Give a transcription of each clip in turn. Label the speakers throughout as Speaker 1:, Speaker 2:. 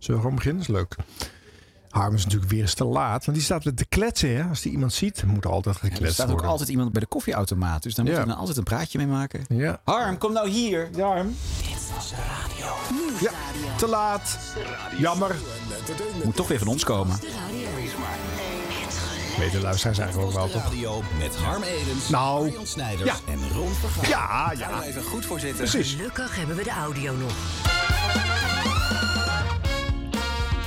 Speaker 1: Zullen we gewoon beginnen? is leuk. Harm is natuurlijk weer eens te laat. Want die staat weer te kletsen. Hè? Als die iemand ziet, moet altijd gekletst
Speaker 2: Er staat ook
Speaker 1: worden.
Speaker 2: altijd iemand bij de koffieautomaat. Dus daar
Speaker 1: Ja.
Speaker 2: moeten we dan altijd een praatje mee maken.
Speaker 1: Ja.
Speaker 2: Harm, kom nou hier. Ja, Harm.
Speaker 1: ja, te laat. Jammer.
Speaker 2: Moet toch weer van ons komen.
Speaker 1: Weet de luisteraars eigenlijk ook wel, toch?
Speaker 3: Radio met Harm Edens,
Speaker 1: Nou,
Speaker 3: Arjan Snijders
Speaker 1: ja.
Speaker 3: en Ron Vergaal.
Speaker 1: Ja,
Speaker 3: Daar
Speaker 1: ja,
Speaker 3: nou even goed voor zitten.
Speaker 1: precies.
Speaker 4: Gelukkig hebben we de audio nog.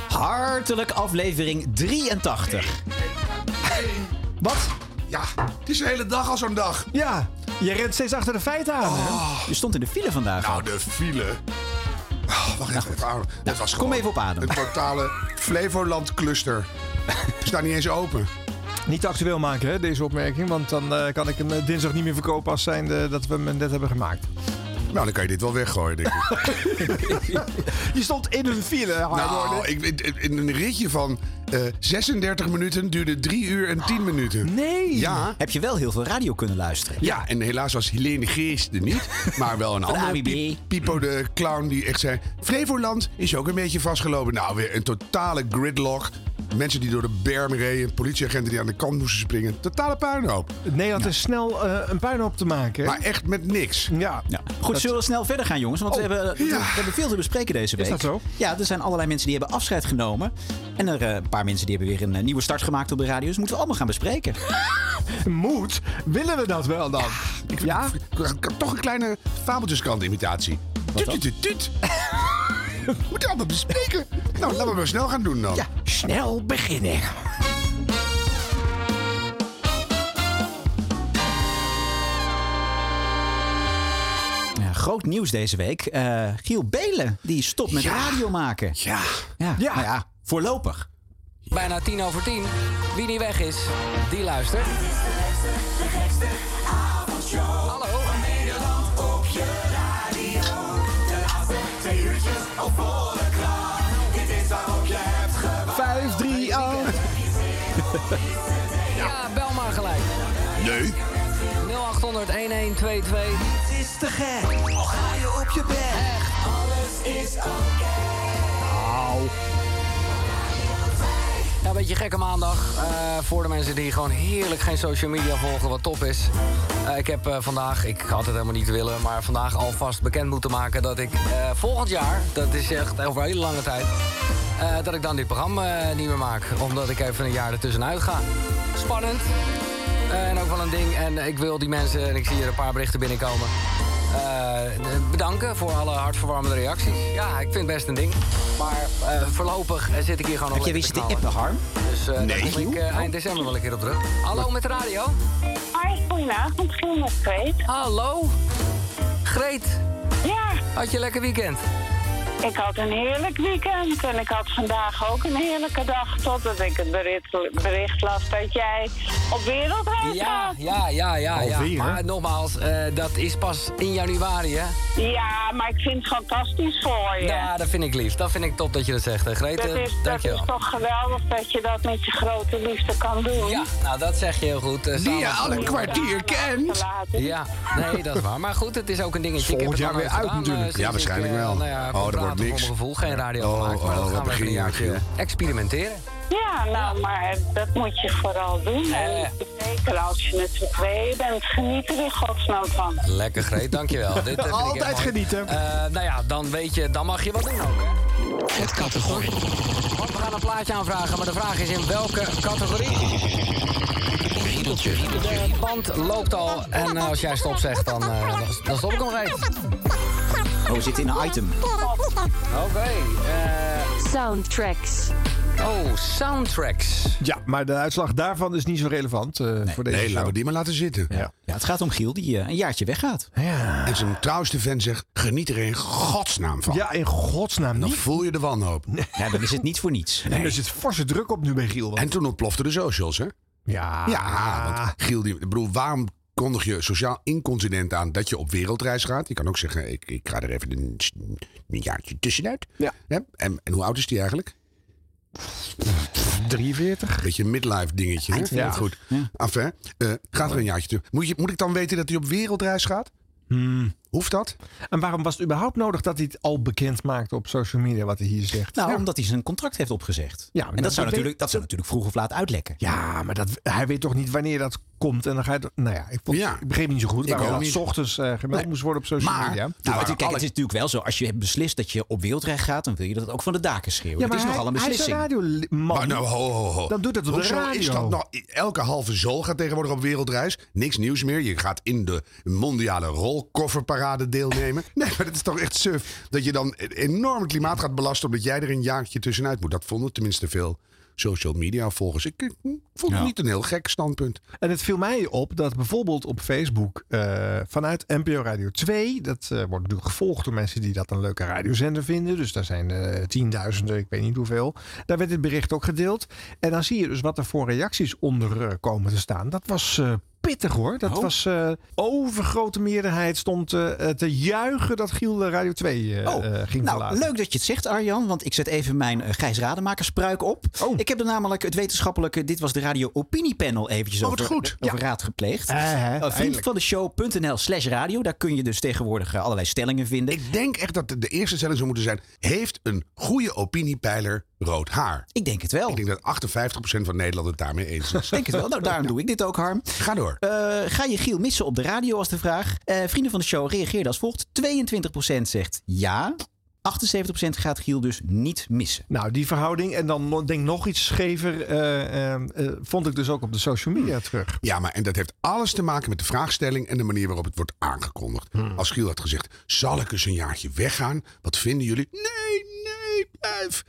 Speaker 2: Hartelijk aflevering 83. Wat?
Speaker 5: Ja, het is de hele dag al zo'n dag. Oh.
Speaker 1: Ja, je rent steeds achter de feiten aan. hè?
Speaker 2: Je stond in de file vandaag.
Speaker 5: Nou, de file. Ah, wacht even,
Speaker 1: Nou,
Speaker 5: even adem. Het was
Speaker 2: kom
Speaker 5: gewoon
Speaker 2: even op adem.
Speaker 5: Een totale Flevoland cluster. Is daar niet eens open.
Speaker 1: Niet te actueel maken, hè, deze opmerking. Want dan eh, kan ik hem eh, dinsdag niet meer verkopen als zijnde dat we hem net hebben gemaakt.
Speaker 5: Nou, dan kan je dit wel weggooien, denk ik.
Speaker 1: Je stond in een file, Harm.
Speaker 5: nou,
Speaker 1: hoorde.
Speaker 5: ik, in- in een ritje van eh, 36 minuten duurde 3 uur en 10 minuten.
Speaker 1: Nee.
Speaker 5: Ja.
Speaker 2: Heb je wel heel veel radio kunnen luisteren?
Speaker 5: Ja, en helaas was Helene Geest er niet, maar wel een
Speaker 2: de
Speaker 5: andere
Speaker 2: AWB.
Speaker 5: piep- Pipo de clown die echt zei... Flevoland is ook een beetje vastgelopen. Nou, weer een totale gridlock. Mensen die door de berm reden, politieagenten die aan de kant moesten springen. Totale puinhoop.
Speaker 1: Nederland is snel eh, een puinhoop te maken. hè?
Speaker 5: Maar echt met niks.
Speaker 1: ja. Oh.
Speaker 2: Ja. Goed, zullen we snel verder gaan, jongens? dus Want we, hebben, eh, we,
Speaker 5: Oh, ja.
Speaker 2: hebben veel te bespreken deze week.
Speaker 1: dat zo?
Speaker 2: Ja, er zijn allerlei mensen die hebben afscheid genomen. En er eh, een paar mensen die hebben weer een eh, nieuwe start gemaakt op de radio. Dus moeten we allemaal gaan bespreken.
Speaker 1: Moet, willen we dat wel dan? Ja?
Speaker 5: Ah, Ik heb toch een kleine fabeltjeskrant-imitatie. Tut,
Speaker 2: dan?
Speaker 5: tut, tut, tut. Moet allemaal bespreken. Nou, laten we maar snel gaan doen dan. Oh,
Speaker 2: Ja, snel beginnen. Ja, groot nieuws deze week. Eh, Giel Belen, die stopt met
Speaker 5: Ja.
Speaker 2: radio maken.
Speaker 5: Ja.
Speaker 2: Ja,
Speaker 1: Ja.
Speaker 2: nou ja, voorlopig.
Speaker 6: Bijna tien over tien. Wie niet weg is, die luistert. Hallo.
Speaker 1: Vijf, drie, oh.
Speaker 6: Ja, bel maar gelijk.
Speaker 5: Nee.
Speaker 6: 0800 1122. Ja, een beetje gekke maandag. eh, voor de mensen die gewoon heerlijk geen social media volgen, wat top is. Eh, ik heb eh, vandaag, ik had het helemaal niet willen, maar vandaag alvast bekend moeten maken dat ik eh, volgend jaar, dat is echt over een hele lange tijd, eh, dat ik dan dit programma eh, niet meer maak. Omdat ik even een jaar ertussenuit ga. Spannend. Eh, en ook wel een ding. En ik wil die mensen, en ik zie hier een paar berichten binnenkomen. eh, bedanken voor alle hartverwarmende reacties. Ja, ik vind het best een ding. Maar eh, voorlopig eh, zit ik hier gewoon al
Speaker 2: Heb jij
Speaker 6: lekker
Speaker 2: weer
Speaker 6: te
Speaker 2: de app,
Speaker 6: knallen.
Speaker 2: Harm?
Speaker 6: Dus eh
Speaker 5: Nee.
Speaker 6: daar kom ik eh, eind december wel een keer op terug. Hallo met de radio.
Speaker 7: Hoi, goedenavond, Giel met Greet.
Speaker 6: Hallo. Greet,
Speaker 7: Ja,
Speaker 6: had je een lekker weekend?
Speaker 7: ik had een heerlijk weekend en ik had vandaag ook een heerlijke dag... totdat ik het bericht, bericht las dat jij op wereldreis
Speaker 6: Ja,
Speaker 7: gaat.
Speaker 6: ja, ja, ja. ja.
Speaker 1: Alweer, hè?
Speaker 6: Maar nogmaals, eh, dat is pas in januari, hè?
Speaker 7: Ja, maar ik vind het fantastisch voor je.
Speaker 6: Ja, dat vind ik lief. Dat vind ik top dat je dat zegt, hè, Greet.
Speaker 7: dat
Speaker 6: eh,
Speaker 7: is, dat is
Speaker 6: dankjewel.
Speaker 7: toch geweldig dat je dat met je grote liefde kan doen.
Speaker 6: Ja, nou, dat zeg je heel goed. eh,
Speaker 5: Die je
Speaker 6: samen-
Speaker 5: al een kwartier kent.
Speaker 6: Ja, nee, dat is waar. Maar goed, het is ook een dingetje. Ik heb
Speaker 1: Volgend
Speaker 6: het
Speaker 1: jaar
Speaker 6: lang
Speaker 1: weer
Speaker 6: nooit
Speaker 1: uit
Speaker 6: gedaan,
Speaker 1: natuurlijk.
Speaker 6: eh, sinds
Speaker 5: Ja, waarschijnlijk
Speaker 6: ik, eh,
Speaker 5: wel.
Speaker 6: nou ja,
Speaker 5: Oh,
Speaker 6: kon
Speaker 5: dat wordt
Speaker 6: praten
Speaker 5: niks.
Speaker 6: Voor mijn gevoel geen radio
Speaker 5: Oh,
Speaker 6: gemaakt, maar
Speaker 5: oh,
Speaker 6: dat gaan
Speaker 5: wat
Speaker 6: we even een
Speaker 5: beginjaartje,
Speaker 6: jaartje experimenteren.
Speaker 7: Ja, nou, maar dat moet je vooral doen.
Speaker 6: Ja.
Speaker 7: En zeker als je met z'n tweeën bent, geniet er in godsnaam van.
Speaker 6: Lekker, Greet, dankjewel. Dit, eh, vind ik heel
Speaker 1: Altijd
Speaker 6: mooi.
Speaker 1: genieten.
Speaker 6: Eh, nou ja, dan weet je, dan mag je wat doen ook, hè?
Speaker 3: Het categorie.
Speaker 6: Want we gaan een plaatje aanvragen, maar de vraag is in welke categorie?
Speaker 3: Riedeltje.
Speaker 6: Het band loopt al en eh, als jij stop zegt, dan, eh, dan- dan stop ik hem even.
Speaker 2: Oh, we zitten in een item.
Speaker 1: Nou,
Speaker 6: Oké, eh,
Speaker 8: Soundtracks.
Speaker 6: oh, soundtracks.
Speaker 1: Ja, maar de uitslag daarvan is niet zo relevant eh, voor deze
Speaker 5: Nee, laten
Speaker 1: show.
Speaker 5: we die maar laten zitten.
Speaker 1: Ja.
Speaker 2: Ja, het gaat om Giel, die eh, een jaartje weggaat.
Speaker 1: Ja.
Speaker 5: En zijn trouwste fan zegt, geniet er in godsnaam van.
Speaker 1: ja, in godsnaam
Speaker 5: Dan
Speaker 1: niet.
Speaker 5: voel je de wanhoop.
Speaker 2: Ja, dan is het niet voor niets.
Speaker 1: En er zit forse druk op nu bij Giel. want-
Speaker 5: En toen ontplofte de socials, hè?
Speaker 1: ja.
Speaker 5: Ja, want Giel, die, ik bedoel, waarom kondig je sociaal incontinent aan dat je op wereldreis gaat? Je kan ook zeggen, ik, ik ga er even een, een jaartje tussenuit.
Speaker 1: Ja.
Speaker 5: Hè? En, en hoe oud is die eigenlijk?
Speaker 1: 43.
Speaker 5: Beetje een midlife dingetje. Hè?
Speaker 1: Ja.
Speaker 5: goed. Af, hè? Eh, gaat er een jaartje tussen. Moet, je, moet ik dan weten dat hij op wereldreis gaat? Hoeft dat?
Speaker 1: Hmm. En waarom was het überhaupt nodig dat hij het al bekend maakte op social media wat hij hier zegt?
Speaker 2: Nou,
Speaker 1: ja,
Speaker 2: omdat hij zijn contract heeft opgezegd.
Speaker 1: Ja,
Speaker 2: en
Speaker 1: maar
Speaker 2: dat, zou
Speaker 1: dat-
Speaker 2: natuurlijk, dat zou natuurlijk vroeg of laat uitlekken.
Speaker 1: ja, maar dat, hij weet toch niet wanneer dat komt. En dan ga je. toch- Nou ja, ik, vond,
Speaker 5: Ja.
Speaker 1: ik begreep niet zo goed
Speaker 5: Ik
Speaker 1: waarom
Speaker 5: ook
Speaker 1: dat
Speaker 5: niet.
Speaker 1: s ochtends eh, gemeld
Speaker 2: Nee.
Speaker 1: moest worden op social
Speaker 2: Maar,
Speaker 1: media.
Speaker 2: nou,
Speaker 5: waren
Speaker 2: het, kijk,
Speaker 5: alle-
Speaker 2: het is natuurlijk wel zo. Als je hebt beslist dat je op wereldrecht gaat, dan wil je dat ook van de daken schreeuwen.
Speaker 1: Ja,
Speaker 2: het is
Speaker 1: hij,
Speaker 2: nogal een
Speaker 1: hij is
Speaker 2: beslissing.
Speaker 1: een radioman.
Speaker 5: Maar nou, ho, ho, ho.
Speaker 1: Dan doet het op de
Speaker 5: Hoezo
Speaker 1: radio.
Speaker 5: is dat nou? Elke halve zool gaat tegenwoordig op wereldreis. Niks nieuws meer. Je gaat in de mondiale rolkofferparade deelnemen. Nee, maar dat is toch echt suf. Dat je dan enorm het klimaat gaat belasten... omdat jij er een jaartje tussenuit moet. Dat vonden tenminste veel social media volgers. Ik, ik vond het
Speaker 2: Ja.
Speaker 5: niet een heel gek standpunt.
Speaker 1: En het viel mij op dat bijvoorbeeld op Facebook eh, vanuit NPO Radio 2, dat eh, wordt natuurlijk gevolgd door mensen die dat een leuke radiozender vinden. Dus daar zijn eh, tienduizenden, ik weet niet hoeveel. Daar werd dit bericht ook gedeeld. En dan zie je dus wat er voor reacties onder eh, komen te staan. Dat was eh, pittig hoor. Dat
Speaker 2: Oh.
Speaker 1: was eh, overgrote meerderheid stond eh, eh, te juichen dat Giel de Radio 2 eh,
Speaker 2: Oh,
Speaker 1: eh, ging
Speaker 2: nou,
Speaker 1: verlaten.
Speaker 2: leuk dat je het zegt, Arjan. Want ik zet even mijn eh, Gijs Rademakerspruik op.
Speaker 1: Oh.
Speaker 2: Ik heb er namelijk het wetenschappelijke... Dit was de Radio Opiniepanel eventjes
Speaker 5: Oh, wat
Speaker 2: over,
Speaker 5: goed.
Speaker 2: over raad gepleegd.
Speaker 1: Eh, hè,
Speaker 2: Eh,
Speaker 1: eindelijk.
Speaker 2: vriend van de show.nl slash radio. Daar kun je dus tegenwoordig eh, allerlei stellingen vinden. Ik,
Speaker 5: Ik denk echt dat de de eerste stelling zou moeten zijn... heeft een goede opiniepeiler rood haar?
Speaker 2: denk het wel.
Speaker 5: Ik denk dat 58% van Nederland het daarmee eens is.
Speaker 2: Ik denk het wel. Nou, daarom doe ik dit ook, Harm.
Speaker 5: Ga door.
Speaker 2: Eh, ga je Giel missen op de radio als de vraag? Eh, vrienden van de show reageerden als volgt. 22% zegt ja. 78% gaat Giel dus niet missen.
Speaker 1: Nou, die verhouding en dan nog- denk nog iets schever eh, eh, eh, vond ik dus ook op de social media terug.
Speaker 5: Ja, maar en dat heeft alles te maken met de vraagstelling en de manier waarop het wordt aangekondigd.
Speaker 2: Hmm.
Speaker 5: Als Giel had gezegd: zal ik eens een jaartje weggaan? Wat vinden jullie? Nee, nee, blijf.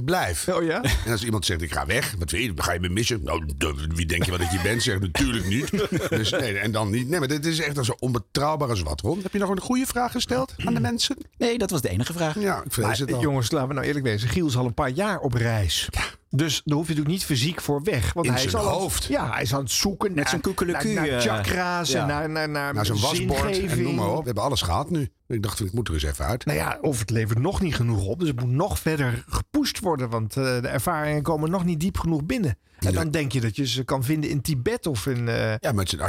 Speaker 5: 78% blijf.
Speaker 1: Oh ja?
Speaker 5: En als iemand zegt: ik ga weg, wat wil je? Ga je me missen? Nou, d- wie denk je wat dat je bent? Zeg natuurlijk niet. Dus nee, en dan niet. Nee, maar dit is echt al zo onbetrouwbaar als wat. Ron, heb je nog een goede vraag gesteld aan de mensen?
Speaker 2: Nee, dat was de enige vraag. eh,
Speaker 5: Ja, ik vrees
Speaker 1: Maar,
Speaker 5: het al.
Speaker 1: jongens, laten we nou eerlijk wezen. Giel is al een paar jaar op reis. Dus daar hoef je natuurlijk niet fysiek voor weg. Want
Speaker 5: In
Speaker 1: hij is
Speaker 5: zijn
Speaker 1: al aan-
Speaker 5: hoofd.
Speaker 1: ja, hij is aan het zoeken naar,
Speaker 2: zijn
Speaker 1: naar,
Speaker 2: koekeleku,
Speaker 1: naar
Speaker 2: eh,
Speaker 1: chakra's
Speaker 2: ja.
Speaker 1: en naar, naar, naar,
Speaker 5: Naar zo'n wasbord en
Speaker 1: zingeving.
Speaker 5: noem maar op. We hebben alles gehad nu. Ik dacht, ik moet er eens even uit.
Speaker 1: Nou ja, of het levert nog niet genoeg op. Dus het moet nog verder gepusht worden. Want eh, de ervaringen komen nog niet diep genoeg binnen. En dan denk je dat je ze kan vinden in Tibet of in... eh,
Speaker 5: Ja, met zijn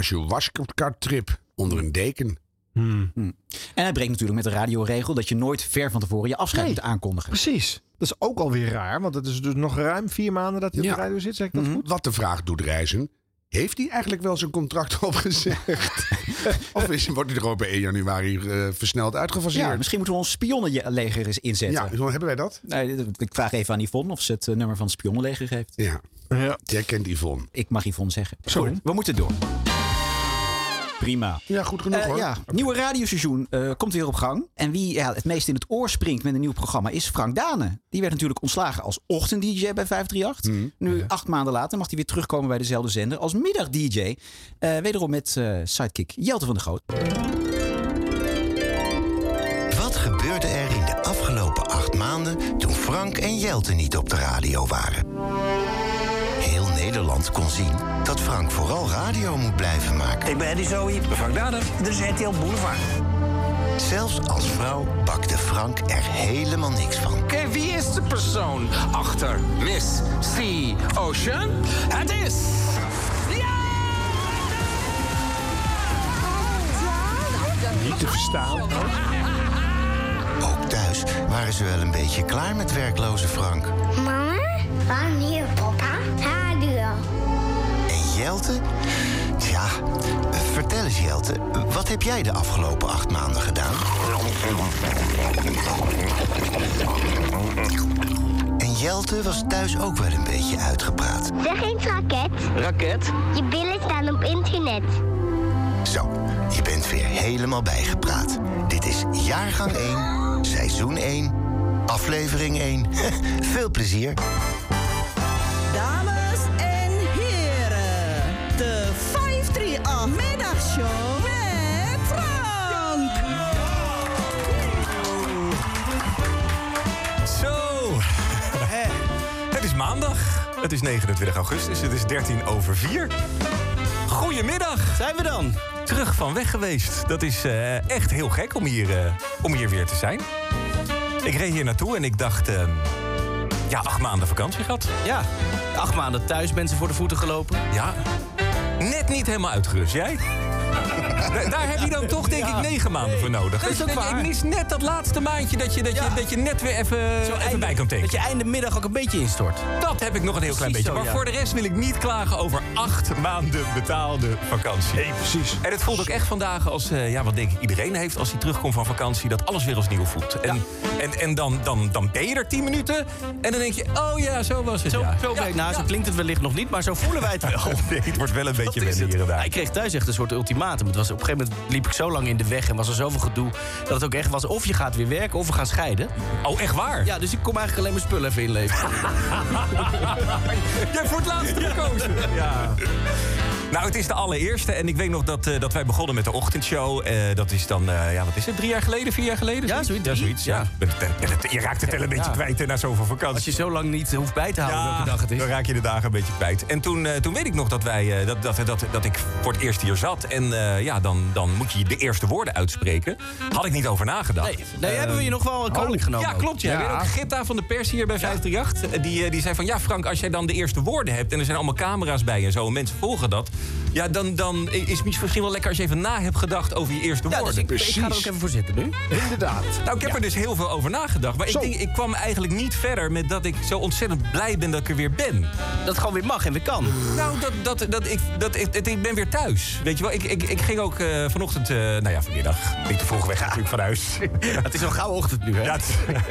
Speaker 5: ayahuasca-trip onder een deken.
Speaker 2: Hmm. En hij breekt natuurlijk met de radioregel dat je nooit ver van tevoren je afscheid
Speaker 1: Nee.
Speaker 2: moet aankondigen.
Speaker 1: Precies. Dat is ook alweer raar. Want het is dus nog ruim vier maanden dat hij op
Speaker 5: Ja. Mhm.
Speaker 1: de radio zit. Zeg ik dat goed?
Speaker 5: Wat de vraag doet reizen. Heeft hij eigenlijk wel zijn contract opgezegd? of is, wordt hij er gewoon bij 1 januari eh, versneld
Speaker 2: Ja,
Speaker 5: uitgefaseerd?
Speaker 2: misschien moeten we ons spionnenleger eens
Speaker 5: Ja,
Speaker 2: inzetten.
Speaker 5: zo hebben wij dat?
Speaker 2: Nee, dit- ik vraag even aan Yvonne of ze het eh, nummer van het spionnenleger geeft.
Speaker 5: Ja.
Speaker 1: Ja.
Speaker 5: Jij kent Yvonne.
Speaker 2: Ik mag Yvonne zeggen.
Speaker 1: Sorry.
Speaker 2: Goed, we moeten door. Prima.
Speaker 5: Ja, goed genoeg
Speaker 2: Eh,
Speaker 5: hoor.
Speaker 2: ja, nieuwe radioseizoen eh, komt weer op gang. En wie ja, het meest in het oor springt met een nieuw programma is Frank Dane. Die werd natuurlijk ontslagen als ochtend-dj bij 538.
Speaker 5: Mhm.
Speaker 2: Nu, acht maanden later, mag hij weer terugkomen bij dezelfde zender als middag-dj. Eh, wederom met eh, sidekick Jelte van de Groot.
Speaker 4: Wat gebeurde er in de afgelopen acht maanden toen Frank en Jelte niet op de radio waren? Heel Nederland kon zien dat Frank vooral radio moet blijven maken.
Speaker 8: Ik ben Eddie Zoe, Frank Dader, de ZTL Boulevard.
Speaker 4: Zelfs als vrouw bakte Frank er helemaal niks van.
Speaker 8: Oké, wie is de persoon achter Miss Sea Ocean? Het is... Ja!
Speaker 1: Niet te verstaan.
Speaker 4: Ook thuis waren ze wel een beetje klaar met werkloze Frank.
Speaker 9: Mama, wanneer papa radio?
Speaker 4: En Jelte? Ja, vertel eens Jelte, wat heb jij de afgelopen acht maanden gedaan? En Jelte was thuis ook wel een beetje uitgepraat.
Speaker 9: Zeg eens raket.
Speaker 8: Raket.
Speaker 9: Je billen staan op internet.
Speaker 4: Zo, je bent weer helemaal bijgepraat. Dit is jaargang 1, seizoen 1, aflevering 1. Veel plezier.
Speaker 10: Dames en heren, de 538 Middagshow met Frank.
Speaker 11: Zo, hè. het is maandag. Het is 29 augustus, het is 13 over 4. Goedemiddag. Zijn we dan? Terug van weg geweest. Dat is eh, echt heel gek om hier, eh, om hier weer te zijn. Ik reed hier naartoe en ik dacht... eh, ja, acht maanden vakantie gehad.
Speaker 8: Ja, acht maanden thuis mensen voor de voeten gelopen.
Speaker 11: Ja. Net niet helemaal uitgerust. Jij?
Speaker 12: Daar- Daar heb je dan toch denk ik negen maanden voor nodig.
Speaker 13: Nee,
Speaker 12: Dus
Speaker 13: dat
Speaker 12: ik-
Speaker 13: waar.
Speaker 12: ik mis net dat laatste maandje dat je, dat je, dat je net weer even, even bij kan tekenen. Dat je einde middag ook een beetje instort. Dat heb ik nog een heel
Speaker 3: Precies
Speaker 12: klein beetje.
Speaker 3: zo,
Speaker 12: Maar
Speaker 3: ja.
Speaker 12: voor de rest wil ik niet klagen over acht maanden betaalde vakantie. Nee,
Speaker 1: precies.
Speaker 12: En het voelt ook echt vandaag als, eh, ja, wat denk ik iedereen heeft als hij terugkomt van vakantie, dat alles weer als nieuw voelt. En, en, en dan, dan, dan ben je er tien minuten en dan denk je, oh ja, zo was het.
Speaker 3: Zo,
Speaker 12: ja.
Speaker 3: zo,
Speaker 12: Ja,
Speaker 3: ben ik- nou,
Speaker 12: ja.
Speaker 3: zo klinkt het wellicht nog niet, maar zo voelen wij het wel.
Speaker 12: Nee, het wordt wel een beetje wennen hier en daar.
Speaker 3: Hij kreeg thuis echt een soort ultimatum. Het was, op een gegeven moment liep ik zo lang in de weg en was er zoveel gedoe... dat het ook echt was of je gaat weer werken of we gaan scheiden.
Speaker 12: Oh, echt waar?
Speaker 3: Ja, dus ik kom eigenlijk alleen mijn spullen even inleveren.
Speaker 12: Jij hebt voor het laatst gekozen. Ja. Nou, het is de allereerste. En ik weet nog dat, eh, dat wij begonnen met de ochtendshow. Eh, dat is dan, eh, ja, wat is het? Drie jaar geleden, vier jaar geleden? Ja, zoiets. Ja, zoiets. Ja. Je raakt het wel een beetje kwijt hè, na zoveel vakantie. Als je
Speaker 3: zo lang niet hoeft bij te
Speaker 12: houden welke dag het is. Dan raak je de dagen een beetje kwijt. En toen, eh, toen weet ik nog dat, wij, eh, dat, dat, dat, dat ik voor het eerst hier zat. En eh, ja, dan, dan moet je de eerste woorden uitspreken. Had ik niet over nagedacht. Nee,
Speaker 3: nee, hebben we je nog wel kwalijk genomen
Speaker 12: Eh, oh, Ja,
Speaker 3: ook.
Speaker 12: klopt. Ja.
Speaker 3: Ja.
Speaker 12: Weet je nog, Gitta van de pers hier bij 538. Die, eh, die zei van, ja Frank, als jij dan de eerste woorden hebt... en er zijn allemaal camera's bij en zo en mensen volgen dat... ja, dan, dan is het misschien wel lekker als je even na hebt gedacht over je eerste
Speaker 3: Ja, dus
Speaker 12: woorden.
Speaker 3: ik, ik ga er ook even voor zitten nu.
Speaker 1: Inderdaad.
Speaker 12: Nou, ik heb er dus heel veel over nagedacht. Maar ik,
Speaker 3: Zo.
Speaker 12: denk, ik kwam eigenlijk niet verder met dat ik zo ontzettend blij ben dat ik er weer ben. Dat
Speaker 3: het gewoon weer mag en weer kan.
Speaker 12: Nou, dat, dat, dat, ik, dat, ik, het- ik ben weer thuis. Weet je wel, ik, ik, ik ging ook eh, vanochtend, eh, nou ja, vanmiddag. Niet te vroeg weg natuurlijk van huis.
Speaker 3: het is een gouden ochtend nu, hè?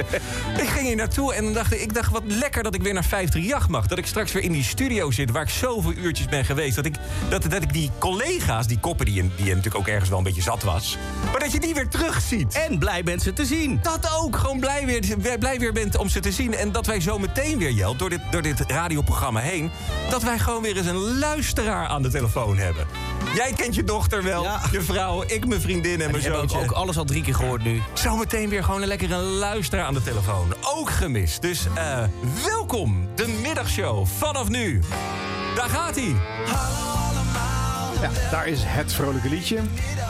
Speaker 12: ik ging hier naartoe en dan dacht ik, ik dacht, wat lekker dat ik weer naar 538 mag. Dat ik straks weer in die studio zit waar ik zoveel uurtjes ben geweest. Dat ik, dat, dat ik die collega's, die koppen die, je- die je natuurlijk ook ergens wel een beetje zat was. Maar dat je die weer terugziet.
Speaker 3: En blij bent ze te zien.
Speaker 12: Dat ook. Gewoon blij weer, blij weer bent om ze te zien. En dat wij zo meteen weer, Jel, door dit, door dit radioprogramma heen... dat wij gewoon weer eens een luisteraar aan de telefoon hebben. Jij kent je dochter wel, je vrouw, ik mijn vriendin en
Speaker 3: We
Speaker 12: mijn
Speaker 3: hebben
Speaker 12: zoontje.
Speaker 3: ook alles al drie keer gehoord nu.
Speaker 12: Zometeen weer gewoon een lekkere luisteraar aan de telefoon. Ook gemist. Dus eh, welkom, de middagshow vanaf nu. Daar gaat hij.
Speaker 1: Ja, daar is het vrolijke liedje.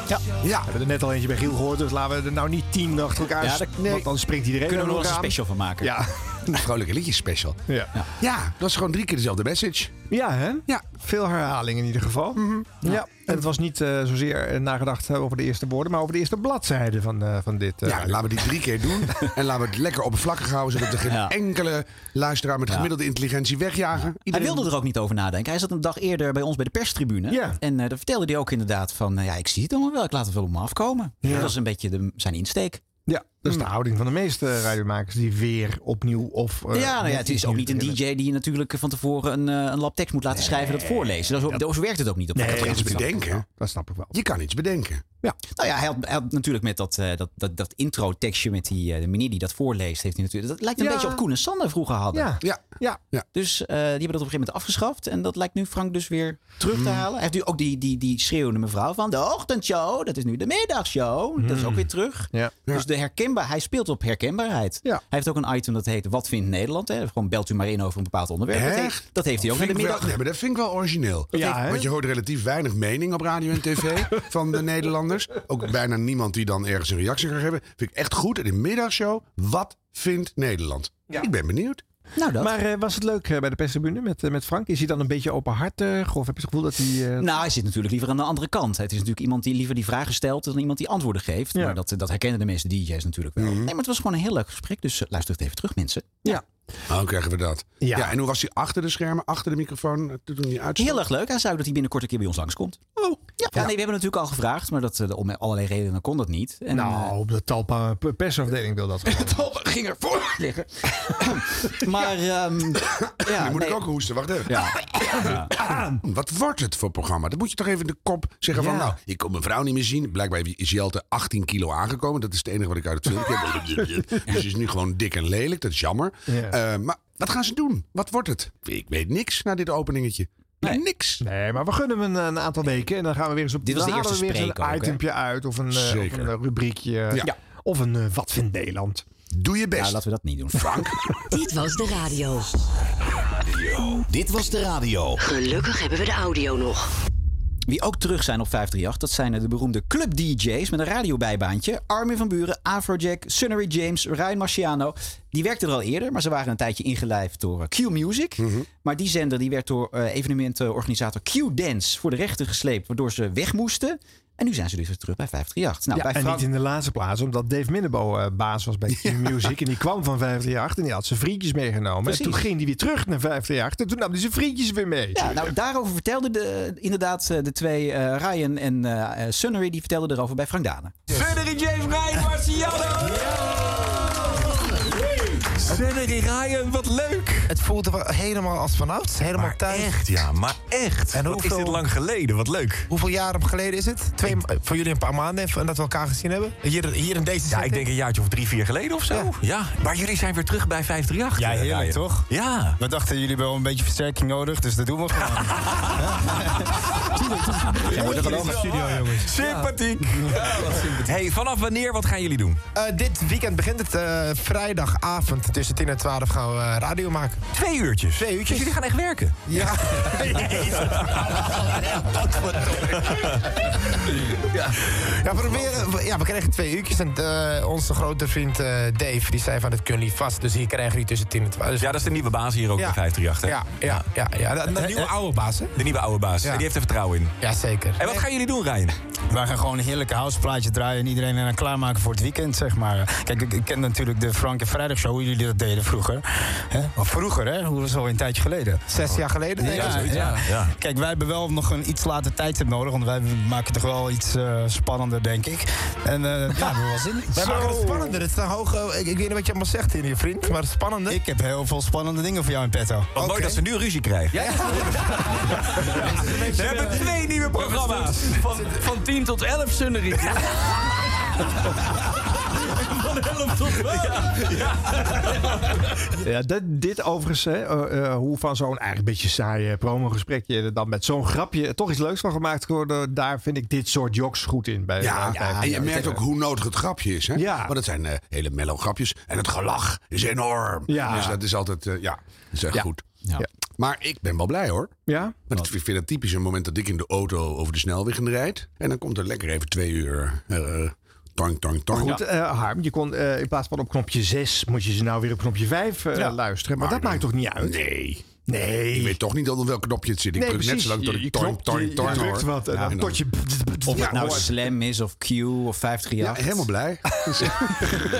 Speaker 1: Ja. ja. We hebben er net al eentje bij Giel gehoord, dus laten we er nou niet tien achter elkaar...
Speaker 2: Ja,
Speaker 1: Ja,
Speaker 2: dat- nee.
Speaker 1: Want dan springt iedereen
Speaker 2: Kunnen we
Speaker 1: over
Speaker 2: nog eens een
Speaker 1: elkaar
Speaker 2: special van maken.
Speaker 1: Ja.
Speaker 5: Een vrolijke liedjes special.
Speaker 1: Ja.
Speaker 5: Ja. dat is gewoon drie keer dezelfde message. Mhm.
Speaker 1: Ja, hè? Ja. Veel herhaling in ieder geval. ja. En het was niet eh, zozeer eh, nagedacht eh, over de eerste woorden, maar over de eerste bladzijde van, eh, van dit. eh,
Speaker 5: Ja, laten we die drie keer doen. En laten we het lekker oppervlakkig houden. Zodat er geen enkele luisteraar met gemiddelde intelligentie wegjagen.
Speaker 2: Hij wilde er ook niet over nadenken. Hij zat een dag eerder bij ons bij de perstribune. En eh daar vertelde hij ook inderdaad van... eh, ja, ik zie het allemaal wel, ik laat het wel op me afkomen. Dat was een beetje de, zijn insteek.
Speaker 1: Ja, dat is de houding van de meeste radiomakers die weer opnieuw of... eh,
Speaker 2: ja, nou
Speaker 1: net
Speaker 2: ja, het is
Speaker 1: iets
Speaker 2: ook
Speaker 1: nieuws
Speaker 2: niet een
Speaker 1: willen.
Speaker 2: DJ die je natuurlijk van tevoren een, eh, een lab tekst moet laten schrijven en dat voorlezen. Zo, zo werkt het ook niet op
Speaker 5: Nee,
Speaker 2: dat
Speaker 5: je kan
Speaker 2: vlak.
Speaker 5: iets bedenken.
Speaker 1: Dat snap ik wel.
Speaker 5: Je kan iets bedenken.
Speaker 1: Ja.
Speaker 2: Nou ja, hij had, hij had natuurlijk met dat, eh, dat, dat, dat intro-tekstje met die, eh, de meneer die dat voorleest, heeft hij natuurlijk. Dat lijkt een
Speaker 1: Ja.
Speaker 2: beetje op Koen en Sander vroeger hadden.
Speaker 1: Ja.
Speaker 5: Ja.
Speaker 1: Ja.
Speaker 2: Dus eh, die hebben dat op een gegeven moment afgeschaft. En dat lijkt nu Frank dus weer terug te halen. Hij heeft nu ook die, die, die schreeuwende mevrouw van de ochtendshow. Dat is nu de middagshow. Dat is ook weer terug.
Speaker 1: Ja.
Speaker 2: Dus de herkenbaar, hij speelt op herkenbaarheid. Hij heeft ook een item dat heet Wat vindt Nederland? Hè? Gewoon belt u maar in over een bepaald onderwerp. Dat heeft, dat heeft hij ook in
Speaker 5: Vind
Speaker 2: de
Speaker 5: ik wel-
Speaker 2: middag.
Speaker 5: nee, maar dat vind ik wel origineel.
Speaker 2: Ja, hè?
Speaker 5: want je hoort relatief weinig mening op radio en tv van de Nederlanders. Ook bijna niemand die dan ergens een reactie kan geven. Vind ik echt goed. En in de middagshow, wat vindt Nederland? Ik ben benieuwd.
Speaker 2: Nou, dat.
Speaker 1: Maar eh, was het leuk eh, bij de perstribune met, eh, met Frank? Is hij dan een beetje openhartig? Of heb je het gevoel dat hij... eh,
Speaker 2: Nou, hij zit natuurlijk liever aan de andere kant. Het is natuurlijk iemand die liever die vragen stelt dan iemand die antwoorden geeft. Maar dat, dat herkennen de meeste DJ's natuurlijk wel. Nee, maar het was gewoon een heel leuk gesprek. Dus eh, luister het even terug, mensen.
Speaker 1: Ja.
Speaker 5: Nou, krijgen we dat.
Speaker 1: Ja.
Speaker 5: en hoe was hij achter de schermen, achter de microfoon, eh, toen hij uitstond?
Speaker 2: Heel erg leuk. Hij zei dat hij binnenkort een keer bij ons langskomt.
Speaker 5: Oh.
Speaker 2: Ja, nee, we hebben natuurlijk al gevraagd, maar dat, eh, om allerlei redenen kon dat niet. En, eh,
Speaker 1: nou, op de Talpa persafdeling wil dat gewoon.
Speaker 8: Oh,
Speaker 2: Talpa ging er voor liggen. maar, ehm ja,
Speaker 5: nu moet
Speaker 2: nee.
Speaker 5: ik ook hoesten, wacht even.
Speaker 2: Ja.
Speaker 5: Wat wordt het voor programma? Dat moet je toch even in de kop zeggen van...
Speaker 1: Ja.
Speaker 5: nou, ik kon mijn vrouw niet meer zien. Blijkbaar is Jelte 18 kilo aangekomen. Dat is het enige wat ik uit het filmpje heb. Dus ze is nu gewoon dik en lelijk. Dat is jammer.
Speaker 1: Ja.
Speaker 5: Eh, maar wat gaan ze doen? Wat wordt het? Ik weet niks na dit openingetje. Niks.
Speaker 1: Nee, maar we gunnen hem een, een aantal weken. En dan gaan we weer eens op
Speaker 2: Dit was
Speaker 1: dan
Speaker 2: de
Speaker 1: halen
Speaker 2: eerste
Speaker 1: we weer eens
Speaker 2: spreker ook,
Speaker 1: een
Speaker 2: hè?
Speaker 1: itempje uit. Of een, eh, of
Speaker 5: Zeker.
Speaker 1: een eh, rubriekje.
Speaker 5: Ja.
Speaker 1: Of een eh, Wat vindt Nederland?
Speaker 5: Doe je best.
Speaker 2: Nou, laten we dat niet doen.
Speaker 5: Frank.
Speaker 8: Dit was de radio.
Speaker 3: Dit was de radio.
Speaker 8: Gelukkig hebben we de audio nog.
Speaker 2: Wie ook terug zijn op 538, dat zijn eh, de beroemde club DJ's met een radiobijbaantje. Armin van Buren, Afrojack, Sunnery James, Ryan Marciano. Die werkten er al eerder, maar ze waren een tijdje ingelijfd door eh, Q Music.
Speaker 1: Mhm.
Speaker 2: Maar die zender die werd door eh, evenementenorganisator Q Dance voor de rechter gesleept, waardoor ze weg moesten. En nu zijn ze dus weer terug bij 538. Nou,
Speaker 1: ja,
Speaker 2: bij
Speaker 1: en
Speaker 2: Frank-
Speaker 1: niet in de laatste plaats, omdat Dave Minnebo eh, baas was bij Q Music. En die kwam van 538 en die had zijn vriendjes meegenomen.
Speaker 2: Precies.
Speaker 1: En toen ging hij weer terug naar 538 en toen nam hij zijn vriendjes weer mee.
Speaker 2: Ja, nou, daarover vertelden de, inderdaad eh, de twee, eh, Ryan en eh eh, Sunnery, die vertelden erover bij Frank Dane.
Speaker 14: Sunnery James Ryan Marciano!
Speaker 12: Sunnery Ryan, wat leuk!
Speaker 15: Het voelt er wel helemaal als vanouds, helemaal thuis.
Speaker 12: Echt, ja, maar echt.
Speaker 15: En
Speaker 12: En wat is
Speaker 15: hoeveel-
Speaker 12: dit lang geleden? Wat leuk.
Speaker 15: Hoeveel jaren geleden is het? Twee, eh, voor jullie een paar maanden even, en dat we elkaar gezien hebben? Hier, hier in deze
Speaker 12: Ja, ik denk een jaartje of drie, vier geleden of zo. Ja, maar jullie zijn weer terug bij 538.
Speaker 15: Ja, heerlijk,
Speaker 12: Ryan.
Speaker 15: toch?
Speaker 12: Ja.
Speaker 15: We dachten jullie hebben wel een beetje versterking nodig, dus dat doen we gewoon.
Speaker 12: Ja, wordt er studio, jongens. Sympathiek. hey, vanaf wanneer, wat gaan jullie doen?
Speaker 15: Eh, dit weekend begint het eh, vrijdagavond tussen 10 en 12 gaan we eh, radio maken.
Speaker 12: Twee uurtjes. Dus
Speaker 15: Twee uurtjes.
Speaker 12: jullie gaan echt werken?
Speaker 15: Ja. ja. Ja, we proberen, we- ja, we kregen twee uurtjes. En eh, onze grote vriend eh, Dave, die zei van dat kunnen jullie vast. Dus hier krijgen jullie tussen 10 en 12. Dus-
Speaker 12: Ja, dat is de nieuwe baas hier ook
Speaker 15: Ja.
Speaker 12: bij 538. hè?
Speaker 15: Ja, ja, ja, Eh, ja. De, de nieuwe oude baas, hè?
Speaker 12: De nieuwe oude baas.
Speaker 15: Ja.
Speaker 12: En die heeft er vertrouwen in.
Speaker 15: Jazeker.
Speaker 12: En wat gaan jullie doen, Ryan?
Speaker 16: Wij gaan gewoon een heerlijke houseplaatje draaien en iedereen eraan klaarmaken voor het weekend, zeg maar. Kijk, ik, ik ken natuurlijk de Frank en Vrijdag Show, hoe jullie dat deden vroeger. Hè? Of vroeger, hè? Hoe was het al een tijdje geleden?
Speaker 15: Zes jaar geleden? denk ik.
Speaker 16: Ja,
Speaker 15: Zoiets,
Speaker 16: ja.
Speaker 15: ja.
Speaker 16: Kijk, wij hebben wel nog een iets later tijdstip nodig, want wij maken toch wel iets eh, spannender, denk ik. En eh, ja, we hebben wel zin. in.
Speaker 15: Wij
Speaker 16: Zo.
Speaker 15: maken het spannender. Het staan hoog, eh, ik, ik weet niet wat je allemaal zegt in je vriend, maar het is spannender.
Speaker 16: Ik heb heel veel spannende dingen voor jou in petto.
Speaker 12: Wat mooi dat ze nu ruzie krijgen. We hebben twee nieuwe programma's.
Speaker 8: Van, van 10 tot 11 Sunnery. van 11 tot 12.
Speaker 1: Ja, dat, dit overigens, hè, eh, eh, hoe van zo'n eigenlijk een beetje saaie promogesprekje er dan met zo'n grapje toch iets leuks van gemaakt kan worden, daar vind ik dit soort jokes goed in. Bij,
Speaker 5: Ja,
Speaker 1: bij- bij-
Speaker 5: en
Speaker 1: bij-
Speaker 5: je merkt ook hoe nodig het grapje is. Hè? Want het zijn eh, hele mellow grapjes. En het gelach is enorm.
Speaker 1: Ja.
Speaker 5: Dus dat is altijd, eh, ja, dat is echt
Speaker 1: Ja.
Speaker 5: goed.
Speaker 1: Ja.
Speaker 5: Maar ik ben wel blij hoor.
Speaker 1: Ja?
Speaker 5: Want ik vind het typisch een moment dat ik in de auto over de snelweg in rijd. En dan komt er lekker even twee uur. eh, eh, tang, tang,
Speaker 1: Maar
Speaker 5: tang.
Speaker 1: goed, eh, Harm, je kon eh, in plaats van op knopje 6, moet je ze nou weer op knopje 5 eh,
Speaker 5: Ja.
Speaker 1: luisteren. Maar,
Speaker 5: Maar
Speaker 1: dat maakt toch niet uit?
Speaker 5: Nee.
Speaker 1: Nee.
Speaker 5: Ik weet toch niet onder welk knopje het zit. Ik
Speaker 1: Nee,
Speaker 5: druk net
Speaker 1: precies.
Speaker 5: zo lang tot
Speaker 1: Je- je
Speaker 5: ik tang,
Speaker 1: knopt, je-
Speaker 5: tang,
Speaker 1: je
Speaker 5: tang
Speaker 1: drukt
Speaker 5: hoor.
Speaker 1: wat en dan
Speaker 5: en
Speaker 1: tot je-
Speaker 2: Of het
Speaker 5: Ja,
Speaker 2: nou
Speaker 5: hoor.
Speaker 2: Slam is of Q of 538.
Speaker 5: Ja, helemaal blij.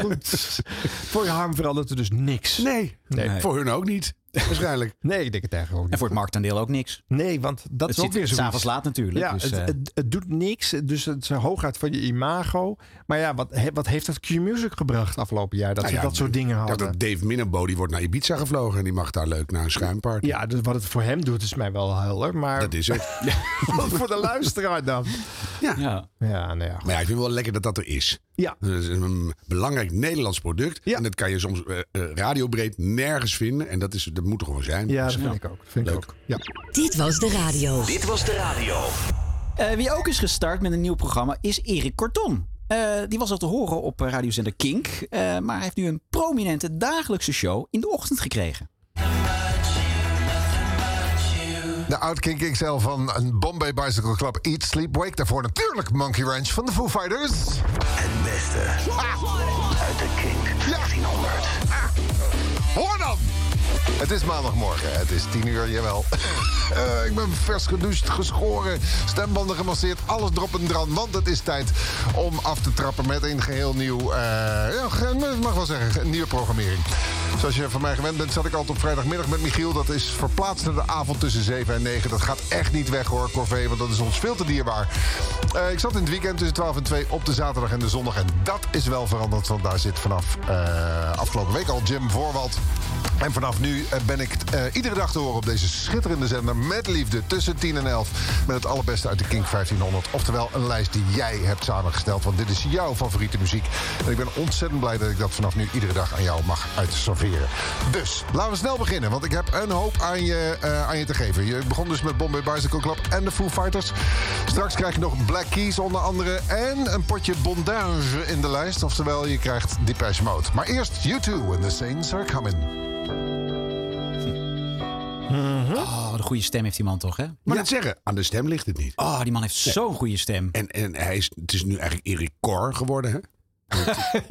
Speaker 1: Goed. Voor je Harm verandert er dus niks.
Speaker 5: Nee.
Speaker 1: Nee.
Speaker 5: Voor hun ook niet. Waarschijnlijk.
Speaker 1: Nee, ik denk het eigenlijk ook niet.
Speaker 2: En voor het marktaandeel ook niks.
Speaker 1: Nee, want dat
Speaker 2: Het
Speaker 1: is ook
Speaker 2: zit
Speaker 1: weer zo.
Speaker 2: s'avonds laat natuurlijk,
Speaker 1: Ja,
Speaker 2: dus,
Speaker 1: het,
Speaker 2: eh.
Speaker 1: het, het doet niks. Dus het is een hooguit van je imago. Maar ja, wat, he- wat heeft dat Q-Music gebracht afgelopen jaar? Dat
Speaker 5: Nou
Speaker 1: ze
Speaker 5: ja,
Speaker 1: dat soort dingen
Speaker 5: Ja,
Speaker 1: hadden.
Speaker 5: dat Dave Minnebo die wordt naar Ibiza gevlogen. En die mag daar leuk naar een schuimparty.
Speaker 1: Ja, dus wat het voor hem doet is mij wel helder. Maar
Speaker 5: Dat is het.
Speaker 1: wat voor de luisteraar dan?
Speaker 5: Ja.
Speaker 2: Ja.
Speaker 1: Ja, nou ja.
Speaker 5: Maar ja, ik vind wel lekker dat dat er is.
Speaker 1: Ja.
Speaker 5: Dat is een belangrijk Nederlands product. En dat kan je soms eh, eh, radiobreed nergens vinden. En dat, is, dat moet er gewoon zijn.
Speaker 1: Ja,
Speaker 5: Dus
Speaker 1: dat vind ik ook. Dat vind ik ook. Ja.
Speaker 17: Dit was de radio.
Speaker 4: Dit was de radio.
Speaker 2: Eh, wie ook is gestart met een nieuw programma is Erik Kortom. Eh, die was al te horen op eh, radiozender Kink. eh, maar hij heeft nu een prominente dagelijkse show in de ochtend gekregen.
Speaker 18: De Outkink XL van een Bombay Bicycle Club Eat Sleep Wake. Daarvoor natuurlijk Monkey Ranch van de Foo Fighters.
Speaker 4: Het beste uit de kink 1500.
Speaker 18: Hoor dan! Het is maandagmorgen, het is 10 uur, jawel. Eh, ik ben vers gedoucht, geschoren, stembanden gemasseerd, alles erop en dran. Want het is tijd om af te trappen met een geheel nieuw, eh ja, ge- ik mag wel zeggen, een nieuwe programmering. Zoals je van mij gewend bent, zat ik altijd op vrijdagmiddag met Michiel. Dat is verplaatst naar de avond tussen 7 en 9. Dat gaat echt niet weg hoor, Corvée, want dat is ons veel te dierbaar. Eh, ik zat in het weekend tussen 12 en 2 op de zaterdag en de zondag. En dat is wel veranderd, want daar zit vanaf eh, afgelopen week al Jim Voorwald. En vanaf nu eh, ben ik eh, iedere dag te horen op deze schitterende zender met liefde tussen 10 en 11 met het allerbeste uit de Kink 1500. Oftewel een lijst die jij hebt samengesteld, want dit is jouw favoriete muziek. En ik ben ontzettend blij dat ik dat vanaf nu iedere dag aan jou mag uitserveren. Dus laten we snel beginnen, want ik heb een hoop aan je, eh, aan je te geven. Je begon dus met Bombay Bicycle Club en de Foo Fighters. Straks krijg je nog Black Keys onder andere en een potje bondage in de lijst. Oftewel, je krijgt Depeche Mode. Maar eerst You Too and the Saints Are Coming.
Speaker 1: Mhm.
Speaker 2: Oh, wat een goede stem heeft die man toch, hè?
Speaker 5: Maar net zeggen, aan de stem ligt het niet.
Speaker 2: Oh, die man heeft zo'n goede stem.
Speaker 5: En, en hij is, het is nu eigenlijk Erik Cor geworden, hè?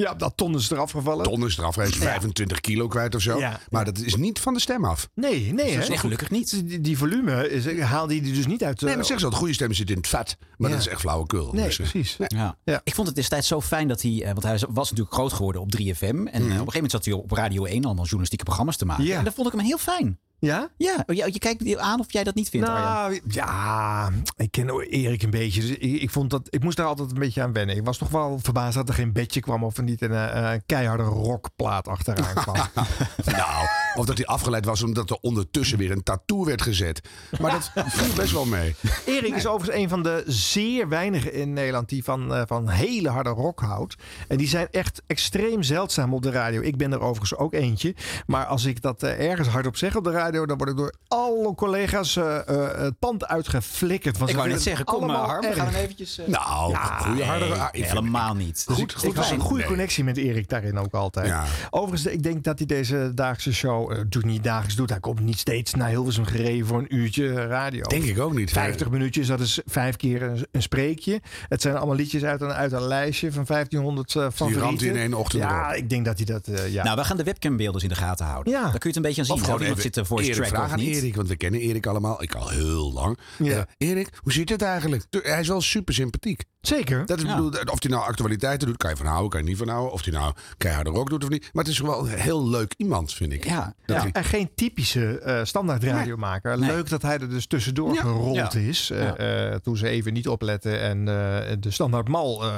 Speaker 1: ja, dat ton is eraf gevallen.
Speaker 5: Ton is eraf, hij is 25 kilo kwijt of zo.
Speaker 1: Ja.
Speaker 5: Maar dat is niet van de stem af.
Speaker 1: Nee, nee.
Speaker 5: is
Speaker 1: hè?
Speaker 5: wel goed.
Speaker 1: gelukkig niet. Die, die volume is, haalde hij dus niet uit.
Speaker 5: Nee, maar zeg zo, de goede stem zit in het vet. Maar
Speaker 2: Ja.
Speaker 5: dat is echt flauwekul.
Speaker 2: Nee,
Speaker 5: Dus, eh,
Speaker 1: precies.
Speaker 2: Ja. Ik vond het destijds zo fijn dat hij, eh, want hij was natuurlijk groot geworden op 3FM. En
Speaker 5: Mhm.
Speaker 2: eh, op een gegeven moment zat hij op Radio 1 allemaal journalistieke programma's te maken.
Speaker 1: Ja.
Speaker 2: En dat vond ik hem heel fijn.
Speaker 1: Ja?
Speaker 2: Ja, je, je kijkt me aan of jij dat niet vindt, Arjan.
Speaker 1: nou, ja, ik ken Erik een beetje. Dus ik, ik, vond dat, ik moest daar altijd een beetje aan wennen. Ik was toch wel verbaasd dat er geen bedje kwam of er niet een eh, eh, keiharde rockplaat achteraan kwam.
Speaker 5: nou, of dat hij afgeleid was omdat er ondertussen weer een tattoo werd gezet. Maar dat viel best wel mee.
Speaker 1: Erik is overigens een van de zeer weinigen in Nederland die van, eh, van hele harde rock houdt. En die zijn echt extreem zeldzaam op de radio. Ik ben er overigens ook eentje. Maar als ik dat eh, ergens hardop zeg op de radio, dan word ik door alle collega's eh, eh, het pand uitgeflikkerd. Want
Speaker 2: Ik
Speaker 1: ze
Speaker 2: wou
Speaker 1: vinden
Speaker 2: net zeggen,
Speaker 1: het
Speaker 2: kom maar
Speaker 1: allemaal
Speaker 2: Harm, we
Speaker 1: erg.
Speaker 2: gaan hem eventjes... eh,
Speaker 5: Nou, goede harde-
Speaker 2: nee,
Speaker 5: ah, ik vind-
Speaker 2: helemaal niet.
Speaker 1: Dus ik- ik was een goede connectie met Erik daarin ook altijd. Overigens, ik denk dat hij deze dagse show, eh, doet niet dagelijks doet. Hij komt niet steeds naar Hilversum gereden voor een uurtje radio.
Speaker 5: Denk ik ook niet.
Speaker 1: 50 minuutjes, dat is vijf keer een, een spreekje. Het zijn allemaal liedjes uit een, uit een lijstje van 1500 eh
Speaker 5: Die
Speaker 1: favorieten.
Speaker 5: ramt in één ochtend
Speaker 1: Ja,
Speaker 5: erop.
Speaker 1: ik denk dat hij dat... eh, ja.
Speaker 2: Nou, wij gaan de webcambeelden eens in de gaten houden.
Speaker 1: Ja.
Speaker 2: Daar kun je het een beetje aan zien.
Speaker 5: Of gewoon
Speaker 2: of iemand
Speaker 5: even
Speaker 2: zit er voice
Speaker 5: Erik
Speaker 2: track
Speaker 5: vragen
Speaker 2: of
Speaker 5: aan
Speaker 2: niet.
Speaker 5: Erik, want we kennen Erik allemaal. Ik al heel lang.
Speaker 1: Ja.
Speaker 5: Eh, Erik, hoe zit het eigenlijk? Tu- Hij is wel super sympathiek.
Speaker 1: Zeker.
Speaker 5: Dat is,
Speaker 1: Ja.
Speaker 5: bedoel, of hij nou actualiteiten doet, kan je van houden, kan je niet van houden. Of hij nou keiharde rock doet of niet. Maar het is wel een heel leuk iemand, vind ik.
Speaker 1: Ja,
Speaker 5: Dat
Speaker 1: ja,
Speaker 5: hij-
Speaker 1: en geen typische eh standaard radiomaker.
Speaker 5: Nee.
Speaker 1: Leuk dat hij er dus tussendoor
Speaker 5: Ja.
Speaker 1: gerold
Speaker 5: Ja.
Speaker 1: is. eh,
Speaker 5: Ja.
Speaker 1: eh, toen ze even niet opletten en eh, de standaard mal... eh,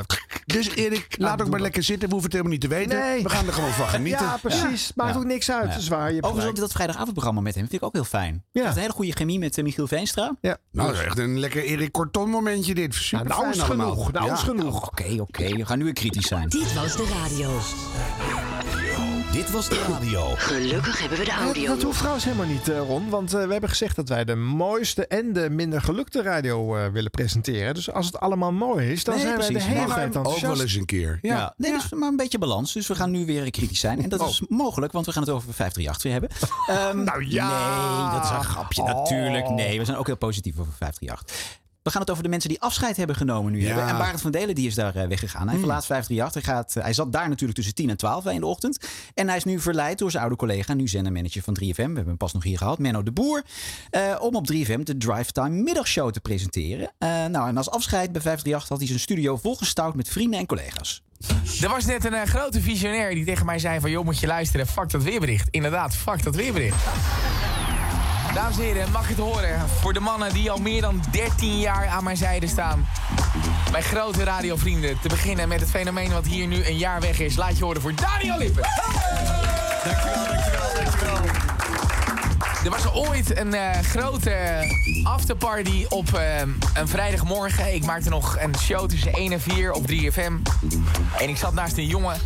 Speaker 5: Dus Erik, laat ook maar lekker zitten. We hoeven het helemaal niet te weten.
Speaker 1: Nee.
Speaker 5: We gaan er gewoon van genieten.
Speaker 1: Ja, precies. Maakt ook niks uit.
Speaker 2: Ja.
Speaker 1: Zwaar, je hebt
Speaker 2: Overigens ook
Speaker 1: gelijk.
Speaker 2: dat vrijdagavondprogramma met hem vind ik ook heel fijn. Ja. Dat is een hele goede chemie met eh, Michiel Veenstra.
Speaker 1: Ja.
Speaker 5: Nou, dat is echt een lekker Erik Corton momentje dit. Super
Speaker 2: Nou, nou is
Speaker 5: allemaal.
Speaker 2: genoeg, nou is
Speaker 1: genoeg.
Speaker 2: Oké, oké. We gaan nu weer kritisch zijn.
Speaker 19: Dit was de radio.
Speaker 2: Dit was de radio.
Speaker 19: Gelukkig hebben we de
Speaker 1: Ja,
Speaker 19: audio
Speaker 1: dat hoeft
Speaker 19: nog.
Speaker 1: trouwens helemaal niet, eh, Ron. Want eh, we hebben gezegd dat wij de mooiste en de minder gelukte radio eh, willen presenteren. Dus als het allemaal mooi is, dan
Speaker 2: Nee,
Speaker 1: zijn
Speaker 2: precies.
Speaker 1: wij de hele
Speaker 2: Maar
Speaker 1: tijd
Speaker 2: ook
Speaker 1: enthousiast.
Speaker 5: wel eens een keer.
Speaker 2: Ja. Nee, dus maar een beetje balans. Dus we gaan nu weer kritisch zijn. En dat is mogelijk, want we gaan het over 538 weer hebben. nou Oh.
Speaker 1: ja.
Speaker 2: Nee, dat is een grapje. Natuurlijk, nee. We zijn ook heel positief over 538. We gaan het over de mensen die afscheid hebben genomen nu.
Speaker 5: Ja.
Speaker 2: Hebben. En Barend van Delen die is daar eh, weggegaan. Hij verlaat 538. Hij, gaat, eh, hij zat daar natuurlijk tussen 10 en 12 bij in de ochtend. En hij is nu verleid door zijn oude collega, nu zendermanager van 3FM. We hebben hem pas nog hier gehad, Menno de Boer. eh, om op 3FM de Drivetime middagshow te presenteren. Eh, nou, en als afscheid bij 538 had hij zijn studio volgestouwd met vrienden en collega's.
Speaker 15: Er was net een eh, grote visionair die tegen mij zei van... joh, moet je luisteren, fuck dat weerbericht. Inderdaad, fuck dat weerbericht. Dames en heren, mag je het horen? Voor de mannen die al meer dan 13 jaar aan mijn zijde staan. Mijn grote radiovrienden. Te beginnen met het fenomeen wat hier nu een jaar weg is. Laat je horen voor Daniel Lippen. Er was ooit een eh, grote afterparty op eh, een vrijdagmorgen. Ik maakte nog een show tussen 1 en 4 op 3FM. En ik zat naast een jongen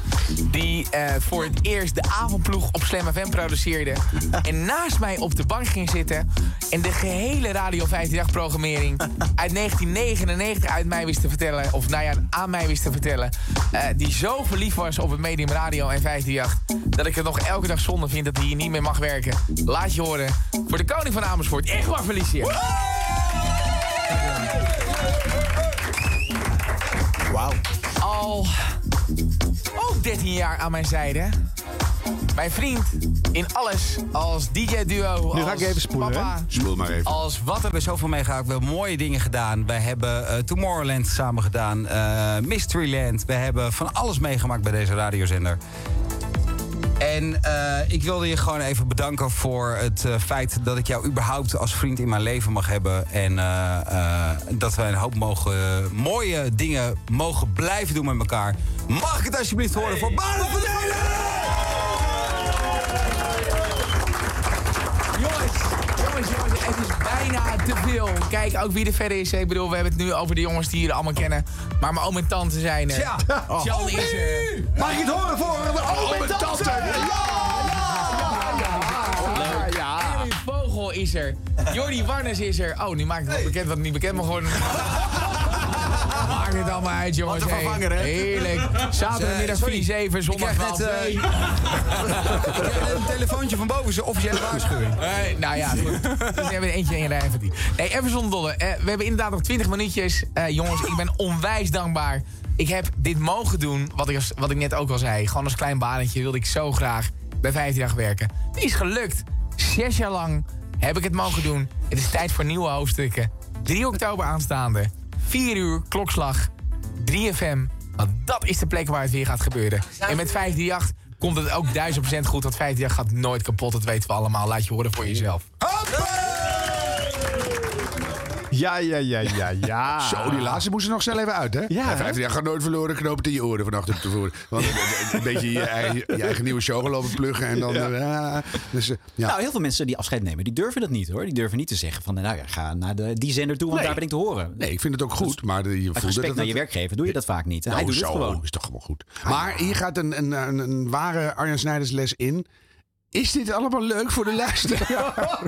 Speaker 15: die eh, voor het eerst de avondploeg op Slam FM produceerde. En naast mij op de bank ging zitten. En de gehele Radio 15-dag programmering uit 1999 uit mij wist te vertellen. Of nou ja, aan mij wist te vertellen. eh, die zo verliefd was op het medium radio en 15-jacht. Dat ik het nog elke dag zonde vind dat hij hier niet meer mag werken. Laat je horen. Voor de koning van Amersfoort. Echt waar, Felicia. Wauw. Al ook 13 jaar aan mijn zijde. Mijn vriend in alles. Als DJ-duo.
Speaker 1: Nu
Speaker 15: als
Speaker 1: ga ik even spoelen,
Speaker 15: Papa.
Speaker 1: hè?
Speaker 5: Spoel maar even.
Speaker 20: Als wat hebben we zoveel meegemaakt. We hebben mooie dingen gedaan. We hebben eh, Tomorrowland samen gedaan. eh, Mysteryland. We hebben van alles meegemaakt bij deze radiozender. En eh, ik wilde je gewoon even bedanken voor het eh, feit dat ik jou überhaupt als vriend in mijn leven mag hebben. En eh, eh, dat we een hoop mogen, mooie dingen mogen blijven doen met elkaar. Mag ik het alsjeblieft horen voor Barend van Delen?
Speaker 15: Jongens, jongens, jongens, het is bijna te veel. Kijk ook wie er verder is. Ik bedoel, we hebben het nu over de jongens die jullie allemaal kennen. Maar mijn oom en tante zijn er.
Speaker 20: Ja.
Speaker 15: Oh. Jan is er.
Speaker 20: Mag ik het horen voor de
Speaker 15: oom en tante? Ja! ja,
Speaker 20: Ah,
Speaker 15: ja. Erwin Vogel is er. Jordi Warnes is er. Oh, nu maakt het wel bekend wat niet bekend mag worden. Maakt het allemaal uit, jongens.
Speaker 20: Wat een
Speaker 15: hey.
Speaker 20: vervanger, hè?
Speaker 15: Heerlijk. Zaterdagmiddag
Speaker 20: Sorry.
Speaker 15: 4-7, zondag
Speaker 20: Ik krijg
Speaker 15: 12
Speaker 20: net, eh, Ik heb een telefoontje van boven, zijn officiële waarschuwing.
Speaker 15: Nee, nou ja, goed. Dus we hebben eentje in rij van die. Nee, even zonder dolle. Eh, we hebben inderdaad nog 20 minuutjes. Eh, jongens, ik ben onwijs dankbaar ik heb dit mogen doen, wat ik, als- wat ik net ook al zei. Gewoon als klein banetje wilde ik zo graag bij 15 dag werken. Die is gelukt. Zes jaar lang heb ik het mogen doen. Het is tijd voor nieuwe hoofdstukken. 3 oktober aanstaande. 4 uur, klokslag. 3FM. Want dat is de plek waar het weer gaat gebeuren. En met 538 komt het ook 1000% goed. Want 538 gaat nooit kapot, dat weten we allemaal. Laat je horen voor jezelf.
Speaker 1: Ja, ja, ja, ja, ja.
Speaker 5: Zo, die laatste moest er nog snel even uit, hè? Ja, 15 jaar gaat nooit verloren, knoop het in je oren vannacht op te voeren. Want een beetje je eigen, je eigen nieuwe show gaan lopen pluggen en dan... eh, ah, dus, eh, ja.
Speaker 2: Nou, heel veel mensen die afscheid nemen, die durven dat niet hoor. Die durven niet te zeggen van, nou ja, ga naar de, die zender toe, want
Speaker 5: Nee.
Speaker 2: daar ben ik te horen.
Speaker 5: Nee, ik vind het ook goed, maar je voelt
Speaker 2: Uit
Speaker 5: dat
Speaker 2: respect
Speaker 5: het-
Speaker 2: naar je werkgever doe je dat vaak niet. Hij
Speaker 5: Nou,
Speaker 2: doet
Speaker 5: zo
Speaker 2: het gewoon.
Speaker 5: is toch gewoon goed. Maar hier gaat een, een, een, een ware Arjan Snijders les in. Is dit allemaal leuk voor de luisteraar?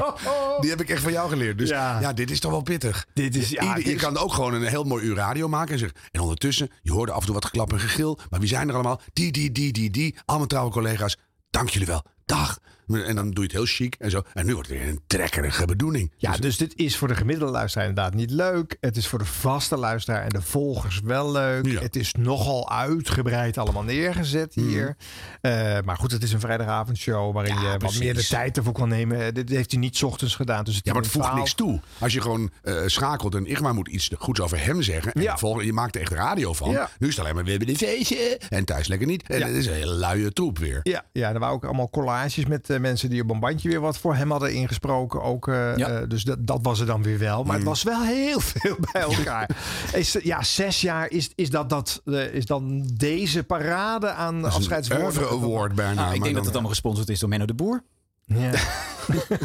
Speaker 5: Die heb ik echt van jou geleerd. Dus ja, dit is toch wel pittig. Dit is,
Speaker 1: ja, dit
Speaker 5: je
Speaker 1: is-
Speaker 5: kan ook gewoon een heel mooi uur radio maken en zeggen. En ondertussen, je hoorde af en toe wat geklap en gegil. Maar wie zijn er allemaal? Die, die, die, die, die. Allemaal trouwe collega's. Dank jullie wel. Dag. En dan doe je het heel chic en zo. En nu wordt het weer een trekkerige bedoeling.
Speaker 1: Ja, dus dit is voor de gemiddelde luisteraar inderdaad niet leuk. Het is voor de vaste luisteraar en de volgers wel leuk. Het is nogal uitgebreid allemaal neergezet
Speaker 5: Mhm.
Speaker 1: hier. Eh, maar goed, het is een vrijdagavondshow waarin je wat
Speaker 5: precies.
Speaker 1: meer de tijd ervoor kan nemen. Eh, Dit heeft hij niet 's ochtends gedaan. Dus
Speaker 5: Ja, maar het voegt niks toe. Als je gewoon eh, schakelt en Igma moet iets goeds over hem zeggen. En de volgende, je maakt er echt radio van.
Speaker 1: Ja.
Speaker 5: Nu is het alleen maar we hebben dit feestje. En thuis lekker niet. En
Speaker 1: Ja.
Speaker 5: het is een hele luie troep weer.
Speaker 1: Ja, ja, er waren ook allemaal collages met eh, mensen die op een bandje weer wat voor hem hadden ingesproken. Ook, eh, eh, dus dat, dat was er dan weer wel.
Speaker 5: Mm.
Speaker 1: Maar het was wel heel veel bij elkaar. is, ja, zes jaar is, is, dat, dat, eh, is dan deze parade aan
Speaker 5: is een
Speaker 1: afscheidswoorden.
Speaker 5: oeuvre-award
Speaker 2: Ah,
Speaker 5: bijna, Nou, ik maar denk dat dan- het allemaal
Speaker 2: gesponsord is door Menno de Boer.
Speaker 1: Ja.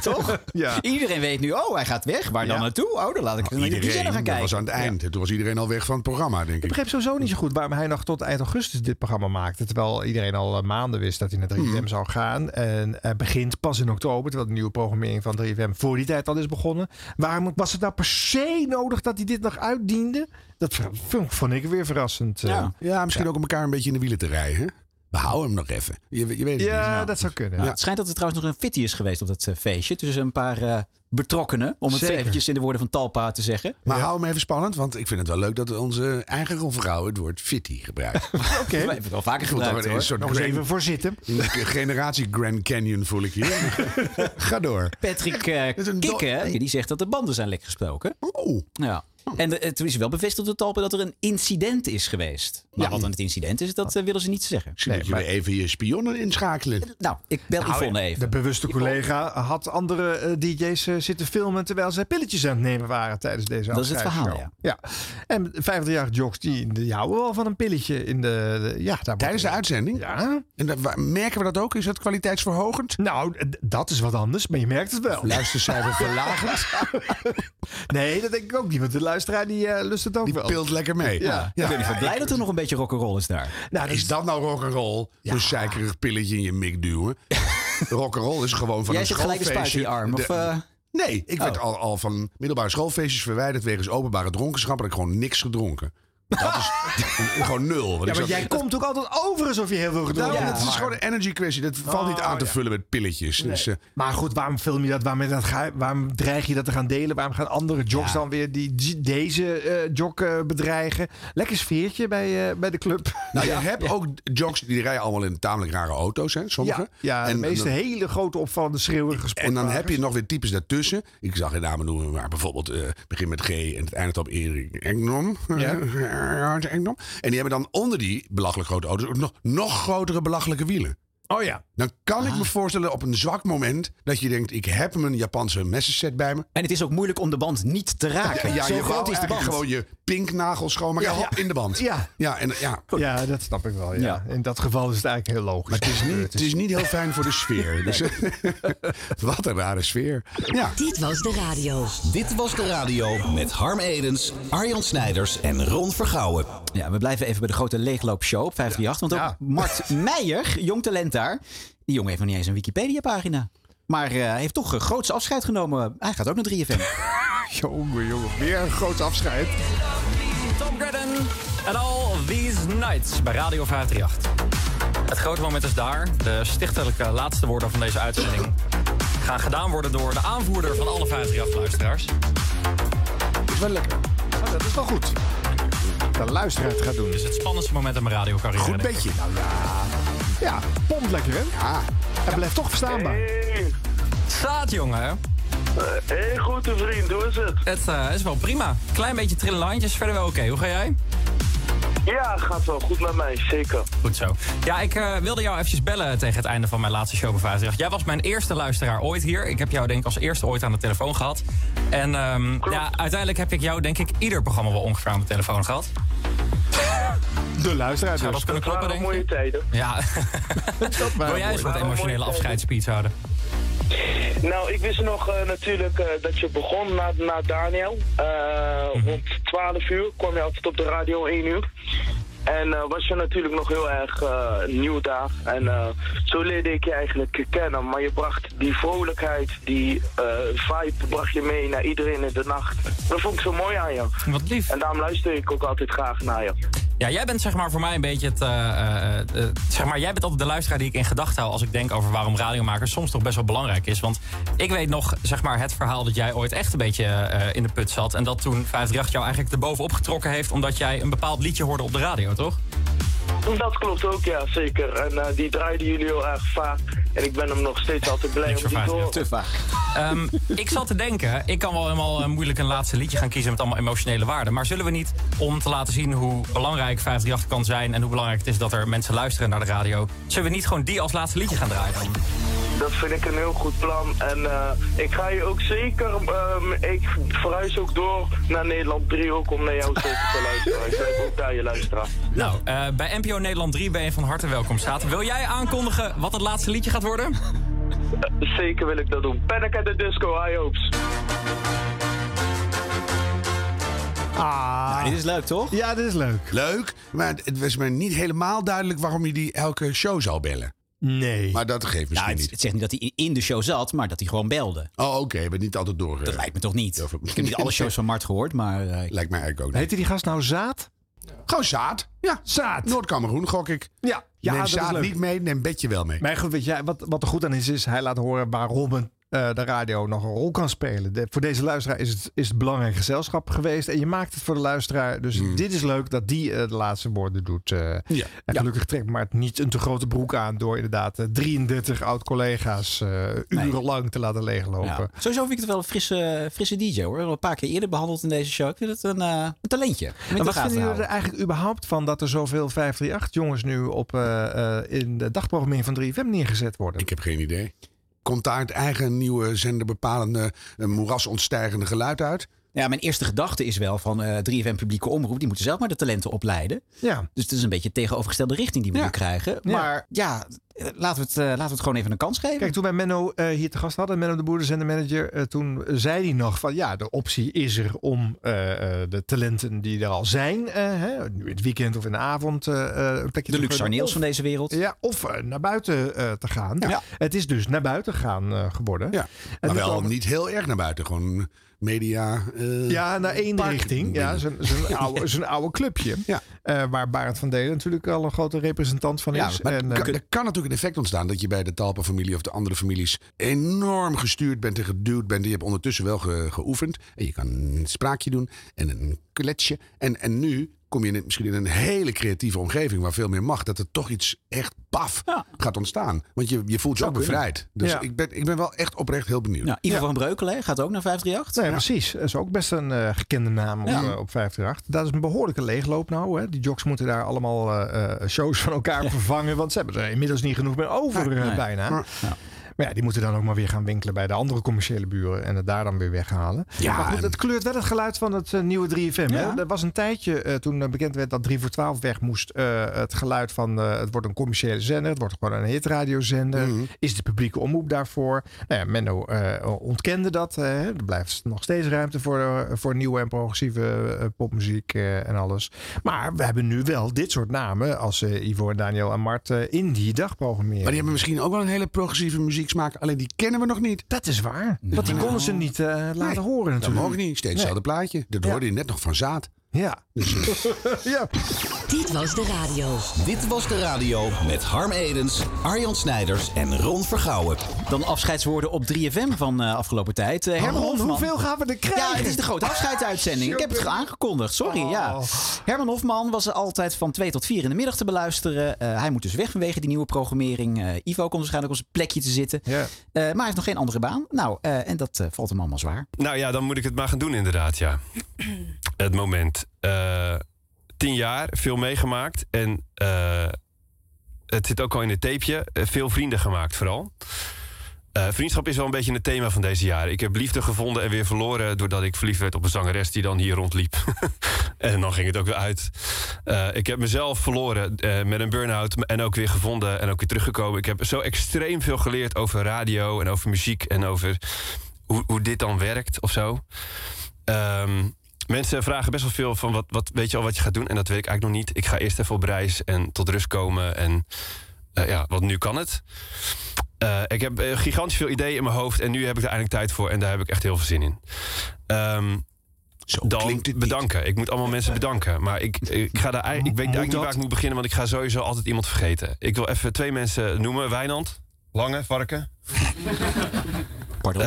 Speaker 2: Toch?
Speaker 1: Ja.
Speaker 2: Iedereen weet nu, oh, hij gaat weg. Waar dan
Speaker 5: Ja.
Speaker 2: naartoe? Oh, dan laat ik naar die
Speaker 5: Nou, Iedereen,
Speaker 2: zender gaan
Speaker 5: dat
Speaker 2: kijken.
Speaker 5: was aan het eind. Toen was iedereen al weg van het programma, denk
Speaker 1: Ik
Speaker 5: ik.
Speaker 1: begreep sowieso niet zo goed waarom hij nog tot eind augustus dit programma maakte. Terwijl iedereen al eh, maanden wist dat hij
Speaker 5: Hmm.
Speaker 1: naar 3FM zou gaan. En hij begint pas in oktober, terwijl de nieuwe programmering van 3FM voor die tijd al is begonnen. Waarom was het nou per se nodig dat hij dit nog uitdiende? Dat v- vond- vond ik weer verrassend. eh.
Speaker 5: Ja, ja misschien ook om elkaar een beetje in de wielen te rijden. hè? We houden hem nog even. Je, je weet het
Speaker 1: Ja,
Speaker 5: niet.
Speaker 1: dat zou kunnen.
Speaker 2: Ja, Nou, Het schijnt dat er trouwens nog een fitty is geweest op dat eh, feestje. Tussen een paar eh, betrokkenen. Om het
Speaker 5: Zeker.
Speaker 2: eventjes in de woorden van Talpa te zeggen.
Speaker 5: Maar hou hem even spannend, want ik vind het wel leuk dat onze eigen rolvrouw het woord fitty gebruikt.
Speaker 1: Oké.
Speaker 2: We hebben het al vaker
Speaker 5: Ik voel daar
Speaker 2: gebruikt
Speaker 5: een
Speaker 2: hoor.
Speaker 5: soort
Speaker 1: Nog eens
Speaker 5: Grand-
Speaker 1: even voor zitten.
Speaker 5: Een generatie Grand Canyon voel ik hier. Ga door.
Speaker 2: Patrick eh Kikken, die zegt dat de banden zijn lek gestoken.
Speaker 5: Oh.
Speaker 2: Ja. En de- het is wel bevestigd door Talpa dat er een incident is geweest. Maar wat dan het incident is, dat eh, willen ze niet zeggen.
Speaker 5: Misschien moet je weer even je spionnen inschakelen.
Speaker 2: Nou, ik bel
Speaker 1: Nou,
Speaker 2: Yvonne even.
Speaker 1: De bewuste collega had andere eh, DJ's eh, zitten filmen terwijl zij pilletjes aan het nemen waren tijdens deze
Speaker 2: Dat is het
Speaker 1: afscheidsshow.
Speaker 2: verhaal,
Speaker 1: Ja. En 50-jarige jocks, die, die houden wel van een pilletje in de... de- ja, daar
Speaker 5: Tijdens de uitzending?
Speaker 1: Ja.
Speaker 5: En dat- waar- merken we dat ook? Is dat kwaliteitsverhogend?
Speaker 1: Nou, d- dat is wat anders, maar je merkt het wel.
Speaker 5: Luistercijfer verlagend.
Speaker 1: Nee, dat denk ik ook niet, want de luisteraar die eh, lust het ook wel.
Speaker 5: Pilt lekker mee.
Speaker 1: Ja.
Speaker 2: ik ben blij dat er nog een beetje rock'n'roll is daar.
Speaker 1: Nou,
Speaker 5: Is dat nou rock'n'roll? Zo'n zeikerig pilletje in je mik duwen. rock'n'roll is gewoon van
Speaker 2: Jij
Speaker 5: een
Speaker 2: zit gelijk een spuit in
Speaker 5: schoolfeestje.
Speaker 2: je arm. Of,
Speaker 5: de-
Speaker 2: eh,
Speaker 5: Nee, ik
Speaker 2: Oh.
Speaker 5: werd al, al van middelbare schoolfeestjes verwijderd wegens openbare dronkenschap. En ik gewoon niks gedronken. Dat is gewoon nul. Want
Speaker 1: Ja,
Speaker 5: ik
Speaker 1: maar
Speaker 5: zat-
Speaker 1: jij komt ook altijd over alsof je heel veel gedronken
Speaker 5: Daarom,
Speaker 1: hebt.
Speaker 5: Nou, het is gewoon een energy kwestie. Dat valt niet
Speaker 1: Oh,
Speaker 5: aan te
Speaker 1: ja.
Speaker 5: vullen met pilletjes. Dus, eh,
Speaker 1: Maar goed, waarom film je dat? Waarom, is dat ge- waarom dreig je dat te gaan delen? Waarom gaan andere jocks dan weer die, die- deze eh jock eh, bedreigen? Lekker sfeertje bij, eh, bij de club.
Speaker 5: nou, je hebt ook jocks, die rijden allemaal in tamelijk rare auto's, hè,
Speaker 1: Ja,
Speaker 5: sommigen.
Speaker 1: ja de
Speaker 5: En-
Speaker 1: meeste
Speaker 5: en-
Speaker 1: hele grote opvallende schreeuwen gesproken.
Speaker 5: En dan heb je nog weer types daartussen. Ik zag in namen noemen, maar bijvoorbeeld eh, begin met G en het eindigt op Erik Engdom.
Speaker 1: Ja.
Speaker 5: Gerard Engdom. En die hebben dan onder die belachelijk grote auto's ook nog, nog grotere belachelijke wielen.
Speaker 1: Oh ja.
Speaker 5: Dan kan
Speaker 2: Ah.
Speaker 5: ik me voorstellen op een zwak moment dat je denkt, ik heb mijn Japanse messenset bij me.
Speaker 2: En het is ook moeilijk om de band niet te raken.
Speaker 5: Ja,
Speaker 2: Zo
Speaker 5: je
Speaker 2: groot
Speaker 5: wou
Speaker 2: is de
Speaker 5: eigenlijk
Speaker 2: band.
Speaker 5: gewoon je pinknagel schoonmaken
Speaker 1: Ja,
Speaker 5: hop,
Speaker 1: ja.
Speaker 5: in de band.
Speaker 1: Ja.
Speaker 5: ja, en, ja.
Speaker 1: Ja, dat snap ik wel. Ja.
Speaker 5: Ja.
Speaker 1: In dat geval is het eigenlijk heel logisch.
Speaker 5: Het is, niet, het is niet heel fijn voor de sfeer. Dus, wat een rare sfeer. Ja.
Speaker 19: Dit was de radio.
Speaker 21: Dit was de radio met Harm Edens, Arjan Snijders en Ron Vergouwen.
Speaker 2: Ja, we blijven even bij de grote leegloopshow op 538. Want ook Mart Meijer, jong talent daar. Die jongen heeft nog niet eens een Wikipedia-pagina. Maar eh, hij heeft toch een groots afscheid genomen. Hij gaat ook naar 3FM.
Speaker 1: jongen, jongen. Weer een groot afscheid.
Speaker 22: Tom Gredden en all these nights bij Radio 538. Het grote moment is daar. De stichtelijke laatste woorden van deze uitzending gaan gedaan worden door de aanvoerder van alle 538-luisteraars.
Speaker 1: Oh,
Speaker 5: Is wel lekker.
Speaker 1: dat is wel goed. de luisteraar het gaat doen.
Speaker 23: Het is het spannendste moment in mijn radiocarrière.
Speaker 1: Goed
Speaker 23: denk ik.
Speaker 1: bedje. Nou Ja, pompt lekker, hè? Ja. Hij blijft toch verstaanbaar.
Speaker 23: Staat, jongen.
Speaker 24: Eh, Heel goed, vriend. Hoe is het?
Speaker 23: Het eh, is wel prima. Klein beetje trillende handjes, verder wel oké. Hoe ga jij?
Speaker 24: Ja, gaat wel goed met mij, zeker.
Speaker 23: Goed zo. Ja, ik eh, wilde jou eventjes bellen tegen het einde van mijn laatste show bij 50. Jij was mijn eerste luisteraar ooit hier. Ik heb jou denk ik als eerste ooit aan de telefoon gehad. En ehm, ja, uiteindelijk heb ik jou denk ik ieder programma wel ongeveer aan de telefoon gehad.
Speaker 1: De luisteraar dus.
Speaker 23: Zou dat kunnen kloppen denk
Speaker 24: Mooie tijden.
Speaker 23: ik? Ja. Wil jij eens wat emotionele afscheidspeech houden?
Speaker 24: Nou, ik wist nog eh, natuurlijk eh, dat je begon na, na Daniel. Eh,
Speaker 23: Mhm.
Speaker 24: Rond 12 uur kwam je altijd op de radio, 1 uur. En eh, was je natuurlijk nog heel erg eh, nieuw daar. En eh, zo leerde ik je eigenlijk kennen. Maar je bracht die vrolijkheid, die eh, vibe bracht je mee naar iedereen in de nacht. Dat vond ik zo mooi aan je.
Speaker 23: Wat lief.
Speaker 24: En daarom luister ik ook altijd graag naar je.
Speaker 23: Ja, jij bent zeg maar voor mij een beetje het. eh, eh, eh, zeg maar, jij bent altijd de luisteraar die ik in gedachten hou als ik denk over waarom radiomaker soms toch best wel belangrijk is. Want ik weet nog, zeg maar, het verhaal dat jij ooit echt een beetje eh, in de put zat. En dat toen 538 jou eigenlijk erbovenop getrokken heeft omdat jij een bepaald liedje hoorde op de radio, toch?
Speaker 24: Dus Dat klopt ook, ja, zeker. En eh, die draaiden jullie heel erg vaak. En ik ben hem nog steeds altijd blij om die te horen.
Speaker 23: Te vaag. Ehm, ik zat te denken, ik kan wel helemaal eh, moeilijk een laatste liedje gaan kiezen met allemaal emotionele waarden. Maar zullen we niet, om te laten zien hoe belangrijk 538 kan zijn en hoe belangrijk het is dat er mensen luisteren naar de radio, zullen we niet gewoon die als laatste liedje gaan draaien? dan?
Speaker 24: Dat vind ik een heel goed plan. En eh, ik ga je ook zeker... ehm, ik verhuis ook door naar Nederland 3 ook om naar jou zeker te luisteren. Ik blijf ook daar je luisteraar.
Speaker 23: Nou, eh, bij NPO Nederland 3 ben je van harte welkom, Staat. Wil jij aankondigen wat het laatste liedje gaat worden?
Speaker 24: Eh, Zeker wil ik dat doen. Panic at the Disco, high hopes.
Speaker 1: Ah.
Speaker 5: dit
Speaker 2: is leuk, toch?
Speaker 1: Ja, dit is leuk.
Speaker 5: Leuk, maar het- het was me niet helemaal duidelijk waarom je die elke show zou bellen.
Speaker 1: Nee.
Speaker 5: Maar dat geeft misschien
Speaker 2: het,
Speaker 5: niet.
Speaker 2: het zegt niet dat hij in- in de show zat, maar dat hij gewoon belde.
Speaker 5: Oh, oké, maar niet altijd door.
Speaker 2: Dat lijkt me toch niet. Ik heb niet alle shows van Mart gehoord, maar... eh,
Speaker 5: lijkt mij eigenlijk ook niet.
Speaker 1: Heette die gast nou Zaad?
Speaker 5: Gewoon Zaad. Ja,
Speaker 1: Zaad.
Speaker 5: Noord-Cameroen gok ik.
Speaker 1: Ja, ja
Speaker 5: neem
Speaker 1: dat is
Speaker 5: Zaad
Speaker 1: leuk.
Speaker 5: niet mee, neem Bedje wel mee.
Speaker 1: Maar goed, weet jij, wat, wat er goed aan is, is hij laat horen waarom een, eh, de radio nog een rol kan spelen. De- voor deze luisteraar is het, is het belangrijk gezelschap geweest. En je maakt het voor de luisteraar. Dus
Speaker 5: Mm.
Speaker 1: dit is leuk dat die eh, de laatste woorden doet. eh. En gelukkig trekt Maart niet een te grote broek aan door inderdaad eh, 33 oud-collega's eh, urenlang te laten leeglopen.
Speaker 2: Ja. Sowieso vind ik het wel een frisse, eh, frisse DJ hoor. We hebben een paar keer eerder behandeld in deze show. Ik vind het een, eh, een talentje.
Speaker 1: En wat vinden jullie er eigenlijk überhaupt van dat er zoveel 538-jongens nu op, eh, eh, in de dagprogrammering van 3FM neergezet worden?
Speaker 5: Ik heb geen idee. Komt daar het eigen nieuwe zenderbepalende eh, moerasontstijgende geluid uit?
Speaker 2: Ja, mijn eerste gedachte is wel van eh 3FM publieke omroep. Die moeten zelf maar de talenten opleiden.
Speaker 1: Ja.
Speaker 2: Dus het is een beetje de tegenovergestelde richting die we nu krijgen. Maar ja, eh, laten we, het, eh, laten we het gewoon even een kans geven.
Speaker 1: Kijk, toen wij Menno eh, hier te gast hadden, Menno de Boer, de zendermanager, eh, toen zei hij nog van ja, de optie is er om eh, eh, de talenten die er al zijn, eh, hè, nu in het weekend of in de avond, eh, eh, een plekje
Speaker 2: de Luxe
Speaker 1: gunnen.
Speaker 2: Arneels
Speaker 1: Of-
Speaker 2: van deze wereld.
Speaker 1: Ja, of eh, naar buiten eh, te gaan.
Speaker 5: Ja.
Speaker 1: Het is dus naar buiten gaan eh, geworden.
Speaker 5: Ja,
Speaker 1: En
Speaker 5: Maar
Speaker 1: nu
Speaker 5: wel
Speaker 1: komen-
Speaker 5: niet heel erg naar buiten. Gewoon media. eh,
Speaker 1: Ja, naar één
Speaker 5: park.
Speaker 1: richting. Ja, zijn, zijn, oude, zijn oude clubje. Eh, waar Barend van Delen natuurlijk al een grote representant van
Speaker 5: Ja,
Speaker 1: is.
Speaker 5: maar
Speaker 1: En,
Speaker 5: er
Speaker 1: eh,
Speaker 5: kan- er kan natuurlijk een effect ontstaan dat je bij de Talpa-familie of de andere families enorm gestuurd bent en geduwd bent. Je hebt ondertussen wel ge- geoefend en je kan een spraakje doen en een kletsje. En, en nu kom je in, een- misschien in een hele creatieve omgeving waar veel meer mag, dat er toch iets echt paf gaat ontstaan. Want je, je voelt je
Speaker 2: Zou
Speaker 5: ook
Speaker 2: kunnen.
Speaker 5: bevrijd. Dus
Speaker 2: Ja.
Speaker 5: ik, ben, ik ben wel echt oprecht heel benieuwd.
Speaker 2: Nou, Ivo van Breukelen hè, gaat ook naar 538.
Speaker 1: Nee, precies. Dat is ook best een eh, gekende naam op,
Speaker 2: Ja.
Speaker 1: eh, op 538. Dat is een behoorlijke leegloop nou. Hè. Die jocks moeten daar allemaal eh, eh, shows van elkaar vervangen. Want ze hebben er inmiddels niet genoeg meer over eh,
Speaker 2: Nee.
Speaker 1: bijna.
Speaker 2: Ja.
Speaker 1: Maar ja, die moeten dan ook maar weer gaan winkelen bij de andere commerciële buren. En het daar dan weer weghalen.
Speaker 5: Ja,
Speaker 1: maar goed,
Speaker 5: en-
Speaker 1: het kleurt wel het geluid van het eh, nieuwe 3FM. Hè? Er was een tijdje eh, toen eh, bekend werd dat 3 voor 12 weg moest. eh, het geluid van eh, het wordt een commerciële zender. Het wordt gewoon een hitradiozender.
Speaker 2: Mhm.
Speaker 1: Is de publieke omroep daarvoor? Nou ja, Menno eh, ontkende dat. eh, er blijft nog steeds ruimte voor, eh, voor nieuwe en progressieve eh, popmuziek eh, en alles. Maar we hebben nu wel dit soort namen als eh, Ivo en Daniel en Mart eh, in die dagprogrammering.
Speaker 5: Maar die hebben misschien ook wel een hele progressieve muzieksmaak, alleen die kennen we nog niet.
Speaker 1: Dat is waar. Want die konden ze niet eh, laten horen
Speaker 5: Dat
Speaker 1: natuurlijk.
Speaker 5: mogen niet. Steeds hetzelfde plaatje. Dat hoorde je net nog van Zaad. Dus, eh,
Speaker 1: Ja.
Speaker 18: ja.
Speaker 19: Dit was de radio.
Speaker 21: Dit was de radio met Harm Edens, Arjan Snijders en Ron Vergouwen.
Speaker 2: Dan afscheidswoorden op 3FM van eh, afgelopen tijd. Eh, Herman
Speaker 1: Ron,
Speaker 2: Hofman.
Speaker 1: Oh, hoeveel gaan we er krijgen? Oh.
Speaker 2: Ja, het is de grote afscheidsuitzending. Ik heb het aangekondigd, sorry. Ja. Herman Hofman was altijd van 2 tot 4 in de middag te beluisteren. Eh, hij moet dus weg vanwege die nieuwe programmering. Eh, Ivo komt waarschijnlijk op zijn plekje te zitten. Eh, maar hij heeft nog geen andere baan. Nou, eh, en dat eh, valt hem allemaal zwaar.
Speaker 11: Nou ja, dan moet ik het maar gaan doen inderdaad, ja. Het moment. Eh, tien jaar, veel meegemaakt. En eh, het zit ook al in het tapeje. Eh, veel vrienden gemaakt vooral. Eh, vriendschap is wel een beetje het thema van deze jaren. Ik heb liefde gevonden en weer verloren... doordat ik verliefd werd op een zangeres die dan hier rondliep. en dan ging het ook weer uit. Eh, ik heb mezelf verloren eh, met een burn-out... en ook weer gevonden en ook weer teruggekomen. Ik heb zo extreem veel geleerd over radio en over muziek... en over hoe, hoe dit dan werkt of zo. Ehm, mensen vragen best wel veel van wat, wat weet je al wat je gaat doen? En dat weet ik eigenlijk nog niet. Ik ga eerst even op reis en tot rust komen. En eh, ja, want nu kan het. Eh, ik heb eh, gigantisch veel ideeën in mijn hoofd. En nu heb ik er eindelijk tijd voor. En daar heb ik echt heel veel zin in. Ehm dan bedanken. Ik moet allemaal mensen bedanken. Maar ik, ik, ga daar, ei- ik weet eigenlijk niet waar ik moet beginnen. Want ik ga sowieso altijd iemand vergeten. Ik wil even twee mensen noemen. Wijnand. Lange, varken. Eh,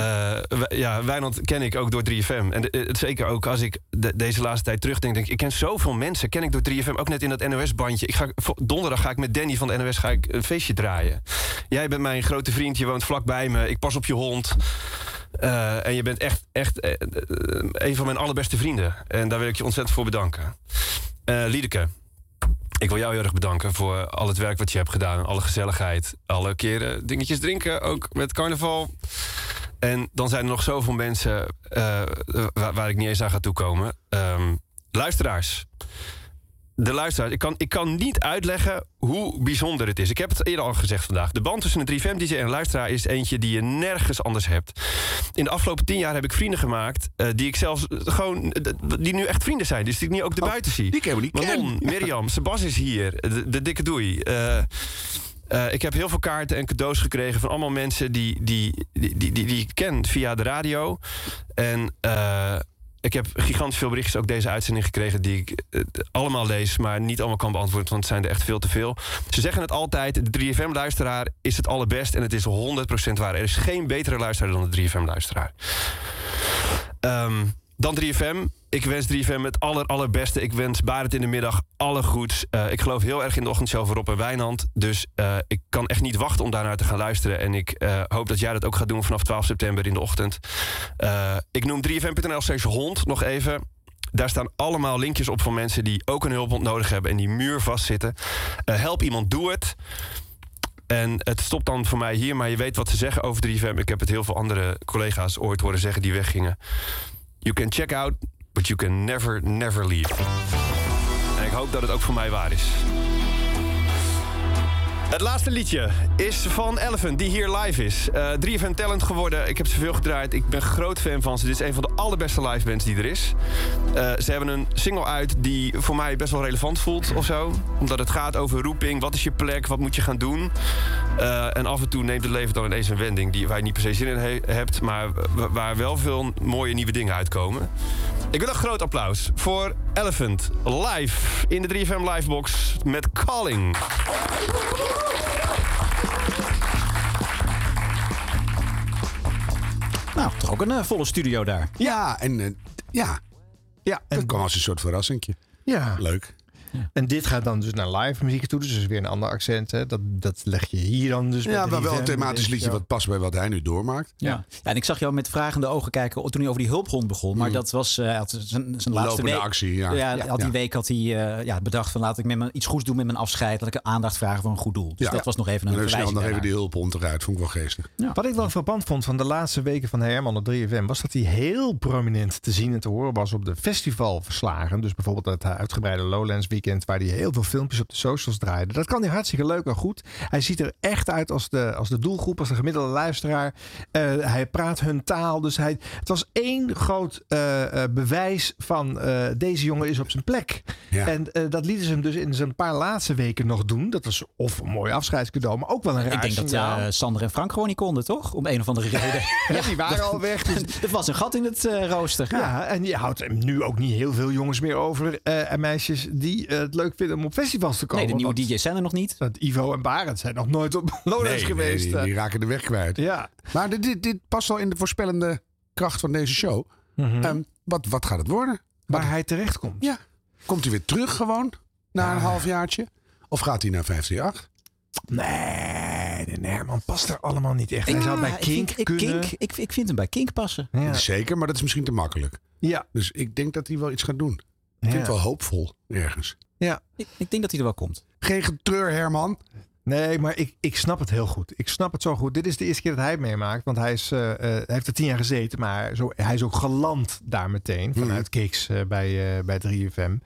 Speaker 11: Wij- ja, Wijnand ken ik ook door 3FM. En de- eh, zeker ook als ik de- deze laatste tijd terugdenk. Denk ik, ik ken zoveel mensen. Ken ik door 3FM. Ook net in dat NOS-bandje. Ik ga, vo- donderdag ga ik met Danny van de NOS ga ik een feestje draaien. Jij bent mijn grote vriend. Je woont vlakbij me. Ik pas op je hond. Eh, en je bent echt, echt eh, eh, een van mijn allerbeste vrienden. En daar wil ik je ontzettend voor bedanken. Eh Liedeke. Ik wil jou heel erg bedanken voor al het werk wat je hebt gedaan. Alle gezelligheid. Alle keren dingetjes drinken. Ook met carnaval. En dan zijn er nog zoveel mensen eh, waar, waar ik niet eens aan ga toekomen. Ehm, luisteraars. De luisteraars. Ik kan, ik kan niet uitleggen hoe bijzonder het is. Ik heb het eerder al gezegd vandaag. De band tussen een 3FM-DJ en een luisteraar is eentje die je nergens anders hebt. In de afgelopen tien jaar heb ik vrienden gemaakt... eh, die ik zelfs eh, gewoon... eh, die nu echt vrienden zijn. Dus die ik nu ook de buiten zie. Die
Speaker 5: kennen we niet
Speaker 11: Manon,
Speaker 5: kennen.
Speaker 11: Mirjam, Sebas is hier. De, de dikke doei. Eh, eh, ik heb heel veel kaarten en cadeaus gekregen van allemaal mensen die, die, die, die, die, die ik ken via de radio. En eh, ik heb gigantisch veel berichtjes ook deze uitzending gekregen die ik eh, allemaal lees, maar niet allemaal kan beantwoorden, want het zijn er echt veel te veel. Ze zeggen het altijd, de 3FM-luisteraar is het allerbest en het is 100% waar. Er is geen betere luisteraar dan de 3FM-luisteraar. Ehm, dan 3FM. Ik wens 3FM het aller, allerbeste. Ik wens Barend in de middag alle goeds. Eh, ik geloof heel erg in de ochtendshow voor Rob en Wijnand. Dus eh, ik kan echt niet wachten om daarnaar te gaan luisteren. En ik eh, hoop dat jij dat ook gaat doen vanaf 12 september in de ochtend. Eh, ik noem 3FM.nl slash hond nog even. Daar staan allemaal linkjes op van mensen die ook een hulphond nodig hebben en die muur vastzitten. Eh, help iemand, doe het. En het stopt dan voor mij hier, maar je weet wat ze zeggen over 3FM. Ik heb het heel veel andere collega's ooit horen zeggen die weggingen. You can check out, but you can never, never leave. En ik hoop dat het ook voor mij waar is. Het laatste liedje is van Elephant, die hier live is. Eh 3FM Talent geworden. Ik heb ze veel gedraaid. Ik ben groot fan van ze. Dit is een van de allerbeste live bands die er is. Eh, ze hebben een single uit die voor mij best wel relevant voelt of zo. Omdat het gaat over roeping. Wat is je plek? Wat moet je gaan doen? Eh, en af en toe neemt het leven dan ineens een wending... die, waar je niet per se zin in he- hebt... maar wa- waar wel veel mooie nieuwe dingen uitkomen. Ik wil een groot applaus voor Elephant live in de 3FM Livebox met Calling.
Speaker 2: Nou, toch ook een eh, volle studio daar.
Speaker 5: Ja, en eh, ja.
Speaker 1: ja
Speaker 5: dat kwam als een soort verrassingje.
Speaker 1: Ja.
Speaker 5: Leuk.
Speaker 1: En dit gaat dan dus naar live muziek toe. Dus dat is weer een ander accent. Hè. Dat, dat leg je hier dan dus
Speaker 5: ja,
Speaker 1: met
Speaker 5: maar wel
Speaker 1: 3FM,
Speaker 5: een thematisch
Speaker 1: weet
Speaker 5: liedje
Speaker 1: je wel.
Speaker 5: wat past bij wat hij nu doormaakt.
Speaker 2: Ja. Ja. en ik zag jou met vragende ogen kijken toen hij over die hulphond begon. Maar dat was eh, hij had zijn, zijn laatste
Speaker 5: Mm. Lopende
Speaker 2: week.
Speaker 5: actie, ja.
Speaker 2: ja,
Speaker 5: Ja.
Speaker 2: Al die
Speaker 5: Ja.
Speaker 2: week had hij eh, ja, bedacht van laat ik met mijn, iets goeds doen met mijn afscheid. Laat ik aandacht vragen voor een goed doel. Dus dat was nog even een
Speaker 5: En dan snel
Speaker 2: verwijzing
Speaker 5: nog even
Speaker 2: daarnaar.
Speaker 5: die hulphond eruit. Vond ik wel geestig.
Speaker 1: Wat ik wel frappant vond van de laatste weken van Herman op 3FM... was dat hij heel prominent te zien en te horen was op de festivalverslagen. Dus bijvoorbeeld het uitgebreide Lowlands weekend waar hij heel veel filmpjes op de socials draaide. Dat kan hij hartstikke leuk en goed. Hij ziet er echt uit als de, als de doelgroep, als de gemiddelde luisteraar. Eh, hij praat hun taal. Dus hij, het was één groot eh, eh, bewijs van eh, deze jongen is op zijn plek. En eh, dat lieten ze hem dus in zijn paar laatste weken nog doen. Dat was of een mooi afscheidscadeau, maar ook wel een raar
Speaker 2: Ik denk dat
Speaker 1: signaal.
Speaker 2: eh, Sander en Frank gewoon niet konden, toch? Om een of andere reden.
Speaker 1: Ja, die waren al weg.
Speaker 2: er was een gat in het eh, rooster.
Speaker 1: Ja. en je houdt hem nu ook niet heel veel jongens meer over eh, en meisjes die eh, het leuk vinden om op festivals te komen.
Speaker 2: Nee, de nieuwe
Speaker 1: Want-
Speaker 2: DJ's zijn er nog niet.
Speaker 1: Want Ivo en Barend zijn nog nooit op Lowlands
Speaker 5: Nee,
Speaker 1: geweest. eh.
Speaker 5: nee, die, die raken de weg kwijt.
Speaker 1: Ja.
Speaker 5: Maar dit- dit, dit past wel in de voorspellende kracht van deze show. Ehm, wat, wat gaat het worden?
Speaker 1: Mhm. Waar hij terechtkomt. Ah.
Speaker 5: Ja. Komt hij weer terug gewoon na een halfjaartje? Of gaat hij naar 158?
Speaker 1: Nee, de Nerman past er allemaal niet echt.
Speaker 5: Hij
Speaker 2: Ik-
Speaker 5: zou bij
Speaker 2: ja, ik
Speaker 5: Kink
Speaker 2: vind- ik,
Speaker 5: kunnen.
Speaker 2: Kink- ik, ik vind hem bij Kink passen.
Speaker 5: Zeker, maar dat is misschien te makkelijk.
Speaker 1: Ja.
Speaker 5: Dus ik denk dat hij wel iets gaat doen. Ik
Speaker 2: Ja.
Speaker 5: vind het wel hoopvol ergens.
Speaker 1: Ja.
Speaker 2: Ik, ik denk dat hij er wel komt.
Speaker 5: Geen getreur, Herman.
Speaker 1: Nee, maar ik, ik snap het heel goed. Ik snap het zo goed. Dit is de eerste keer dat hij het meemaakt. Want hij, is, eh, eh, hij heeft er tien jaar gezeten. Maar zo, hij is ook geland daar meteen. Vanuit Kicks eh, bij, eh, bij 3FM.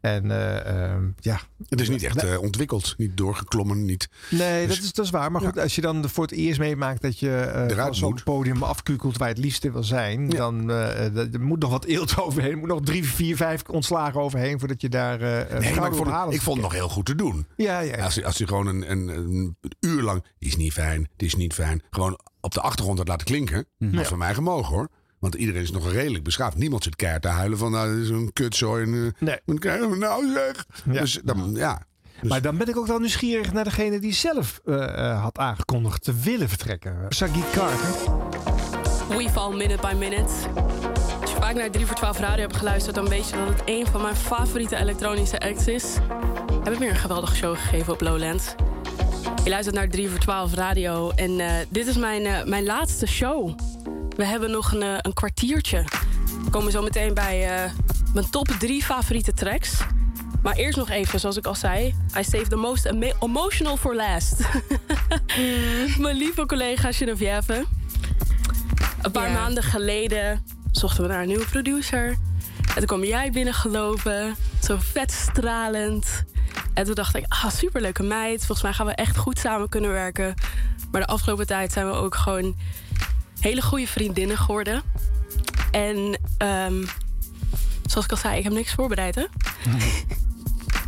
Speaker 1: En eh, ehm, ja.
Speaker 5: Het is niet echt eh, ontwikkeld, niet doorgeklommen, niet.
Speaker 1: Nee, dat, is, dat is waar. Maar goed, als je dan voor het eerst meemaakt dat je eh, van zo'n podium afkukelt waar je het liefste wil zijn, dan eh, eh, dat- er moet nog wat eelt overheen. Er moet nog drie, vier, vijf ontslagen overheen voordat je daar. eh,
Speaker 5: Nee, maar
Speaker 1: gouden
Speaker 5: ik vond, het-
Speaker 1: verhalen
Speaker 5: ik vond het nog heel goed te doen.
Speaker 1: Ja, ja, ja.
Speaker 5: Als, hij- als hij gewoon een, een, een uur lang. Die is niet fijn, die is niet fijn. Gewoon op de achtergrond had laten klinken.
Speaker 1: Mhm.
Speaker 5: Had
Speaker 1: Ja.
Speaker 5: van mij gemogen hoor. Want iedereen is nog redelijk beschaafd. Niemand zit keihard te huilen van. Nou, dit is een kutzooi. En, eh, Wat krijgen we nou zeg? Dus dan, ja. Dus-
Speaker 1: Maar dan ben ik ook wel nieuwsgierig naar degene die zelf eh, eh, had aangekondigd te willen vertrekken. Sagi Carter.
Speaker 25: We Fall Minute by Minute. Als je vaak naar 3 voor 12 radio hebt geluisterd, dan weet je dat het een van mijn favoriete elektronische acts is. We hebben weer een geweldige show gegeven op Lowlands. Je luistert naar 3 voor 12 radio en eh, dit is mijn, eh, mijn laatste show. We hebben nog een, eh, een kwartiertje. We komen zo meteen bij eh, mijn top 3 favoriete tracks. Maar eerst nog even, zoals ik al zei, I save the most emo- emotional for last. mijn lieve collega Geneviève. Een paar maanden geleden zochten we naar een nieuwe producer. En toen kwam jij binnengelopen, zo vet stralend. En toen dacht ik, ah, superleuke meid. Volgens mij gaan we echt goed samen kunnen werken. Maar de afgelopen tijd zijn we ook gewoon hele goede vriendinnen geworden. En ehm, zoals ik al zei, ik heb niks voorbereid, hè?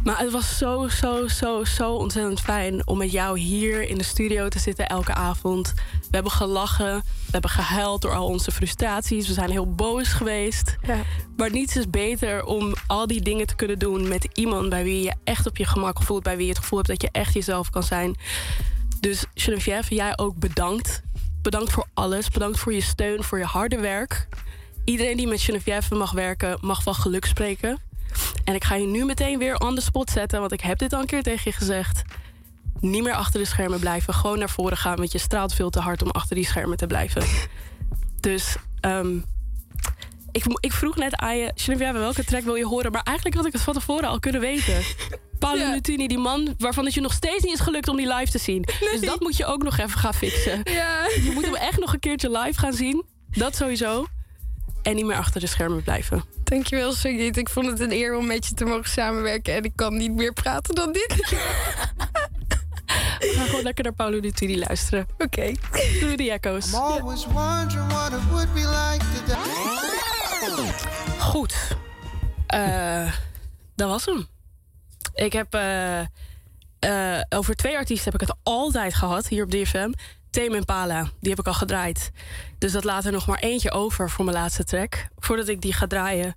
Speaker 25: Maar het was zo, zo, zo, zo ontzettend fijn om met jou hier in de studio te zitten elke avond. We hebben gelachen, we hebben gehuild door al onze frustraties, we zijn heel boos geweest. Maar niets is beter om al die dingen te kunnen doen met iemand bij wie je echt op je gemak voelt, bij wie je het gevoel hebt dat je echt jezelf kan zijn. Dus Geneviève, jij ook bedankt. Bedankt voor alles, bedankt voor je steun, voor je harde werk. Iedereen die met Geneviève mag werken, mag van geluk spreken. En ik ga je nu meteen weer on the spot zetten, want ik heb dit al een keer tegen je gezegd. Niet meer achter de schermen blijven, gewoon naar voren gaan, want je straalt veel te hard om achter die schermen te blijven. Dus ehm, ik, mo- ik vroeg net aan je, Geneviève, welke track wil je horen? Maar eigenlijk had ik het van tevoren al kunnen weten. Paolo Nutini, die man waarvan het je nog steeds niet is gelukt om die live te zien. Dus dat moet je ook nog even gaan fixen. Je moet hem echt nog een keertje live gaan zien. Dat sowieso. En niet meer achter de schermen blijven.
Speaker 26: Dankjewel, Sagit. Ik vond het een eer om met je te mogen samenwerken. En ik kan niet meer praten dan dit.
Speaker 25: We gaan gewoon lekker naar Paolo Nutini luisteren. Oké. Doe de jacko's. Goed. Eh, dat was hem. Ik heb... eh, eh, over twee artiesten heb ik het altijd gehad hier op DFM. Tame Impala, die heb ik al gedraaid. Dus dat laat er nog maar eentje over voor mijn laatste track. Voordat ik die ga draaien...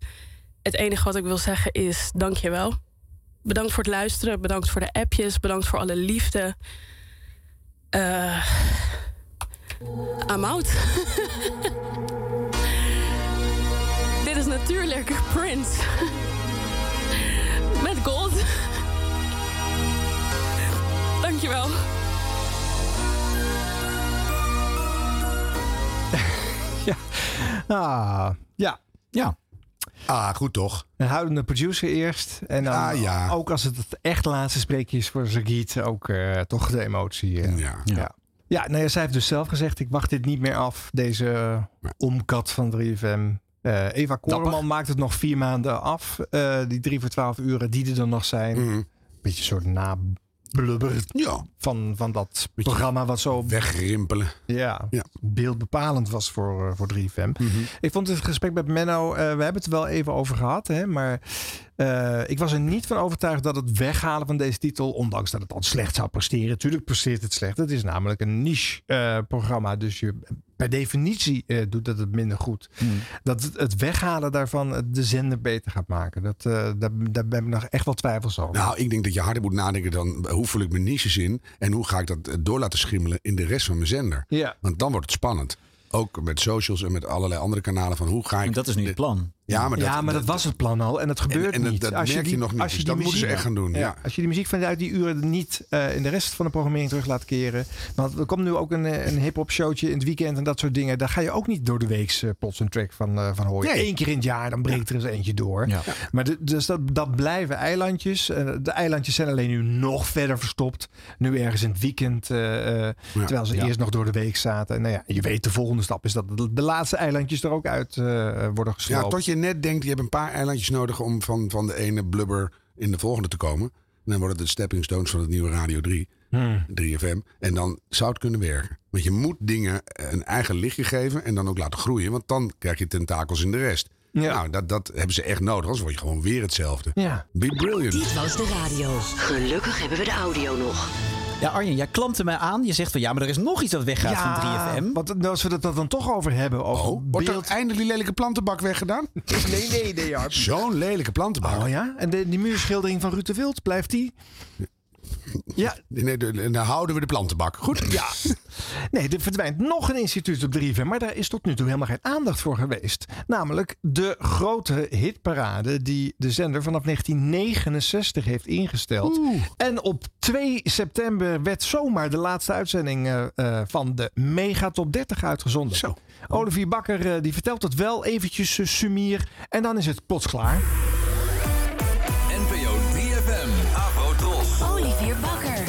Speaker 25: Het enige wat ik wil zeggen is dankjewel. Bedankt voor het luisteren, bedankt voor de appjes, bedankt voor alle liefde. Eh I'm out. Dit is natuurlijk Prince. Met gold. Dankjewel.
Speaker 1: Ja. Ah, ja. Ja.
Speaker 5: Ah, goed toch? Ah,
Speaker 1: Een houdende producer eerst. En dan ook als het het echt laatste spreekje is voor Sagiet, ook eh, toch de emotie. eh.
Speaker 5: ja.
Speaker 1: Ja. Ja, nou ja, zij heeft dus zelf gezegd: ik wacht dit niet meer af, deze omkat van 3FM. Eh, Eva Koreman maakt het nog vier maanden af. Eh, die drie voor twaalf uren die er dan nog zijn.
Speaker 5: Mhm.
Speaker 1: Beetje een soort nablubber van, van dat programma wat zo...
Speaker 5: Wegrimpelen.
Speaker 1: Ja, beeldbepalend was voor, eh, voor 3FM.
Speaker 5: Mhm.
Speaker 1: Ik vond het gesprek met Menno, eh, we hebben het er wel even over gehad. Hè, maar eh, ik was er niet van overtuigd dat het weghalen van deze titel, ondanks dat het al slecht zou presteren. Tuurlijk presteert het slecht. Het is namelijk een niche eh, programma. Dus je per definitie eh, doet dat het minder goed.
Speaker 5: Mhm.
Speaker 1: Dat het, het weghalen daarvan het de zender beter gaat maken. Dat, eh, daar, daar ben ik nog echt wel twijfels over.
Speaker 5: Nou, ik denk dat je harder moet nadenken dan eh, hoe vul ik mijn niches in en hoe ga ik dat eh, door laten schimmelen in de rest van mijn zender.
Speaker 1: Ja.
Speaker 5: Want dan wordt het spannend. Ook met socials en met allerlei andere kanalen van hoe ga ik.
Speaker 2: Dat is nu het plan.
Speaker 5: Ja, maar dat,
Speaker 1: was het plan al en het gebeurt
Speaker 5: en dat-
Speaker 1: niet.
Speaker 5: dat merk je nog niet, dus dat moeten ze echt gaan doen, ja.
Speaker 1: Als je die muziek vanuit die uren niet eh, in de rest van de programmering terug laat keren. Want er komt nu ook een, eh, een hip-hop showtje in het weekend en dat soort dingen. Daar ga je ook niet door de week eh, plots een track van, eh, van horen.
Speaker 5: Nee.
Speaker 1: Eén keer in het jaar, dan breekt er eens eentje door. Maar de- dus dat, dat blijven eilandjes. Eh, de eilandjes zijn alleen nu nog verder verstopt. Nu ergens in het weekend, eh, eh,
Speaker 5: Ja.
Speaker 1: terwijl ze
Speaker 5: Ja.
Speaker 1: eerst nog door de week zaten. Nou ja, je weet, de volgende stap is dat de, de laatste eilandjes er ook uit eh, worden gesloopt.
Speaker 5: Ja, tot je net denkt, je hebt een paar eilandjes nodig om van, van de ene blubber in de volgende te komen. En dan worden het de stepping stones van het nieuwe Radio 3,
Speaker 1: Hmm.
Speaker 5: 3FM. En dan zou het kunnen werken. Want je moet dingen een eigen lichtje geven en dan ook laten groeien. Want dan krijg je tentakels in de rest. Nou, dat, dat hebben ze echt nodig, anders word je gewoon weer hetzelfde.
Speaker 1: Ja.
Speaker 5: Be brilliant.
Speaker 19: Dit was de radio. Gelukkig hebben we de audio nog.
Speaker 2: Ja, Arjen, jij klampte mij aan. Je zegt van ja, maar er is nog iets dat weggaat van 3FM.
Speaker 1: Want als we dat, dat dan toch over hebben. Over
Speaker 5: Wordt er eindelijk die lelijke plantenbak weggedaan?
Speaker 1: Nee, nee, nee, Jarp.
Speaker 5: Zo'n lelijke plantenbak.
Speaker 1: Oh ja? En de, die muurschildering van Ruud de Wild, blijft die? Ja.
Speaker 5: Nee, de- de- dan houden we de plantenbak. Goed.
Speaker 1: Ja. Nee, er verdwijnt nog een instituut op 3FM, maar daar is tot nu toe helemaal geen aandacht voor geweest. Namelijk de grote hitparade die de zender vanaf 1969 heeft ingesteld. En op 2 september werd zomaar de laatste uitzending eh, eh, van de Mega Top 30 uitgezonden. Zo. Olivier Bakker eh, die vertelt het wel eventjes eh, sumier en dan is het plots klaar.
Speaker 8: NPO 3FM, Avro Tros.
Speaker 19: Olivier Bakker.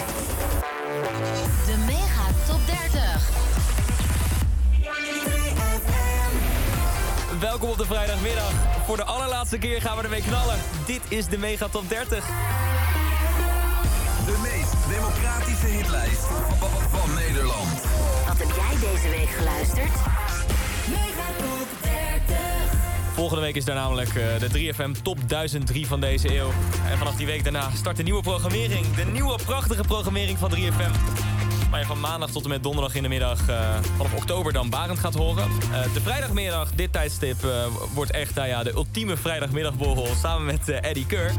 Speaker 19: De Mega Top 30.
Speaker 22: Welkom op de vrijdagmiddag. Voor de allerlaatste keer gaan we ermee knallen. Dit is de Mega Top 30.
Speaker 8: De meest democratische hitlijst van- van- van Nederland.
Speaker 19: Wat heb jij deze week geluisterd?
Speaker 22: Volgende week is daar namelijk eh, de 3FM Top 1003 van deze eeuw. En vanaf die week daarna start de nieuwe programmering. De nieuwe prachtige programmering van 3FM. Waar je van maandag tot en met donderdag in de middag eh, vanaf oktober dan Barend gaat horen. Eh, de vrijdagmiddag, dit tijdstip, eh, wordt echt nou ja, de ultieme vrijdagmiddagborrel samen met eh, Eddie Keur.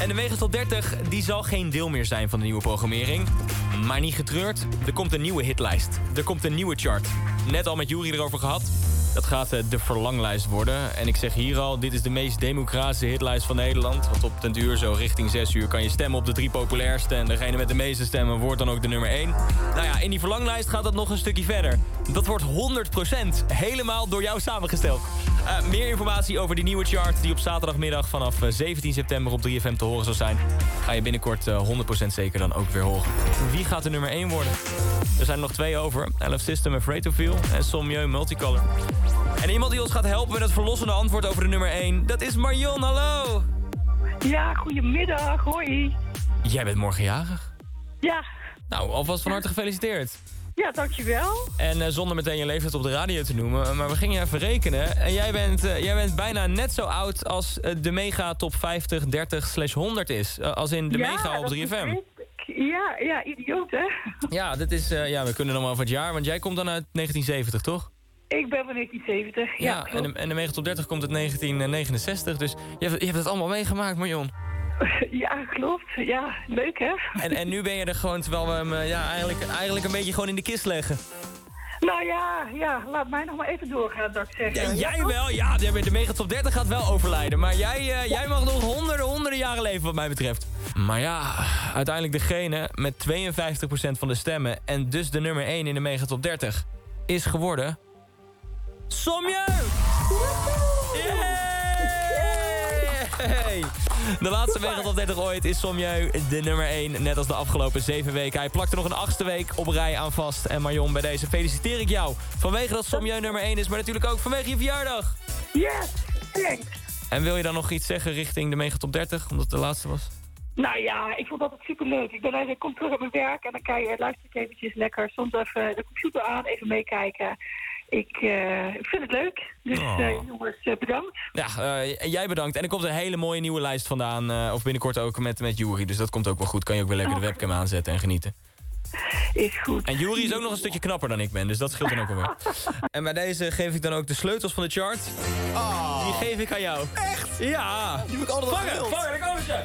Speaker 22: En de Megastal 30 die zal geen deel meer zijn van de nieuwe programmering. Maar niet getreurd, er komt een nieuwe hitlijst. Er komt een nieuwe chart. Net al met Jury erover gehad. Dat gaat eh, de verlanglijst worden. En ik zeg hier al, dit is de meest democratische hitlijst van Nederland. Want op den duur, zo richting 6 uur, kan je stemmen op de drie populairste. En degene met de meeste stemmen wordt dan ook de nummer 1. Nou ja, in die verlanglijst gaat dat nog een stukje verder. Dat wordt 100% helemaal door jou samengesteld. Eh, meer informatie over die nieuwe chart die op zaterdagmiddag vanaf eh, 17 september op 3FM te horen zal zijn. Ga je binnenkort eh, 100% zeker dan ook weer horen. Wie gaat de nummer 1 worden? Er zijn er nog twee over. Elf System, Afraid to Feel en Sommieu Multicolor. En iemand die ons gaat helpen met het verlossende antwoord over de nummer 1, dat is Marion, hallo!
Speaker 7: Ja, goedemiddag, hoi.
Speaker 22: Jij bent morgen jarig.
Speaker 7: Ja,
Speaker 22: Nou, alvast van harte gefeliciteerd.
Speaker 7: ja dankjewel.
Speaker 22: En eh, zonder meteen je leeftijd op de radio te noemen, eh, maar we gingen even rekenen. En jij bent, eh, jij bent bijna net zo oud als eh, de mega top 50, 30 slash 100 is. Eh, als in de
Speaker 7: Ja,
Speaker 22: mega op
Speaker 7: dat
Speaker 22: 3FM.
Speaker 7: Ja, ja, idioot hè.
Speaker 22: Ja, dat is, eh, ja, we kunnen nog maar van het jaar, want jij komt dan uit 1970, toch?
Speaker 7: Ik ben van 1970. Ja,
Speaker 22: en de, en de mega top 30 komt uit 1969, dus je hebt, je hebt het allemaal meegemaakt, Marion.
Speaker 7: ja, klopt. Ja, leuk hè.
Speaker 22: En, en nu ben je er gewoon, terwijl we hem eh, ja, eigenlijk, eigenlijk een beetje gewoon in de kist leggen.
Speaker 7: Nou ja, ja, laat mij nog maar even doorgaan, dat ik
Speaker 22: Ja,
Speaker 7: zeggen.
Speaker 22: jij
Speaker 7: toch?
Speaker 22: wel, ja, de de mega top 30 gaat wel overlijden. Maar jij, eh, jij mag nog honderden, honderden jaren leven wat mij betreft. Maar ja, uiteindelijk degene met 52% van de stemmen... en dus de nummer 1 in de mega top 30 is geworden... Somjeu! Hey! De laatste Mega Top 30 ooit is Somjeu de nummer 1, net als de afgelopen 7 weken. Hij plakt er nog een achtste week op rij aan vast. En Marion, bij deze feliciteer ik jou. Vanwege dat Somjeu nummer 1 is, maar natuurlijk ook vanwege je verjaardag.
Speaker 27: Yes, thanks.
Speaker 22: En wil je dan nog iets zeggen richting de Mega Top 30, omdat het de laatste was?
Speaker 27: Nou ja, ik vond dat superleuk. Ik, ben, ik kom terug op mijn werk en dan kan je, luister ik eventjes lekker. Soms even de computer aan, even meekijken. Ik, eh, ik vind het leuk. Dus
Speaker 22: Oh.
Speaker 27: eh, jongens, eh, bedankt.
Speaker 22: Ja, eh, jij bedankt. En er komt een hele mooie nieuwe lijst vandaan. eh, of binnenkort ook met, met Jury. Dus dat komt ook wel goed. Kan je ook weer
Speaker 17: Oh.
Speaker 22: lekker de webcam aanzetten en genieten.
Speaker 27: Is goed.
Speaker 22: En Jury is ook nog een stukje knapper dan ik ben. Dus dat scheelt dan ook wel weer. en bij deze geef ik dan ook de sleutels van de chart. Die geef ik aan jou. Echt? Ja.
Speaker 17: Oh. Die heb ik altijd al
Speaker 22: vangen,
Speaker 17: gewild.
Speaker 22: vangen, daar komen ze.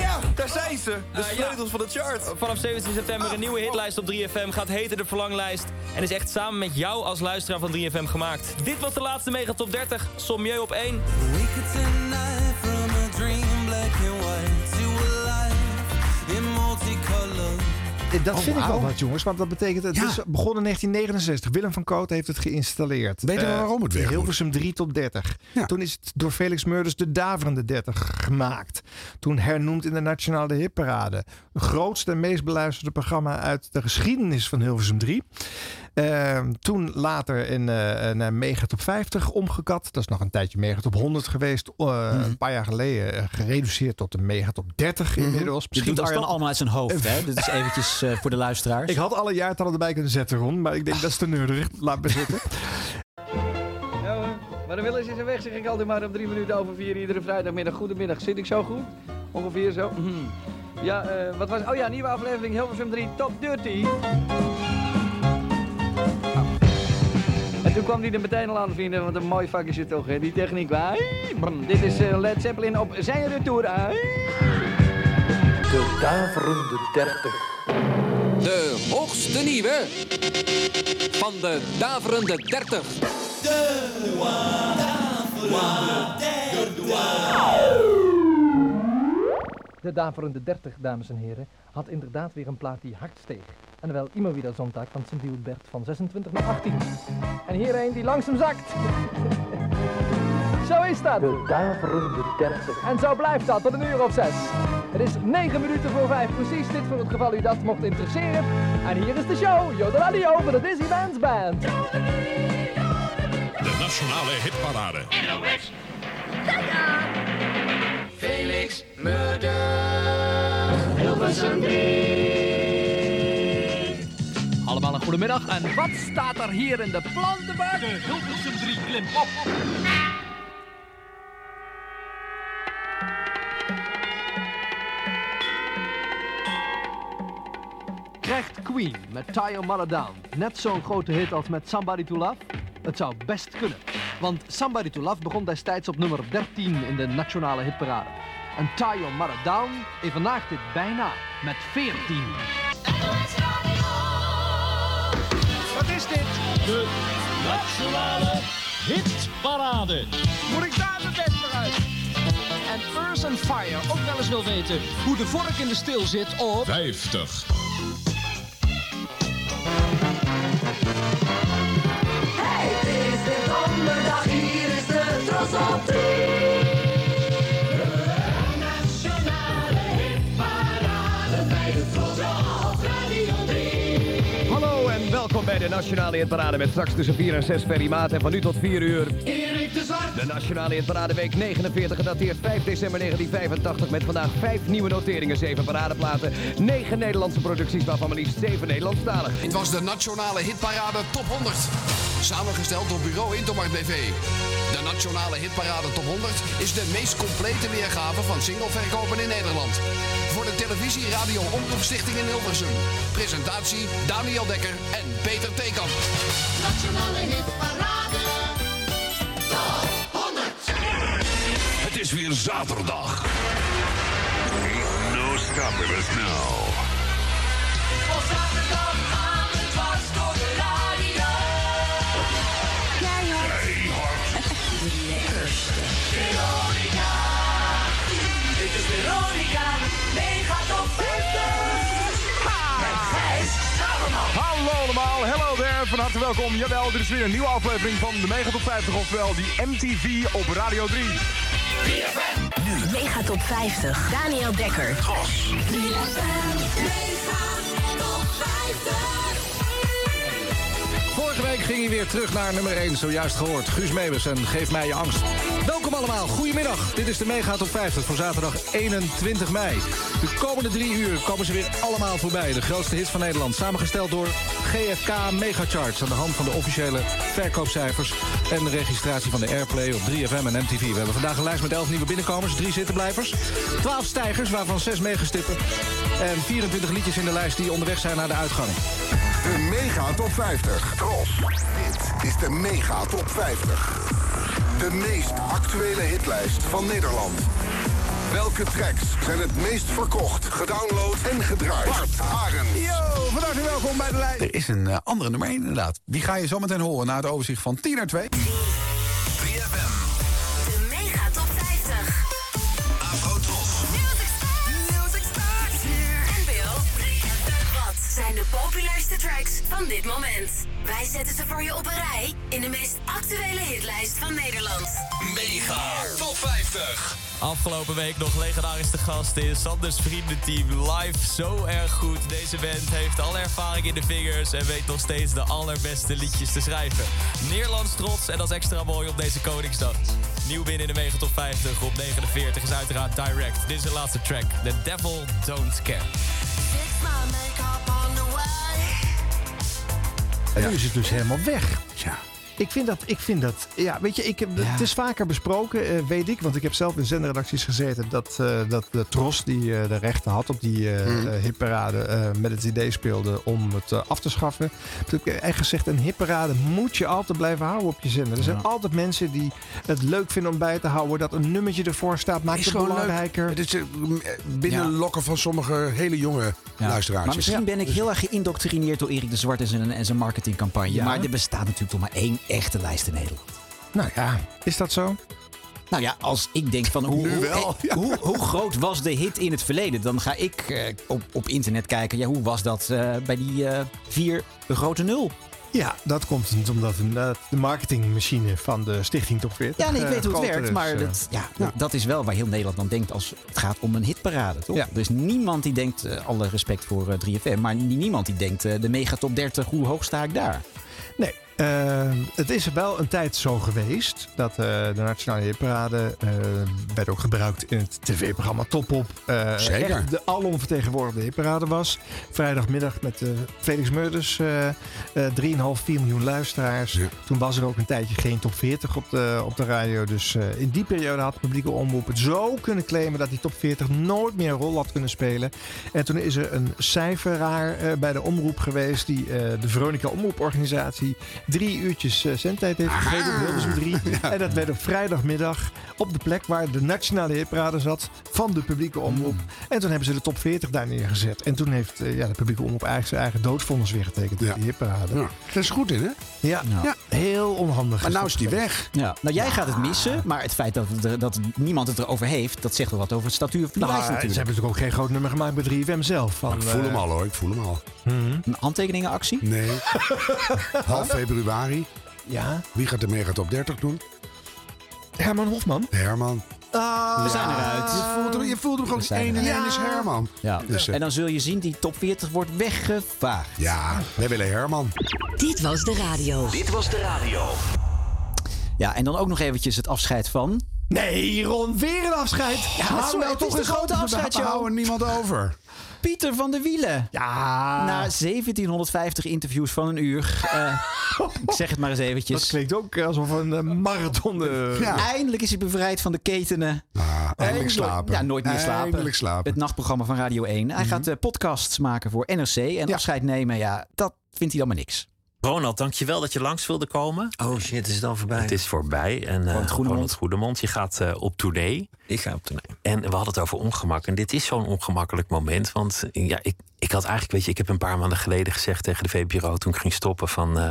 Speaker 17: Ja, daar zijn ze. De
Speaker 22: Eh, ja.
Speaker 17: sleutels van de chart.
Speaker 22: Vanaf 17 september een nieuwe hitlijst op 3FM. Gaat heten de Verlanglijst. En is echt samen met jou als luisteraar van 3FM gemaakt. Dit was de laatste Mega Top 30. Sommieu op 1.
Speaker 17: We could tonight from a dream black and white to a life in multicolor.
Speaker 1: Eh, Dat
Speaker 17: Oh,
Speaker 1: vind ik wel
Speaker 17: wauw.
Speaker 1: wat, jongens. Want dat betekent, het is begonnen in 1969. Willem van Koot heeft het geïnstalleerd.
Speaker 28: Weet je
Speaker 1: Eh,
Speaker 28: waarom het werkt?
Speaker 1: Hilversum 3 tot 30. Toen is het door Felix Murders de Daverende 30 gemaakt. Toen hernoemd in de Nationale Hitparade. Het grootste en meest beluisterde programma uit de geschiedenis van Hilversum 3. Ehm, toen later in, eh naar Mega Top 50 omgekat. Dat is nog een tijdje Mega Top 100 geweest. Eh,
Speaker 28: Hmm.
Speaker 1: Een paar jaar geleden eh, gereduceerd tot de Mega Top 30 inmiddels.
Speaker 2: Dit Mhm. doet
Speaker 1: was
Speaker 2: Arjan
Speaker 1: dat-
Speaker 2: allemaal uit zijn hoofd. Hè? Dit is eventjes eh, voor de luisteraars.
Speaker 1: ik had alle jaartallen erbij kunnen zetten, Ron. Maar ik denk, dat is te nerdig. Laat me zitten.
Speaker 3: Ja hoor, maar dan willen ze zijn weg, zeg ik altijd maar om drie minuten over vier iedere vrijdagmiddag. Goedemiddag, zit ik zo goed? Ongeveer zo. Mhm. Ja, eh, wat was... Oh ja, nieuwe aflevering Hilversum 3 Top Ah. 30. En toen kwam hij er meteen al aan, vrienden, want een mooi vak is het toch, hè? Die techniek, waar? Brum. Dit is eh, Led Zeppelin op zijn retour.
Speaker 17: De daverende 30. De hoogste nieuwe van de daverende 30. De
Speaker 3: De daverende 30, dames en heren, had inderdaad weer een plaat die hard steeg. En wel iemand weer dat zondag van Sint Hilbert van 26 naar 18. En hier een die langzaam zakt. Zo is dat. De daverende 30. En zo blijft dat tot een uur of zes. Het is 9 minuten voor 5, precies dit voor het geval u dat mocht interesseren. En hier is de show, Jodel Radio van de Disney Bands Band.
Speaker 5: De Nationale Hitparade.
Speaker 17: NOS. Felix Murder.
Speaker 3: Hilversum 3. Allemaal een goede middag. En wat staat er hier in de plantenbak? De Hilversum 3 klim op. Krijgt Queen met Tie Your Mother Down net zo'n grote hit als met Somebody to Love? Het zou best kunnen. Want Somebody to Love begon destijds op nummer 13 in de nationale hitparade. En Tie Your Mother Down evenaagt dit bijna met 14.
Speaker 17: Wat is dit? De nationale hitparade. Moet ik daar mijn bed voor uit? En Earth and Fire ook wel eens wil weten hoe de vork in de stil zit op...
Speaker 5: 50.
Speaker 17: Het is de donderdag, hier is de trots op drie. Nationale hitparade bij de trots op Radio 3.
Speaker 3: Hallo en welkom bij de Nationale Hitparade met straks tussen 4 en 6 Ferry Maat en van nu tot 4 uur.
Speaker 17: Erik de Zwart.
Speaker 3: De Nationale Hitparade week 49 gedateerd 5 december 1985 met vandaag 5 nieuwe noteringen, 7 paradeplaten, 9 Nederlandse producties waarvan maar liefst 7 Nederlandstalig.
Speaker 8: Dit was de Nationale Hitparade Top 100. Samengesteld door Bureau Intomart BV. De Nationale Hitparade Top 100 is de meest complete weergave van singleverkopen in Nederland. Voor de televisie, radio, omroep Stichting in Hilversum. Presentatie Daniel Dekker en Peter Tekamp.
Speaker 17: Nationale hitparade. Top 100.
Speaker 5: Het is weer zaterdag. Ain't no stopping us now.
Speaker 17: Op zaterdag gaan we dwars door de radio. Keihard. De lekkerste. Veronica. Dit is Veronica. Mega top 50. Met Gijs Salomon.
Speaker 18: Hallo allemaal, hello there, van harte welkom. Jawel, dit is weer een nieuwe aflevering van de Megatop 50, ofwel die MTV op Radio 3.
Speaker 29: Nu Mega Top 50. Daniel Dekker. Gos.
Speaker 17: Mega top 50.
Speaker 6: Vorige week ging hij weer terug naar nummer 1, zojuist gehoord. Guus Meeuwis en Geef mij je angst. Welkom allemaal, goedemiddag. Dit is de Mega Top 50 voor zaterdag 21 mei. De komende drie uur komen ze weer allemaal voorbij. De grootste hits van Nederland, samengesteld door GFK Megacharts... aan de hand van de officiële verkoopcijfers... en de registratie van de Airplay op 3FM en MTV. We hebben vandaag een lijst met 11 nieuwe binnenkomers, 3 zittenblijvers... 12 stijgers, waarvan 6 meegestippen... en 24 liedjes in de lijst die onderweg zijn naar de uitgang.
Speaker 18: De Mega Top 50. Tros. Dit is de Mega Top 50. De meest actuele hitlijst van Nederland. Welke tracks zijn het meest verkocht, gedownload en gedraaid? Bart Arend.
Speaker 10: Yo, van harte welkom bij de lijst. Er is een eh, andere nummer 1 inderdaad. Die ga je zo meteen horen na het overzicht van 10 naar 2.
Speaker 19: De Mega Top 50. Music Stars. NPO 3FM. Wat zijn de populairste tracks van dit moment? Wij zetten ze voor je op een rij in de meest actuele hitlijst van Nederland.
Speaker 9: Mega Top 50.
Speaker 16: Afgelopen week nog legendarisch te gast in Sanders Vriendenteam. Live zo erg goed. Deze band heeft alle ervaring in de vingers en weet nog steeds de allerbeste liedjes te schrijven. Nederlands trots en dat is extra mooi op deze Koningsdag. Nieuw binnen in de Mega Top 50 op 49 is uiteraard Direct. Dit is de laatste track, The Devil Don't Care.
Speaker 1: En nu is het dus helemaal weg. Ja. Ik vind dat, ik vind dat, ja, weet je, ik heb, het is vaker besproken, eh, weet ik, want ik heb zelf in zendredacties gezeten dat, eh, dat de Tros die eh, de rechten had op die eh
Speaker 2: Mhm.
Speaker 18: Hmm.
Speaker 1: eh, hitparade eh, met het idee speelde om het eh, af te schaffen. Toen heb ik eh, echt gezegd, een hitparade moet je altijd blijven houden op je zender. Er zijn altijd mensen die het leuk vinden om bij te houden, dat een nummertje ervoor staat, maakt het belangrijk.
Speaker 5: Het is eh, m- eh, binnenlokken van sommige hele jonge luisteraars.
Speaker 2: Maar misschien ben ik heel erg geïndoctrineerd door Erik de Zwart en zijn, en zijn marketingcampagne.
Speaker 5: Ja.
Speaker 2: Maar er bestaat natuurlijk toch maar één echte lijst in Nederland.
Speaker 1: Nou ja, is dat zo?
Speaker 2: Nou ja, als ik denk
Speaker 5: Nou,
Speaker 2: van hoe, hoe, eh, hoe, hoe groot was de hit in het verleden, dan ga ik eh, op, op internet kijken. Ja, hoe was dat eh, bij die eh, vier de grote nul?
Speaker 1: Ja, dat komt niet omdat inderdaad de marketingmachine van de Stichting Top 40
Speaker 2: Ja, nee, ik
Speaker 1: eh,
Speaker 2: weet hoe het
Speaker 1: groter
Speaker 2: werkt,
Speaker 1: is,
Speaker 2: maar
Speaker 1: eh.
Speaker 2: dat, ja, nou. dat is wel waar heel Nederland dan denkt als het gaat om een hitparade, toch?
Speaker 1: Ja.
Speaker 2: Er is niemand die denkt, eh, alle respect voor eh, 3FM, maar nie- niemand die denkt, eh, de mega top 30, hoe hoog sta ik daar?
Speaker 1: Nee. eh, het is wel een tijd zo geweest dat eh, de Nationale Hitparade eh, werd ook gebruikt in het tv-programma Topop. eh,
Speaker 5: Zeker.
Speaker 1: echt de alomvertegenwoordigde hitparade was. Vrijdagmiddag met eh, Felix Murders, eh eh 3,5, 4 miljoen luisteraars. Toen was er ook een tijdje geen top 40 op de, op de radio. Dus eh, in die periode had de publieke omroep het zo kunnen claimen dat die top 40 nooit meer een rol had kunnen spelen. En toen is er een cijferaar eh, bij de omroep geweest die eh, de Veronica Omroeporganisatie drie uurtjes eh, zendtijd heeft gegeven.
Speaker 5: Ah.
Speaker 1: op Hilversum 3. En dat werd op vrijdagmiddag op de plek waar de nationale hitparade zat van de publieke omroep.
Speaker 5: Mm.
Speaker 1: En toen hebben ze de top 40 daar neergezet. En toen heeft eh, ja, de publieke omroep eigenlijk zijn eigen doodvonnis weer getekend in die hitparade.
Speaker 5: Daar is goed in, hè?
Speaker 1: Ja, ja. heel onhandig.
Speaker 5: Maar nou is die weg.
Speaker 2: Ja. Nou, jij gaat het missen, maar het feit dat, het er- dat niemand het erover heeft, dat zegt wel wat over het statuur van de
Speaker 1: Nou,
Speaker 2: lijst
Speaker 1: ze hebben
Speaker 2: natuurlijk.
Speaker 1: natuurlijk ook geen groot nummer gemaakt bij 3FM zelf. Van,
Speaker 5: Nou, Ik voel hem
Speaker 1: eh, Mhm.
Speaker 5: al hoor, ik voel hem al.
Speaker 2: Een handtekeningenactie?
Speaker 5: Nee. Half februari.
Speaker 1: Ja.
Speaker 5: Wie gaat de mega top 30 doen?
Speaker 1: Herman Hofman.
Speaker 5: Herman.
Speaker 1: Ah,
Speaker 2: We zijn eruit.
Speaker 5: Je voelt hem, je voelt hem
Speaker 2: We
Speaker 5: gewoon
Speaker 2: zijn
Speaker 5: één en
Speaker 2: eruit.
Speaker 5: één is Herman.
Speaker 2: Ja.
Speaker 5: Dus, eh,
Speaker 2: En dan zul je zien, die top 40 wordt weggevaagd.
Speaker 5: Ja, wij willen Herman.
Speaker 2: Dit was de radio.
Speaker 21: Dit was de radio.
Speaker 2: Ja, en dan ook nog eventjes het afscheid van...
Speaker 1: Nee, Ron, weer een afscheid. nou
Speaker 2: Ja, sorry, het is de grote afscheidshow.
Speaker 5: niemand over.
Speaker 2: Pieter van der Wielen.
Speaker 1: Ja.
Speaker 2: Na 1750 interviews van een uur. eh, ik zeg het maar eens eventjes.
Speaker 1: Dat klinkt ook alsof een eh, marathon. eh,
Speaker 2: Ja. Eindelijk is hij bevrijd van de ketenen.
Speaker 1: Ah,
Speaker 5: eindelijk
Speaker 2: Eindelijk-
Speaker 5: slapen.
Speaker 2: Ja, nooit meer slapen.
Speaker 5: Eindelijk slapen.
Speaker 2: Het nachtprogramma van Radio 1. Hij
Speaker 1: Mhm.
Speaker 2: gaat eh, podcasts maken voor NRC. En afscheid nemen, ja, dat vindt hij dan maar niks.
Speaker 30: Ronald, dankjewel dat je langs wilde komen. Oh shit, is het al voorbij? Het is voorbij. En eh Ronald Goedemond. je gaat eh, op tournee. Ik ga op tournee. En we hadden het over ongemak. En dit is zo'n ongemakkelijk moment. Want eh, ja, ik, ik had eigenlijk, weet je, ik heb een paar maanden geleden gezegd tegen de VPRO toen ik ging stoppen van... eh,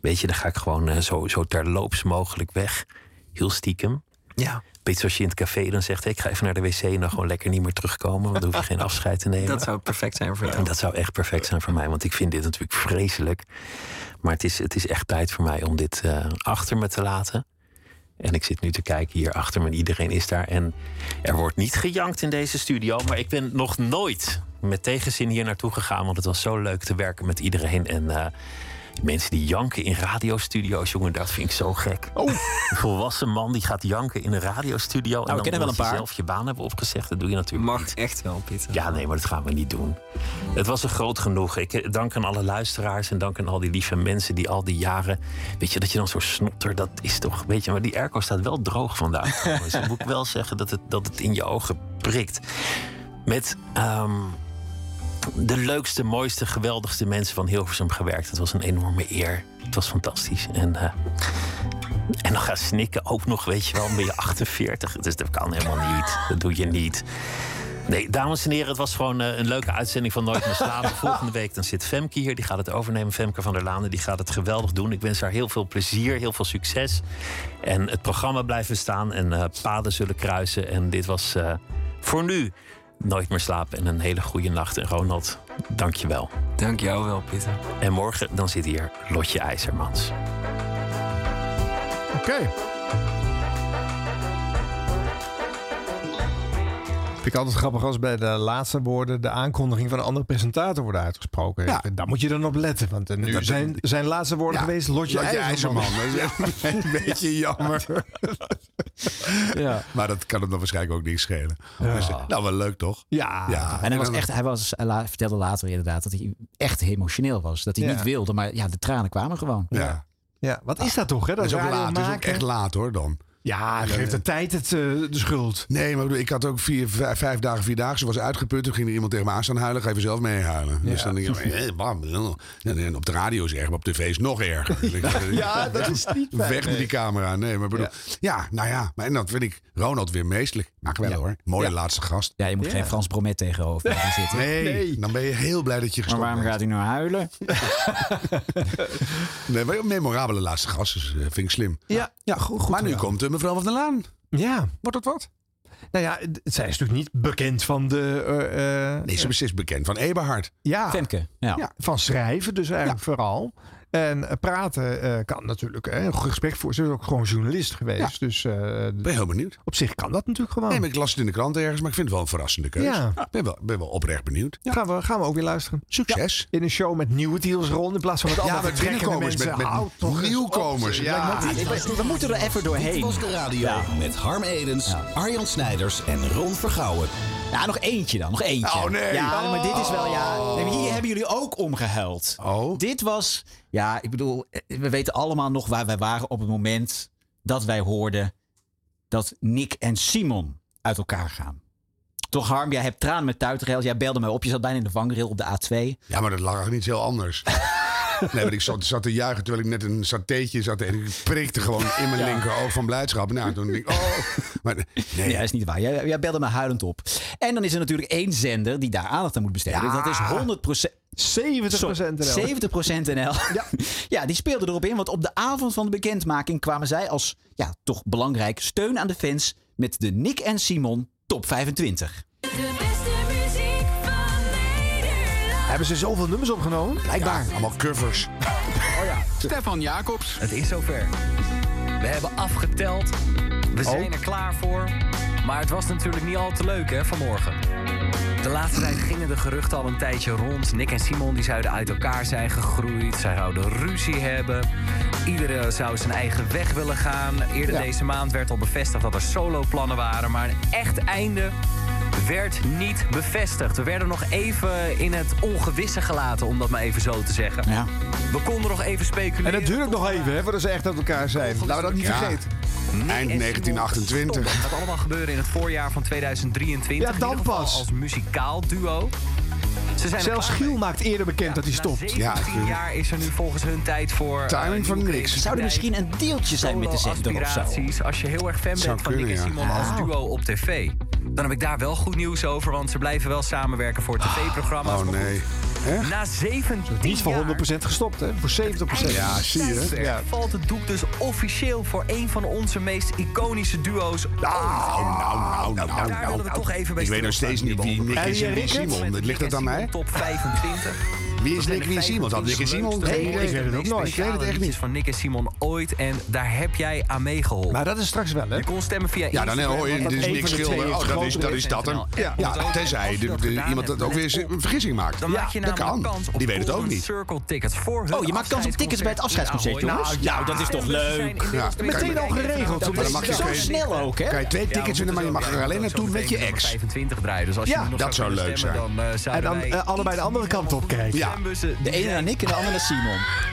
Speaker 30: weet je, dan ga ik gewoon eh, zo, zo terloops mogelijk weg. Heel stiekem. Ja. Beetje zoals je in het café dan zegt, hey, ik ga even naar de wc en dan gewoon lekker niet meer terugkomen. Want dan hoef je geen afscheid te nemen.
Speaker 16: Dat zou perfect zijn voor jou.
Speaker 30: Dat zou echt perfect zijn voor mij, want ik vind dit natuurlijk vreselijk. Maar het is, het is echt tijd voor mij om dit eh, achter me te laten. En ik zit nu te kijken hier achter me en iedereen is daar. En er wordt niet gejankt in deze studio, maar ik ben nog nooit met tegenzin hier naartoe gegaan. Want het was zo leuk te werken met iedereen. En eh, Die mensen die janken in radiostudio's, jongen, dat vind ik zo gek.
Speaker 2: Oh.
Speaker 30: Een volwassen man die gaat janken in een radiostudio.
Speaker 2: Nou, we kennen wel
Speaker 30: omdat
Speaker 2: een
Speaker 30: je
Speaker 2: paar.
Speaker 30: zelf je baan hebben opgezegd, dat doe je natuurlijk Mag echt wel, Pieter. Ja, nee, maar dat gaan we niet doen. Het was een groot genoeg. Ik eh, dank aan alle luisteraars en dank aan al die lieve mensen die al die jaren... Weet je, dat je dan zo snotter, dat is toch... Weet je, maar die airco staat wel droog vandaag. trouwens. Dan moet ik wel zeggen dat het, dat het in je ogen prikt. Met... ehm, de leukste, mooiste, geweldigste mensen van Hilversum gewerkt. Het was een enorme eer. Het was fantastisch. En, eh, en dan gaan snikken ook nog, weet je wel, ben je 48. Dus dat kan helemaal niet. Dat doe je niet. Nee, dames en heren, het was gewoon eh, een leuke uitzending van Nooit meer slapen. Volgende week dan zit Femke hier, die gaat het overnemen. Femke van der Laan, die gaat het geweldig doen. Ik wens haar heel veel plezier, heel veel succes. En het programma blijft bestaan en eh, paden zullen kruisen. En dit was eh, voor nu Nooit meer slapen en een hele goede nacht. En Ronald, dank je wel. Dank jou wel, Pieter. En morgen dan zit hier Lotje IJzermans.
Speaker 1: Oké. Vind ik altijd grappig als bij de laatste woorden de aankondiging van een andere presentator wordt uitgesproken.
Speaker 5: Ja.
Speaker 1: Daar moet je dan op letten. Want eh, nu
Speaker 5: Dat-
Speaker 1: zijn, zijn laatste woorden
Speaker 5: Ja,
Speaker 1: geweest Lotje,
Speaker 5: Lotje
Speaker 1: IJzerman.
Speaker 5: IJzerman. Dat is een beetje jammer.
Speaker 1: Ja.
Speaker 5: Maar dat kan hem dan waarschijnlijk ook niks schelen. Dus, nou, wel leuk toch?
Speaker 1: Ja.
Speaker 2: En hij, was
Speaker 5: dan-
Speaker 2: echt, hij was, hij la- vertelde later inderdaad dat hij echt emotioneel was. Dat hij
Speaker 5: Ja.
Speaker 2: niet wilde, maar ja, de tranen kwamen gewoon.
Speaker 5: Ja.
Speaker 1: Ja, wat is dat toch? Hè?
Speaker 5: Dat is ook
Speaker 1: radio
Speaker 5: laat. Dat is ook
Speaker 1: maken.
Speaker 5: echt laat hoor dan.
Speaker 1: Ja, geeft de tijd het, eh, de schuld.
Speaker 5: Nee, maar ik bedoel, ik had ook vier, vijf, vijf dagen, vier dagen. Ze was uitgeput. Toen ging er iemand tegen me aan staan huilen. Ga even zelf mee huilen. Dus dan denk ik, eh, bam. En, en op de radio is het erg, maar op tv is het nog erger.
Speaker 1: Ja, dat is niet fijn,
Speaker 5: Weg met
Speaker 1: nee.
Speaker 5: die camera. Nee, maar bedoel, ja. nou ja. Maar, en dat vind ik Ronald weer meestelijk. Maak wel hoor. Mooie
Speaker 2: Ja.
Speaker 5: laatste gast.
Speaker 2: Ja, je moet
Speaker 5: Ja.
Speaker 2: geen Frans Bromet tegenover gaan zitten.
Speaker 5: Nee, dan ben je heel blij dat je
Speaker 2: Maar
Speaker 5: gestopt
Speaker 2: waarom
Speaker 5: bent.
Speaker 2: gaat hij nou huilen?
Speaker 5: Nee, maar een memorabele laatste gast. Dus, eh, vind ik slim.
Speaker 1: Ja, ja goed,
Speaker 5: maar nu komt de mevrouw van der Laan.
Speaker 1: Ja.
Speaker 5: Wordt dat wat?
Speaker 1: Nou ja, d- zij is natuurlijk niet bekend van de... eh, eh,
Speaker 5: Nee, ze is precies bekend van Eberhard.
Speaker 1: Ja.
Speaker 5: Femke,
Speaker 1: Ja.
Speaker 5: ja.
Speaker 1: Van schrijven dus eigenlijk vooral. En eh, praten eh, kan natuurlijk. Hè, een gesprek voor. Ze is ook gewoon journalist geweest. Dus, ben
Speaker 5: je heel benieuwd.
Speaker 1: Op zich kan dat natuurlijk gewoon.
Speaker 5: Nee, maar ik las het in de krant ergens, maar ik vind het wel een verrassende keuze.
Speaker 1: Ja.
Speaker 5: Ik ben wel, ben wel oprecht benieuwd.
Speaker 1: Gaan, we, gaan we ook weer luisteren.
Speaker 5: Succes.
Speaker 1: In een show met nieuwe deals rond. In plaats van met
Speaker 5: Ja,
Speaker 1: allemaal
Speaker 5: met
Speaker 1: vertrekkende
Speaker 5: binnenkomers,
Speaker 1: mensen.
Speaker 5: met- met
Speaker 1: Houd toch eens
Speaker 5: nieuwkomers.
Speaker 1: op.
Speaker 21: Ja,
Speaker 1: Ja.
Speaker 21: dit was-
Speaker 2: we moeten er even doorheen.
Speaker 21: Dit was de radio
Speaker 2: Ja.
Speaker 21: met Harm Edens, Arjan Snijders en Ron Vergouwen.
Speaker 2: Ja, nog eentje dan, nog eentje.
Speaker 21: Oh, nee.
Speaker 2: Ja, maar dit is wel, ja.
Speaker 21: Oh.
Speaker 2: Nee, maar hier hebben jullie ook omgehuild.
Speaker 5: Oh.
Speaker 2: Dit was, ja, ik bedoel, eh, we weten allemaal nog waar wij waren op het moment dat wij hoorden dat Nick en Simon uit elkaar gaan. Toch Harm, jij hebt tranen met tuit gehuild. Jij belde mij op, je zat bijna in de vangrail op de A2.
Speaker 5: Ja, maar dat lag niet heel anders. Nee, maar ik zat, zat te juichen terwijl ik net een satéetje zat. En ik prikte gewoon in mijn linker oog van blijdschap. Nou, toen denk ik, oh. Maar, nee.
Speaker 2: Nee, dat is niet waar. Ah, Jij, jij belde me huilend op. En dan is er natuurlijk één zender die daar aandacht aan moet besteden.
Speaker 1: Ja.
Speaker 2: Dat is 100%.
Speaker 1: 70% NL.
Speaker 2: 70% NL. Ja. die speelden erop in. Want op de avond van de bekendmaking kwamen zij als ja, toch belangrijk steun aan de fans met de Nick en Simon Top 25.
Speaker 19: De beste muziek van
Speaker 1: Hebben ze zoveel nummers opgenomen?
Speaker 2: Blijkbaar.
Speaker 5: allemaal covers.
Speaker 3: Stefan Jacobs. Het is zover. We hebben afgeteld. We zijn er klaar voor. Maar het was natuurlijk niet al te leuk hè, vanmorgen. De laatste tijd gingen de geruchten al een tijdje rond. Nick en Simon die zouden uit elkaar zijn gegroeid. Zij zouden ruzie hebben. Iedereen zou zijn eigen weg willen gaan. Eerder
Speaker 31: Ja.
Speaker 3: deze maand werd al bevestigd dat er solo-plannen waren. Maar een echt einde werd niet bevestigd. We werden nog even in het ongewisse gelaten, om dat maar even zo te zeggen. We konden nog even speculeren.
Speaker 1: En dat duurt ook nog even, hè, voordat ze echt uit elkaar zijn. Laten we dat niet
Speaker 3: Ja.
Speaker 1: vergeten.
Speaker 5: Eind
Speaker 3: en
Speaker 5: 1928.
Speaker 3: Het gaat allemaal gebeuren in het voorjaar van 2023. Ja, dan pas. Als muzikaal duo. Ze zijn er
Speaker 1: Zelfs
Speaker 3: klaar
Speaker 1: Giel maakt eerder bekend dat hij
Speaker 3: mee.
Speaker 1: stopt.
Speaker 3: Na 17 jaar is er nu volgens hun tijd voor... eh,
Speaker 1: Timing van
Speaker 3: nieuwe
Speaker 1: niks.
Speaker 2: Zou er misschien een deeltje zijn met de zender of zo?
Speaker 3: Aspiraties. Als je heel erg fan
Speaker 2: Zou
Speaker 3: bent van Nick en
Speaker 2: kunnen, ja.
Speaker 3: Simon als duo op tv... dan heb ik daar wel goed nieuws over... want ze blijven wel samenwerken voor tv-programma's.
Speaker 5: Oh nee.
Speaker 3: Na 17
Speaker 1: Niet voor 100% gestopt, hè? Voor 70%.
Speaker 3: Ja, Valt het doek dus officieel voor een van onze meest iconische duo's. Nou,
Speaker 5: nou, nou, nou, nou.
Speaker 3: Daar willen we toch even bij
Speaker 5: Ik weet nog
Speaker 3: stilstaan
Speaker 5: steeds
Speaker 3: hier
Speaker 5: niet wie
Speaker 3: bij
Speaker 5: Nick
Speaker 3: onder-
Speaker 5: is en wie Simon.
Speaker 3: Met
Speaker 5: Ligt dat
Speaker 3: Nick
Speaker 5: aan
Speaker 3: en
Speaker 5: mij?
Speaker 3: Simon Top 25.
Speaker 5: Wie is
Speaker 3: Dat
Speaker 5: Nick,
Speaker 3: zijn
Speaker 5: wie
Speaker 3: de
Speaker 5: is
Speaker 3: vijf
Speaker 5: Simon? Dat Nick en Simon?
Speaker 3: leukste,
Speaker 5: Nee, ik weet het
Speaker 3: meest
Speaker 5: ook nooit. Ik weet het
Speaker 3: speciale
Speaker 5: echt niet.
Speaker 3: liedjes van Nick en Simon ooit. En daar heb jij aan meegeholpen. Maar
Speaker 1: dat is straks wel, hè?
Speaker 3: Je kon stemmen via
Speaker 5: Ja, dan
Speaker 3: Instagram,
Speaker 5: hoor je,
Speaker 3: want
Speaker 5: dit
Speaker 3: dat
Speaker 5: is
Speaker 3: een
Speaker 5: Nick
Speaker 3: van de
Speaker 5: Schilder.
Speaker 3: twee
Speaker 5: Oh,
Speaker 3: is
Speaker 5: dat is,
Speaker 3: groter
Speaker 5: dat is dat hem.
Speaker 3: internationaal.
Speaker 5: Ja,
Speaker 3: En omdat ook-
Speaker 5: tenzij
Speaker 3: als je
Speaker 5: de-
Speaker 3: dat
Speaker 5: de-
Speaker 3: gedaan
Speaker 5: iemand dat
Speaker 3: hebt,
Speaker 5: ook
Speaker 3: let
Speaker 5: weer
Speaker 3: op.
Speaker 5: een vergissing maakt.
Speaker 3: Dan maak je
Speaker 5: dat
Speaker 3: namelijk
Speaker 5: kan.
Speaker 3: kans op
Speaker 5: Die weet het ook
Speaker 3: Golden
Speaker 5: niet.
Speaker 3: Circle tickets voor hun
Speaker 5: Oh, je maakt kans op tickets bij het afscheidsconcert,
Speaker 3: in Ahoy.
Speaker 5: jongens? Nou, dat is toch
Speaker 3: en dus
Speaker 5: leuk?
Speaker 3: zijn inmiddels
Speaker 5: Ja,
Speaker 3: twee
Speaker 5: meteen
Speaker 3: tickets.
Speaker 5: al geregeld. Dat is zo snel ook, hè? Kan je twee
Speaker 3: Ja, we
Speaker 5: tickets winnen, maar je
Speaker 3: moeten
Speaker 5: mag er
Speaker 3: zo meteen
Speaker 5: alleen naartoe met je
Speaker 3: nummer
Speaker 5: ex.
Speaker 3: 25 draaien. Dus als
Speaker 5: Ja,
Speaker 3: je nog
Speaker 5: dat zou
Speaker 3: kunnen
Speaker 5: leuk
Speaker 3: stemmen,
Speaker 5: zijn.
Speaker 3: Dan, eh,
Speaker 5: En
Speaker 3: zouden
Speaker 5: dan,
Speaker 3: wij
Speaker 5: eh, allebei de andere kant op kijken. Ja.
Speaker 3: De ene naar Nick en de andere naar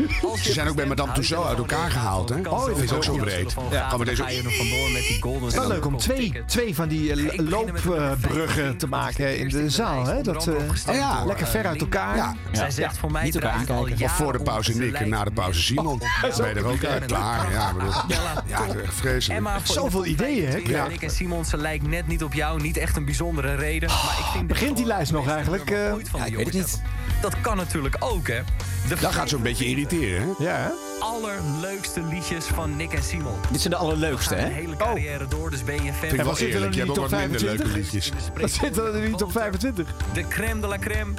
Speaker 3: Simon.
Speaker 5: Ze zijn ook bij Madame Tussauds uit elkaar gehaald, hè? Oh, dat is ook zo breed.
Speaker 3: Ja.
Speaker 5: Gaan we deze
Speaker 3: Dan ga je er vandoor met die golden
Speaker 1: Het is wel leuk om
Speaker 3: circle.
Speaker 1: twee, twee van die eh, loopbruggen te maken in de zaal. Hè? Dat, eh,
Speaker 5: Oh ja.
Speaker 1: Lekker ver uit elkaar.
Speaker 5: Ja.
Speaker 1: Ja. Ja.
Speaker 5: Niet elkaar aankijken. Of voor de pauze Nick en na de pauze Simon. Dat ben je er ook uit. Klaar. Ja, ik bedoel, ja, het is echt vreselijk.
Speaker 3: Emma, voor
Speaker 1: Zoveel
Speaker 3: de
Speaker 1: ideeën, hè?
Speaker 3: 25
Speaker 1: Ja.
Speaker 3: Nick en Simon, ze lijkt net niet op jou. Niet echt een bijzondere reden. Maar ik vind
Speaker 1: Begint die lijst nog eigenlijk? eh,
Speaker 3: van de jongens hebben. Dat kan natuurlijk ook, hè? De
Speaker 5: Dat gaat zo'n beetje irriteren, hè?
Speaker 1: Ja,
Speaker 3: allerleukste liedjes van Nick en Simon.
Speaker 2: Dit zijn de allerleukste,
Speaker 3: Gaan een
Speaker 2: hè?
Speaker 3: hele carrière door, dus ben je fan.
Speaker 5: Vind ik wel eerlijk. Je hebt ook wat minder leuke
Speaker 3: liedjes.
Speaker 5: liedjes.
Speaker 1: Dat zit er in die top 25.
Speaker 3: De crème de la crème.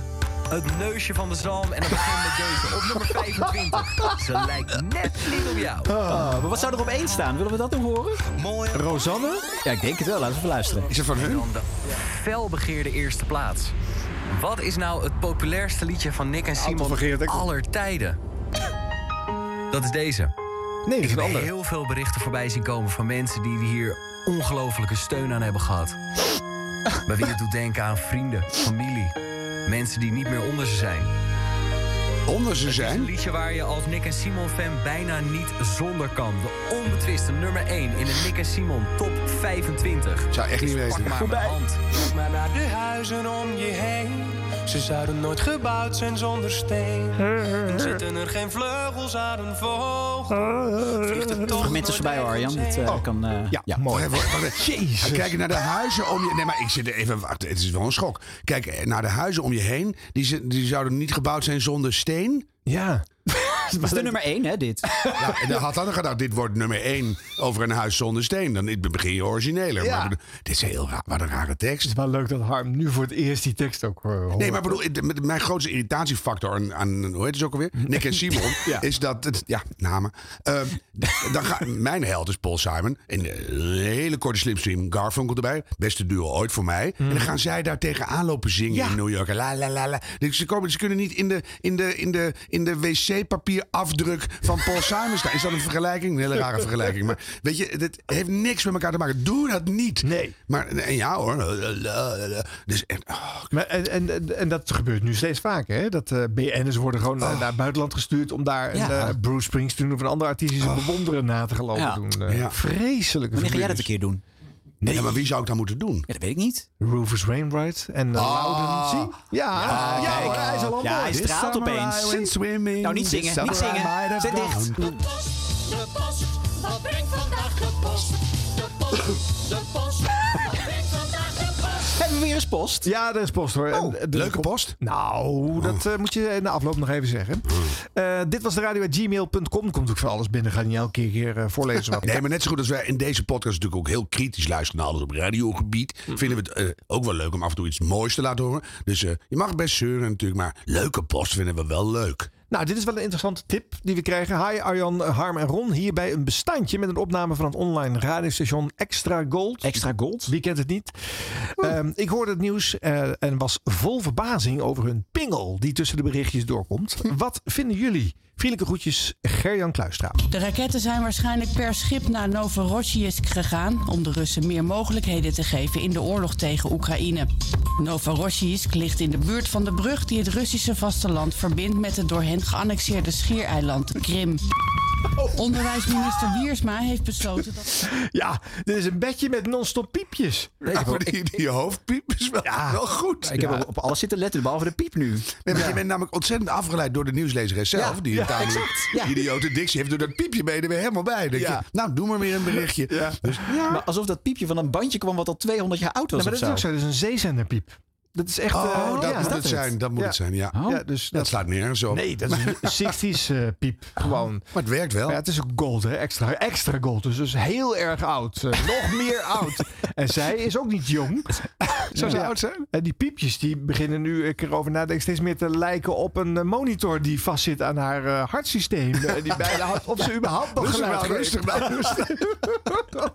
Speaker 3: Het neusje van de zalm en dan begin met deze op nummer 25. Ze lijkt net niet op jou.
Speaker 2: Ah, maar wat zou er op één staan? Willen we dat nog horen?
Speaker 3: Mooi.
Speaker 1: Rosanne?
Speaker 2: Ja, ik denk het wel. Laten we even luisteren.
Speaker 5: Is het van hun?
Speaker 3: Dan de felbegeerde eerste plaats. Wat is nou het populairste liedje van Nick en Simon aller tijden? Dat is deze.
Speaker 1: Nee,
Speaker 3: Ik heb heel veel berichten voorbij zien komen van mensen die hier ongelofelijke steun aan hebben gehad. Bij wie het doet denken aan vrienden, familie, mensen die niet meer onder ze zijn.
Speaker 5: Onder ze zijn?
Speaker 3: Een liedje waar je als Nick en Simon fan bijna niet zonder kan. De onbetwiste nummer 1 in de Nick en Simon top 25.
Speaker 5: Zou echt niet weten.
Speaker 3: Pak maar mijn hand.
Speaker 11: Maar naar de huizen om je heen. Ze zouden nooit gebouwd zijn zonder steen. Dan zitten er geen vleugels aan een vogel. Vliegt er toch
Speaker 2: Fragment is voorbij, hoor, Arjan. Dit eh, kan... eh, ja,
Speaker 5: Mooi. Jezus. Kijk naar de huizen om je... Nee, maar ik zit er even... Wacht, het is wel een schok. Kijk eh, naar de huizen om je heen. Die, ze- die zouden niet gebouwd zijn zonder steen.
Speaker 1: Ja.
Speaker 2: Dat is de nummer één, hè, dit?
Speaker 5: Ja, en dan had dan gedacht, dit wordt nummer één over een huis zonder steen. Dan begin je origineler.
Speaker 1: Ja.
Speaker 5: Maar bedoel, dit is heel raar. Wat een rare tekst.
Speaker 1: Het is wel leuk dat Harm nu voor het eerst die tekst ook eh, hoort.
Speaker 5: Nee, maar bedoel, het- met- mijn grootste irritatiefactor aan, aan hoe heet het ook alweer? Nick en Simon.
Speaker 1: Ja.
Speaker 5: Is dat, het, ja, namen. Ehm, d- dan ga, mijn held is Paul Simon. In een hele korte slimstream. Garfunkel erbij. Beste duo ooit voor mij. En dan gaan zij daar tegenaan lopen zingen in New York. La, la, la, la. Dus ze, komen, ze kunnen niet in de, in de, in de, in de wc-papierafdruk van Paul Simon staan. Is dat een vergelijking? Een hele rare vergelijking. Maar weet je, dit heeft niks met elkaar te maken. Doe dat niet. Nee. Maar en ja hoor. Dus echt,
Speaker 1: Maar en, en, en, en dat gebeurt nu steeds vaker. Hè? Dat eh BN'ers worden gewoon eh, naar het buitenland gestuurd om daar een,
Speaker 2: Oh. Ja. Oh.
Speaker 1: eh, Bruce Springsteen of een andere artiest die ze bewonderen na te gelopen
Speaker 2: Ja.
Speaker 1: doen. Eh,
Speaker 2: Ja.
Speaker 1: Vreselijke
Speaker 2: Wanneer ga jij dat
Speaker 1: vermoeinis.
Speaker 2: een keer doen?
Speaker 5: Nee, maar wie zou ik dan moeten doen?
Speaker 2: Ja, dat weet ik niet.
Speaker 1: Rufus Wainwright en eh, Loudon. Zie? Ja, ja,
Speaker 2: kijk.
Speaker 1: hoor, hij is al aan
Speaker 2: Ja,
Speaker 1: boord.
Speaker 2: hij
Speaker 1: This
Speaker 2: straalt
Speaker 1: summer I went
Speaker 2: opeens.
Speaker 1: swimming.
Speaker 2: Nou, niet
Speaker 1: This
Speaker 2: zingen,
Speaker 1: summer
Speaker 2: niet
Speaker 1: I
Speaker 2: zingen.
Speaker 1: might have
Speaker 2: Zet dicht.
Speaker 1: gone.
Speaker 8: De post, wat brengt vandaag de post? De post, de post, wat brengt vandaag de post?
Speaker 2: Hebben we weer eens post? Oh,
Speaker 1: Ja, er is post hoor. En, eh, de-
Speaker 5: Leuke post?
Speaker 1: Nou, dat eh, moet je in de afloop nog even zeggen. Eh, dit was de radio gmail.com. Komt natuurlijk voor alles binnen. Ga niet elke keer hier, eh, voorlezen wat
Speaker 5: Nee, maar net zo goed als wij in deze podcast natuurlijk ook heel kritisch luisteren naar alles op radiogebied.
Speaker 2: Mhm.
Speaker 5: Vinden we het eh, ook wel leuk om af en toe iets moois te laten horen. Dus eh, je mag best zeuren natuurlijk, maar leuke post vinden we wel leuk.
Speaker 1: Nou, dit is wel een interessante tip die we krijgen. Hi Arjan, eh, Harm en Ron. Hierbij een bestandje met een opname van het online radiostation Extra Gold.
Speaker 2: Extra Gold? Oh.
Speaker 1: Wie kent het niet? Ehm, ik hoorde het nieuws eh, en was vol verbazing over hun pingel die tussen de berichtjes doorkomt.
Speaker 2: Hm.
Speaker 1: Wat vinden jullie? Vriendelijke groetjes, Gerjan Kluistra.
Speaker 31: De raketten zijn waarschijnlijk per schip naar Novorossiysk gegaan om de Russen meer mogelijkheden te geven in de oorlog tegen Oekraïne. Novorossiysk ligt in de buurt van de brug die het Russische vasteland verbindt met het door hen geannexeerde schiereiland Krim. Onderwijsminister Wiersma heeft besloten dat.
Speaker 1: Ja, dit is een bedje met non-stop piepjes. Nou,
Speaker 5: Ja, maar die, die hoofdpiep is wel, wel goed.
Speaker 2: Ik heb op- op alles zitten letten, behalve de piep nu.
Speaker 5: Nee, maar je bent namelijk ontzettend afgeleid door de nieuwslezeres zelf.
Speaker 2: Ja,
Speaker 5: die
Speaker 2: ja,
Speaker 5: het namelijk-
Speaker 2: exact, ja.
Speaker 5: die idiote dictie heeft door dat piepje ben je er weer helemaal bij. Dan Denk
Speaker 2: Ja.
Speaker 5: je, nou, doe maar weer een berichtje. Dus,
Speaker 2: Maar alsof dat piepje van een bandje kwam wat al 200 jaar oud
Speaker 1: Nou,
Speaker 2: was
Speaker 1: maar
Speaker 2: of
Speaker 1: dat is ook
Speaker 2: zo.
Speaker 1: zo. Dat is een zeezenderpiep. Dat is echt...
Speaker 5: oh,
Speaker 1: eh,
Speaker 5: dat
Speaker 1: ja,
Speaker 5: moet
Speaker 1: is
Speaker 5: het zijn. Dat moet het zijn, ja.
Speaker 2: Oh.
Speaker 1: Ja, dus
Speaker 5: dat, slaat nergens op.
Speaker 1: Nee, dat is een 60 piep. Gewoon. Maar
Speaker 5: het werkt wel.
Speaker 1: Ja, het is ook gold, hè? Extra, extra gold. Dus, dus heel erg oud. Eh, nog meer oud. En zij is ook niet jong.
Speaker 5: Zou ze oud zijn?
Speaker 1: En die piepjes die beginnen nu, eh, ik erover nadenk, steeds meer te lijken op een eh, monitor die vastzit aan haar eh, hartsysteem. Eh, die bijna hard, of ze überhaupt nog
Speaker 5: Rustig
Speaker 1: geluid
Speaker 5: nou,
Speaker 1: heeft.
Speaker 5: rustig nou,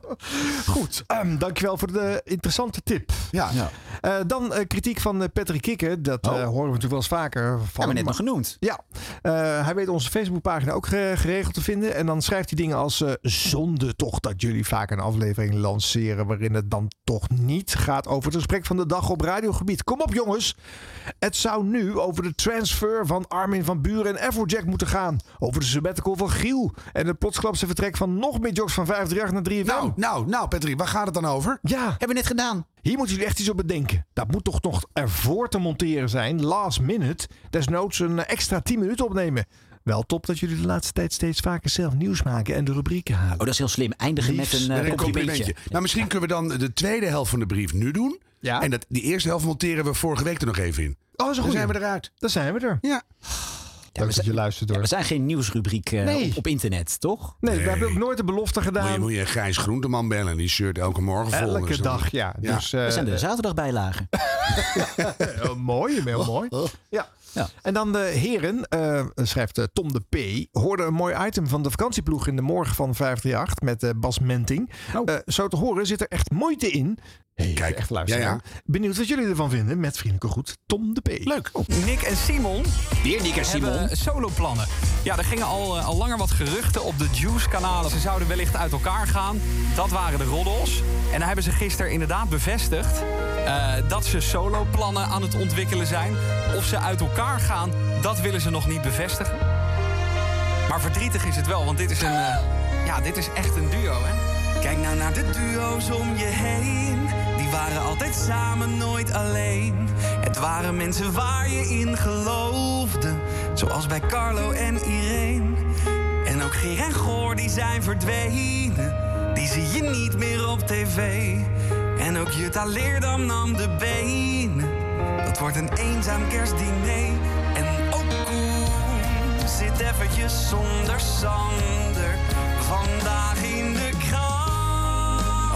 Speaker 1: Goed, ehm, dankjewel voor de interessante tip.
Speaker 5: Ja.
Speaker 1: Eh, dan eh, kritiek van eh, Patrick Kikker. Dat eh, horen we natuurlijk wel eens vaker. Van, Hebben
Speaker 2: we Oh. net nog genoemd.
Speaker 1: Ja, Eh, hij weet onze Facebookpagina ook ge- geregeld te vinden. En dan schrijft hij dingen als eh, zonde toch dat jullie vaak een aflevering lanceren... waarin het dan toch niet gaat over het gesprek van de dag op radiogebied. Kom op jongens, het zou nu over de transfer van Armin van Buren en Afrojack moeten gaan. Over de sabbatical van Giel en het plotsklapse vertrek van nog meer jocks van 538 naar 3 Nou,
Speaker 5: nou, nou Patrick, waar gaat het dan over?
Speaker 1: Ja. Hebben
Speaker 2: we net gedaan.
Speaker 1: Hier moeten jullie echt iets op bedenken. Dat moet toch nog ervoor te monteren zijn, last minute. Desnoods een extra 10 minuten opnemen. Wel top dat jullie de laatste tijd steeds vaker zelf nieuws maken en de rubrieken halen. Oh,
Speaker 2: dat is heel slim. Eindigen eh,
Speaker 5: Liefst Nou, misschien kunnen we dan de tweede helft van de brief nu doen. En dat, die eerste helft monteren we vorige week er nog even in.
Speaker 1: Oh, zo
Speaker 5: Dan
Speaker 1: goed.
Speaker 5: zijn we eruit.
Speaker 1: Dan zijn we er.
Speaker 5: Ja.
Speaker 1: Leuk dat je luistert door.
Speaker 2: we zijn geen nieuwsrubriek eh,
Speaker 1: Nee.
Speaker 2: op, op internet, toch?
Speaker 1: Nee, we hebben ook nooit de belofte
Speaker 5: Moet je,
Speaker 1: gedaan.
Speaker 5: moet je Gijs Groenteman bellen. Die shirt elke morgen vol.
Speaker 1: Elke
Speaker 5: Dus dan-
Speaker 1: dag, ja. Dus, eh,
Speaker 2: dat zijn de zaterdagbijlagen.
Speaker 1: Heel mooi,
Speaker 5: Oh,
Speaker 1: heel mooi. Ja. En dan de heren, eh, schrijft eh, Tom de P. Hoorde een mooi item van de vakantieploeg in de morgen van 538 met eh, Bas Menting. Eh, zo te horen zit er echt moeite in. Hey, Kijk, echt luisteren.
Speaker 5: ja, ja.
Speaker 1: Benieuwd wat jullie ervan vinden. Met vriendelijke groet, Tom de P.
Speaker 3: Leuk.
Speaker 5: Oh.
Speaker 3: Nick en Simon.
Speaker 2: Weer Nick en
Speaker 3: hebben
Speaker 2: Simon.
Speaker 3: Soloplannen. Ja, er gingen al, eh, al langer wat geruchten op de Juice-kanalen. Ze zouden wellicht uit elkaar gaan. Dat waren de roddels. En daar hebben ze gisteren inderdaad bevestigd eh, dat ze soloplannen aan het ontwikkelen zijn. Of ze uit elkaar gaan, dat willen ze nog niet bevestigen. Maar verdrietig is het wel, want dit is een. eh, ja, dit is echt een duo, hè?
Speaker 8: Kijk nou naar de duo's om je heen. Die waren altijd samen, nooit alleen. Het waren mensen waar je in geloofde. Zoals bij Carlo en Irene. En ook Geer en Goor, die zijn verdwenen. Die zie je niet meer op tv. En ook Jutta Leerdam nam de benen. Dat wordt een eenzaam kerstdiner. En ook Koen zit eventjes zonder Sander. Vandaag in de krant.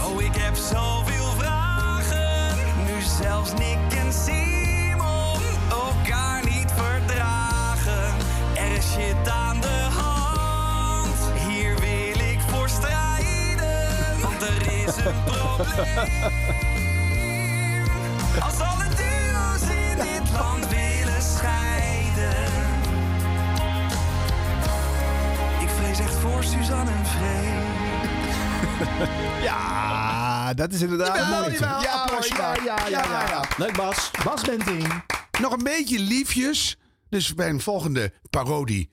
Speaker 8: Oh, ik heb zoveel vragen. Nu zelfs Nick en Simon elkaar niet verdragen. Er is shit aan de hand. Hier wil ik voor strijden. Want er is een probleem. Als alle duo's in dit land willen scheiden. Ik vrees echt voor Suzanne en Vree.
Speaker 1: Ja,
Speaker 5: Ah,
Speaker 1: dat is inderdaad
Speaker 5: Jawel,
Speaker 1: mooi.
Speaker 5: jawel, applaus maar. Ja, ja.
Speaker 1: Leuk Bas. Bas Benting.
Speaker 5: Nog een beetje liefjes. Dus bij een volgende parodie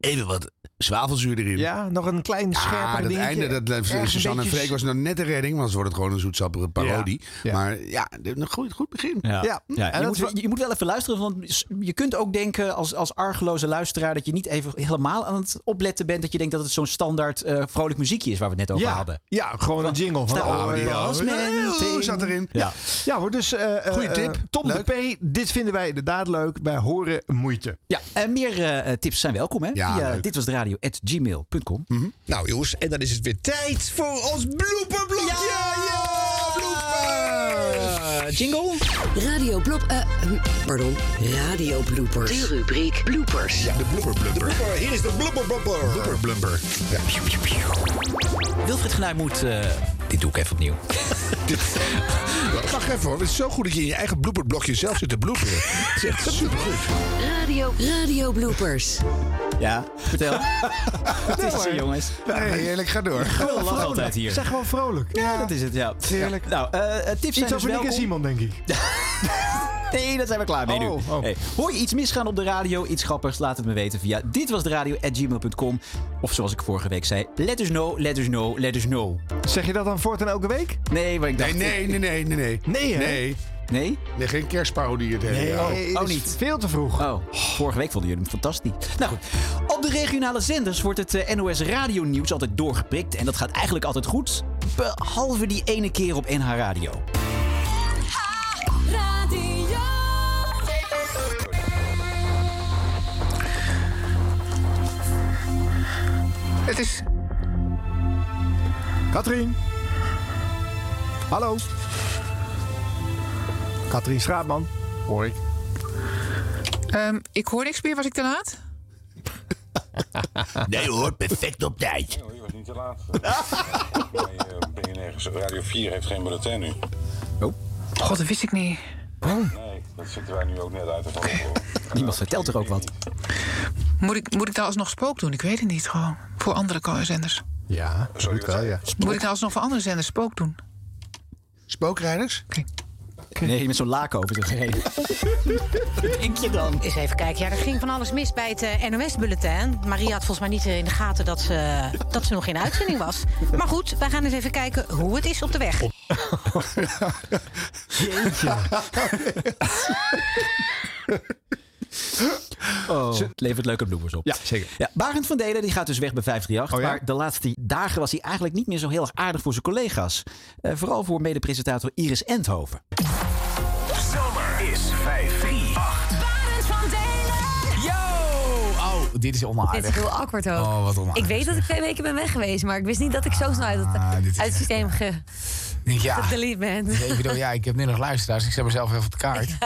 Speaker 5: even wat zwavelzuur erin.
Speaker 1: Ja, nog een klein scherper
Speaker 5: Ah, dat
Speaker 1: dingetje.
Speaker 5: einde, dat,
Speaker 1: Ergens een
Speaker 5: Suzanne en
Speaker 1: beetje-
Speaker 5: Freek was nog net een redding. Want dan wordt het gewoon een zoetsappige parodie.
Speaker 1: Ja.
Speaker 5: Maar ja, een goed, goed begin.
Speaker 2: Ja.
Speaker 5: En
Speaker 2: je,
Speaker 5: dat
Speaker 2: moet,
Speaker 5: wa-
Speaker 2: je moet wel even luisteren, want je kunt ook denken als, als argeloze luisteraar dat je niet even helemaal aan het opletten bent. Dat je denkt dat het zo'n standaard eh, vrolijk muziekje is waar we het net over
Speaker 1: ja,
Speaker 2: hadden.
Speaker 1: Ja, gewoon een jingle van oh,
Speaker 2: Nou, die was
Speaker 1: Menting.
Speaker 2: Menting. Zat erin.
Speaker 1: Ja,
Speaker 2: Ja.
Speaker 1: ja hoor, dus eh, eh,
Speaker 2: Goeie
Speaker 1: eh,
Speaker 2: tip.
Speaker 1: Tom de P, dit vinden wij inderdaad leuk. Wij horen moeite.
Speaker 2: Ja, en meer eh, tips zijn welkom, hè?
Speaker 1: Ja,
Speaker 2: Via
Speaker 1: leuk.
Speaker 2: dit was de radio at gmail.com.
Speaker 19: Nou jongens, en dan is het weer tijd voor ons blooperblokje! Ja, bloopers!
Speaker 2: Jingle?
Speaker 19: Radio blop... eh, hm, pardon, radio bloopers. De rubriek bloopers. Ja, de blooper blooper. hier is de blooper blooper. Blooper blooper.
Speaker 2: Wilfried Genuij moet. eh, dit doe ik even opnieuw.
Speaker 5: Wacht even hoor, het is zo goed dat je in je eigen blooperblokje zelf zit te bloeperen. Het is echt supergoed.
Speaker 19: Radio, radio bloopers.
Speaker 2: Ja, vertel. Wat is er, jongens?
Speaker 5: Nee, heerlijk, ga door.
Speaker 2: Gewoon lachen
Speaker 1: Vrolijk.
Speaker 2: altijd hier.
Speaker 1: Zeg gewoon vrolijk.
Speaker 2: Ja, dat is het, ja.
Speaker 1: Heerlijk.
Speaker 2: Nou, eh, eh, tips zijn
Speaker 1: Iets
Speaker 2: dus
Speaker 1: over Nick en
Speaker 2: welkom.
Speaker 1: Simon, denk ik.
Speaker 2: Nee, dat zijn we klaar mee nu.
Speaker 1: Oh, oh.
Speaker 2: Hey, hoor je iets misgaan op de radio, iets grappigs, laat het me weten via ditwasderadio.gmail.com. Of zoals ik vorige week zei, let us know, let us know, let us know.
Speaker 1: Zeg je dat dan voortaan elke week?
Speaker 2: Nee, maar ik dacht...
Speaker 5: Nee, nee, nee, nee, nee.
Speaker 1: Nee, hè?
Speaker 5: Nee.
Speaker 2: Nee?
Speaker 5: Nee, geen kerstparodie het hele jaar.
Speaker 1: Nee,
Speaker 2: oh,
Speaker 1: is
Speaker 2: niet.
Speaker 1: Veel te vroeg.
Speaker 2: Oh, vorige week vonden jullie hem fantastisch. Nou goed, op de regionale zenders wordt het eh, NOS Radio Nieuws altijd doorgeprikt. En dat gaat eigenlijk altijd goed, behalve die ene keer op NH Radio.
Speaker 32: Radio.
Speaker 5: Het is...
Speaker 1: Katrien. Hallo. Katrien Straatman, hoor ik.
Speaker 33: Ehm, ik hoor niks meer. Was ik te laat?
Speaker 34: Nee hoor, perfect op tijd.
Speaker 35: Nee hoor, je was niet te laat. eh, ben je nergens. Radio 4 heeft geen bulletin nu.
Speaker 33: God, dat wist ik niet.
Speaker 35: Nee, dat zitten wij nu ook net uit te vallen.
Speaker 2: Niemand vertelt er ook wat.
Speaker 33: Moet ik, moet ik dan alsnog spook doen? Ik weet het niet gewoon. Voor andere ko- zenders.
Speaker 1: Ja, zo moet wel, ja.
Speaker 33: Moet ik dan alsnog voor andere zenders spook doen?
Speaker 5: Spookrijders?
Speaker 2: Nee, met zo'n laken over zich heen.
Speaker 19: denk je dan? Eens even kijken. Ja, er ging van alles mis bij het eh, NOS-bulletin. Maria had volgens mij niet eh, in de gaten dat ze, dat ze nog in uitzending was. Maar goed, wij gaan eens even kijken hoe het is op de weg.
Speaker 2: Jeetje. Oh. Het levert leuke bloemers op. Ja, zeker. Barend van Delen die gaat dus weg bij 538. Maar de laatste dagen was hij eigenlijk niet meer zo heel erg aardig voor zijn collega's. Eh, vooral voor mede-presentator Iris Endhoven.
Speaker 15: Zomer is 538. Barend van Delen. Yo! Oh, dit is onaardig.
Speaker 8: Dit is heel awkward ook.
Speaker 15: Oh, wat onaardig.
Speaker 8: Ik weet dat ik twee weken ben weg geweest, maar ik wist niet dat ik zo snel uit het, uit het systeem ge,
Speaker 15: Ja.
Speaker 8: gedelete ben.
Speaker 15: Ik bedoel, ja, ik heb nu nog luisteraars. Ik zet mezelf even op de kaart.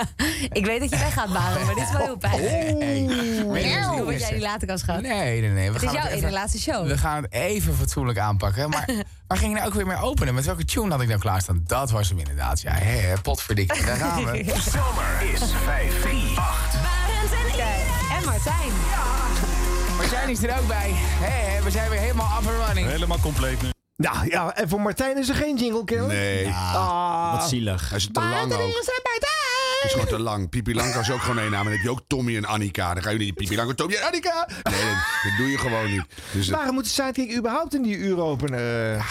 Speaker 8: ik weet dat je weggaat, Baren, maar dit is wel heel pijnlijk.
Speaker 15: Hey. Weet je wat
Speaker 8: Oeh,
Speaker 15: het
Speaker 8: word jij
Speaker 15: is?
Speaker 8: die later kans gehad?
Speaker 15: Nee, nee, nee.
Speaker 8: Het
Speaker 15: We gaan
Speaker 8: is jouw
Speaker 15: even-
Speaker 8: ene laatste show.
Speaker 15: We gaan het even fatsoenlijk aanpakken. Maar waar ging je nou ook weer mee openen? Met welke tune had ik nou klaarstaan? Dat was hem inderdaad. Ja, hè, potverdikkie. Daar gaan we. Zomer is 538.
Speaker 8: Barend en Iris. En Martijn.
Speaker 15: Martijn is er ook bij. Hé, hé, we zijn weer helemaal up and running.
Speaker 36: Helemaal compleet nu.
Speaker 1: Nou ja, en voor Martijn is er geen jingle killer.
Speaker 5: Nee.
Speaker 1: Ah.
Speaker 5: Wat zielig. Hij is te lang ook. Het is gewoon te lang. Pipi Lanka is ook gewoon één naam. En dan heb je ook Tommy en Annika. Dan ga je niet Pipi Lanka, Tommy en Annika. Nee, dat, dat doe je gewoon niet. Dus dat-
Speaker 1: Waarom moet de sidekick überhaupt in die uur openen?